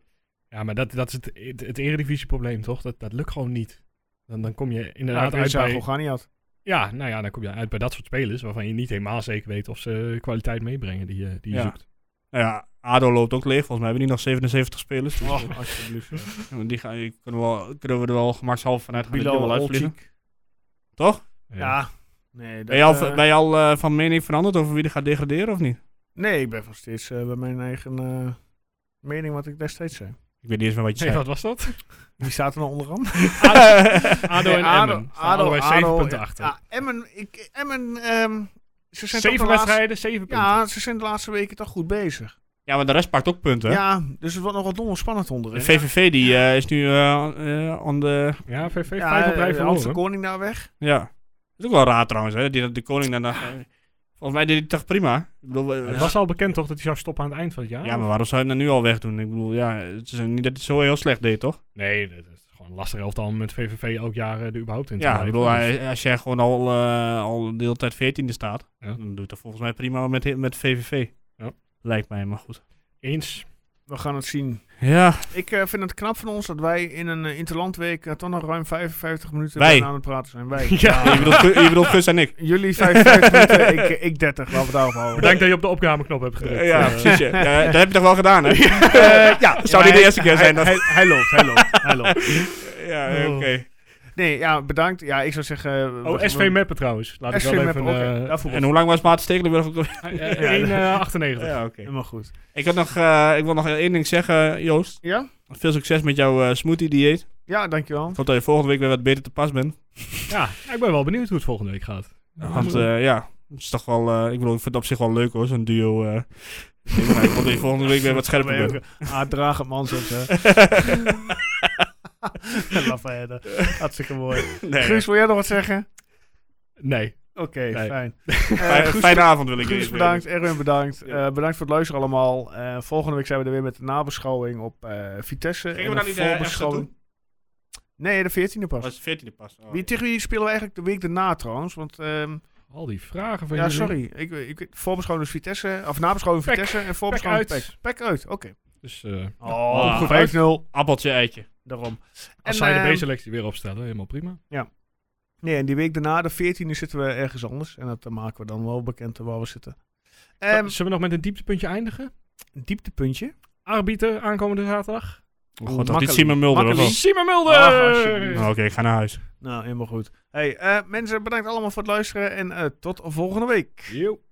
[SPEAKER 2] Ja, maar dat, dat is het, het, het eredivisieprobleem, toch? Dat, dat lukt gewoon niet. Dan, dan kom je inderdaad
[SPEAKER 1] Ja,
[SPEAKER 2] uit
[SPEAKER 1] Reza
[SPEAKER 2] bij...
[SPEAKER 1] Goganiat.
[SPEAKER 2] Ja, nou ja, dan kom je uit bij dat soort spelers... waarvan je niet helemaal zeker weet of ze kwaliteit meebrengen die, je- die je
[SPEAKER 3] Ja.
[SPEAKER 2] zoekt.
[SPEAKER 3] Nou ja, ADO loopt ook leeg. Volgens mij hebben die nog 77 spelers. Dus
[SPEAKER 1] Oh, alsjeblieft. ja.
[SPEAKER 3] eh, die gaan, die kunnen, we wel, kunnen we er wel gemakshalve vanuit gaan. dat die er
[SPEAKER 1] Bilal
[SPEAKER 3] wel uitvliegen.
[SPEAKER 1] Olcik.
[SPEAKER 3] Toch?
[SPEAKER 1] Ja. Nee,
[SPEAKER 3] Ben je al,
[SPEAKER 1] dat, eh,
[SPEAKER 3] ben je al eh, van mening veranderd over wie er gaat degraderen of niet?
[SPEAKER 1] nee, ik ben nog steeds eh, bij mijn eigen eh, mening wat ik destijds zei.
[SPEAKER 3] Ik weet niet eens meer wat je
[SPEAKER 2] Nee,
[SPEAKER 3] zei.
[SPEAKER 2] wat was dat?
[SPEAKER 1] Wie staat er nou onderaan?
[SPEAKER 2] ADO en Emmen. Staan allebei zeven punten achter.
[SPEAKER 1] Ja, Emmen, ik, Emmen ehm, ze zijn toch
[SPEAKER 2] zeven
[SPEAKER 1] de laatste-
[SPEAKER 2] wedstrijden, zeven punten.
[SPEAKER 1] Ja, ze zijn de laatste weken toch goed bezig.
[SPEAKER 3] Ja, maar de rest pakt ook punten. hè?
[SPEAKER 1] Ja, dus het wordt nog wat dom en spannend onderin.
[SPEAKER 3] De VVV die eh, is nu eh eh, on de...
[SPEAKER 2] Ja, VV
[SPEAKER 1] ja,
[SPEAKER 2] vijf op
[SPEAKER 1] eh,
[SPEAKER 2] rij
[SPEAKER 1] als de
[SPEAKER 2] verloren.
[SPEAKER 1] koning daar weg.
[SPEAKER 3] Ja. Dat is ook wel raar trouwens, hè. Die, de koning daarna... eh, Volgens mij deed hij het toch prima. Ik bedoel, eh,
[SPEAKER 2] Het was al bekend toch dat hij zou stoppen aan het eind van het jaar?
[SPEAKER 3] Ja, maar waarom zou je hem dan nu al wegdoen? Ik bedoel, ja, het is niet dat hij het zo heel slecht deed, toch?
[SPEAKER 2] Nee, dat is gewoon een lastig elftal om met VVV elk jaar eh, er überhaupt in te
[SPEAKER 3] Ja, ik
[SPEAKER 2] blijven.
[SPEAKER 3] bedoel,
[SPEAKER 2] Dus-
[SPEAKER 3] hij- als jij gewoon al, eh, al de hele tijd 14e staat,
[SPEAKER 2] Ja.
[SPEAKER 3] dan doet dat volgens mij prima met, met VVV.
[SPEAKER 2] Ja.
[SPEAKER 3] Lijkt mij, maar goed.
[SPEAKER 2] Eens.
[SPEAKER 1] We gaan het zien.
[SPEAKER 3] Ja,
[SPEAKER 1] Ik eh, vind het knap van ons dat wij in een eh, interlandweek eh, toch nog ruim 55 minuten
[SPEAKER 3] Wij.
[SPEAKER 1] bijna aan het praten zijn. Wij.
[SPEAKER 3] je bedoelt, Gu- je bedoelt Gus en ik.
[SPEAKER 1] Jullie 55 minuten, ik, eh, ik 30. Laten we het daarop houden.
[SPEAKER 2] Bedankt dat je op de opnameknop hebt gedrukt.
[SPEAKER 3] ja,
[SPEAKER 2] Eh,
[SPEAKER 3] precies. Ja. Ja, dat heb je toch wel gedaan, hè?
[SPEAKER 1] Eh, ja, Ja,
[SPEAKER 3] Zou niet de
[SPEAKER 1] hij-
[SPEAKER 3] eerste keer zijn?
[SPEAKER 1] Hij,
[SPEAKER 3] Dat...
[SPEAKER 1] hij, hij loopt, hij loopt, hij loopt.
[SPEAKER 3] Ja, eh, oké.
[SPEAKER 1] Nee, ja, bedankt. Ja, ik zou zeggen... eh,
[SPEAKER 2] Oh,
[SPEAKER 1] we-
[SPEAKER 2] SV
[SPEAKER 1] we-
[SPEAKER 2] Meppen trouwens. Laat ik
[SPEAKER 1] SV
[SPEAKER 2] wel
[SPEAKER 1] Meppen,
[SPEAKER 2] even...
[SPEAKER 1] oké.
[SPEAKER 2] eh,
[SPEAKER 1] Daar voel ik
[SPEAKER 3] En hoe lang was Maarten Stekelenburg ook alweer?
[SPEAKER 2] eh, eh, 1,98.
[SPEAKER 3] Ja, oké.
[SPEAKER 1] Helemaal goed.
[SPEAKER 3] Ik, had nog, eh, ik wil nog één ding zeggen, Joost.
[SPEAKER 1] Ja?
[SPEAKER 3] Veel succes met jouw eh, smoothie-dieet.
[SPEAKER 1] Ja, dankjewel.
[SPEAKER 3] Ik hoop dat je volgende week weer wat beter te pas bent.
[SPEAKER 2] Ja, ik ben wel benieuwd hoe het volgende week gaat.
[SPEAKER 3] Want eh, ja, het is toch wel. eh, ik bedoel, ik vind het op zich wel leuk hoor, zo'n duo. eh. ik hoop dat je volgende week weer wat scherper bent.
[SPEAKER 1] Ah, draag het man, zegt ze. Lafayette. Hartstikke mooi.
[SPEAKER 3] Nee,
[SPEAKER 1] Guus, wil jij nog wat zeggen?
[SPEAKER 2] Nee.
[SPEAKER 1] Oké,
[SPEAKER 2] Nee.
[SPEAKER 1] fijn.
[SPEAKER 3] fijne,
[SPEAKER 1] Eh, Guus,
[SPEAKER 3] fijne avond wil ik
[SPEAKER 1] Guus,
[SPEAKER 3] jullie
[SPEAKER 1] bedankt. Erwin, bedankt.
[SPEAKER 3] Ja.
[SPEAKER 1] Eh, bedankt voor het luisteren allemaal. Eh, volgende week zijn we er weer met de nabeschouwing op eh, Vitesse. en
[SPEAKER 3] Gingen we
[SPEAKER 1] een
[SPEAKER 3] dan niet, eh, ergens
[SPEAKER 1] voorbeschouwing. Nee, de 14e
[SPEAKER 3] wensen.
[SPEAKER 1] pas.
[SPEAKER 3] was 14e pas. Oh,
[SPEAKER 1] Wie, tegen wie spelen we eigenlijk de week daarna trouwens? Want, ehm,
[SPEAKER 2] Al die vragen van
[SPEAKER 1] ja,
[SPEAKER 2] jullie.
[SPEAKER 1] sorry. Ik, ik, voorbeschouwing dus Vitesse. Of nabeschouwing
[SPEAKER 2] Pek.
[SPEAKER 1] Vitesse en voorbeschouwing
[SPEAKER 2] Pek uit.
[SPEAKER 1] Pek. Pek uit, oké.
[SPEAKER 2] Dus eh,
[SPEAKER 1] Oh,
[SPEAKER 3] goed.
[SPEAKER 1] 5-0.
[SPEAKER 3] Appeltje, eitje.
[SPEAKER 1] Daarom.
[SPEAKER 2] als zij
[SPEAKER 1] ehm,
[SPEAKER 2] de B-selectie weer opstellen, helemaal prima.
[SPEAKER 1] Nee, en die week daarna, de 14e, zitten we ergens anders. En dat eh, maken we dan wel bekend eh, waar we zitten. Ehm,
[SPEAKER 2] Eh, Zullen we nog met een dieptepuntje eindigen?
[SPEAKER 1] een dieptepuntje.
[SPEAKER 2] Arbiter aankomende zaterdag.
[SPEAKER 3] Oh,
[SPEAKER 1] Oeh,
[SPEAKER 3] God, dat
[SPEAKER 1] makkelijk.
[SPEAKER 3] niet Simon Mulder of wel?
[SPEAKER 1] Makkelijk.
[SPEAKER 2] Simon Mulder!
[SPEAKER 1] Ach, alsjeblieft.
[SPEAKER 3] Nou, Oké, ik ga naar huis.
[SPEAKER 1] Nou, helemaal goed. Hey, eh, mensen, bedankt allemaal voor het luisteren. En eh, tot volgende week.
[SPEAKER 2] Yo.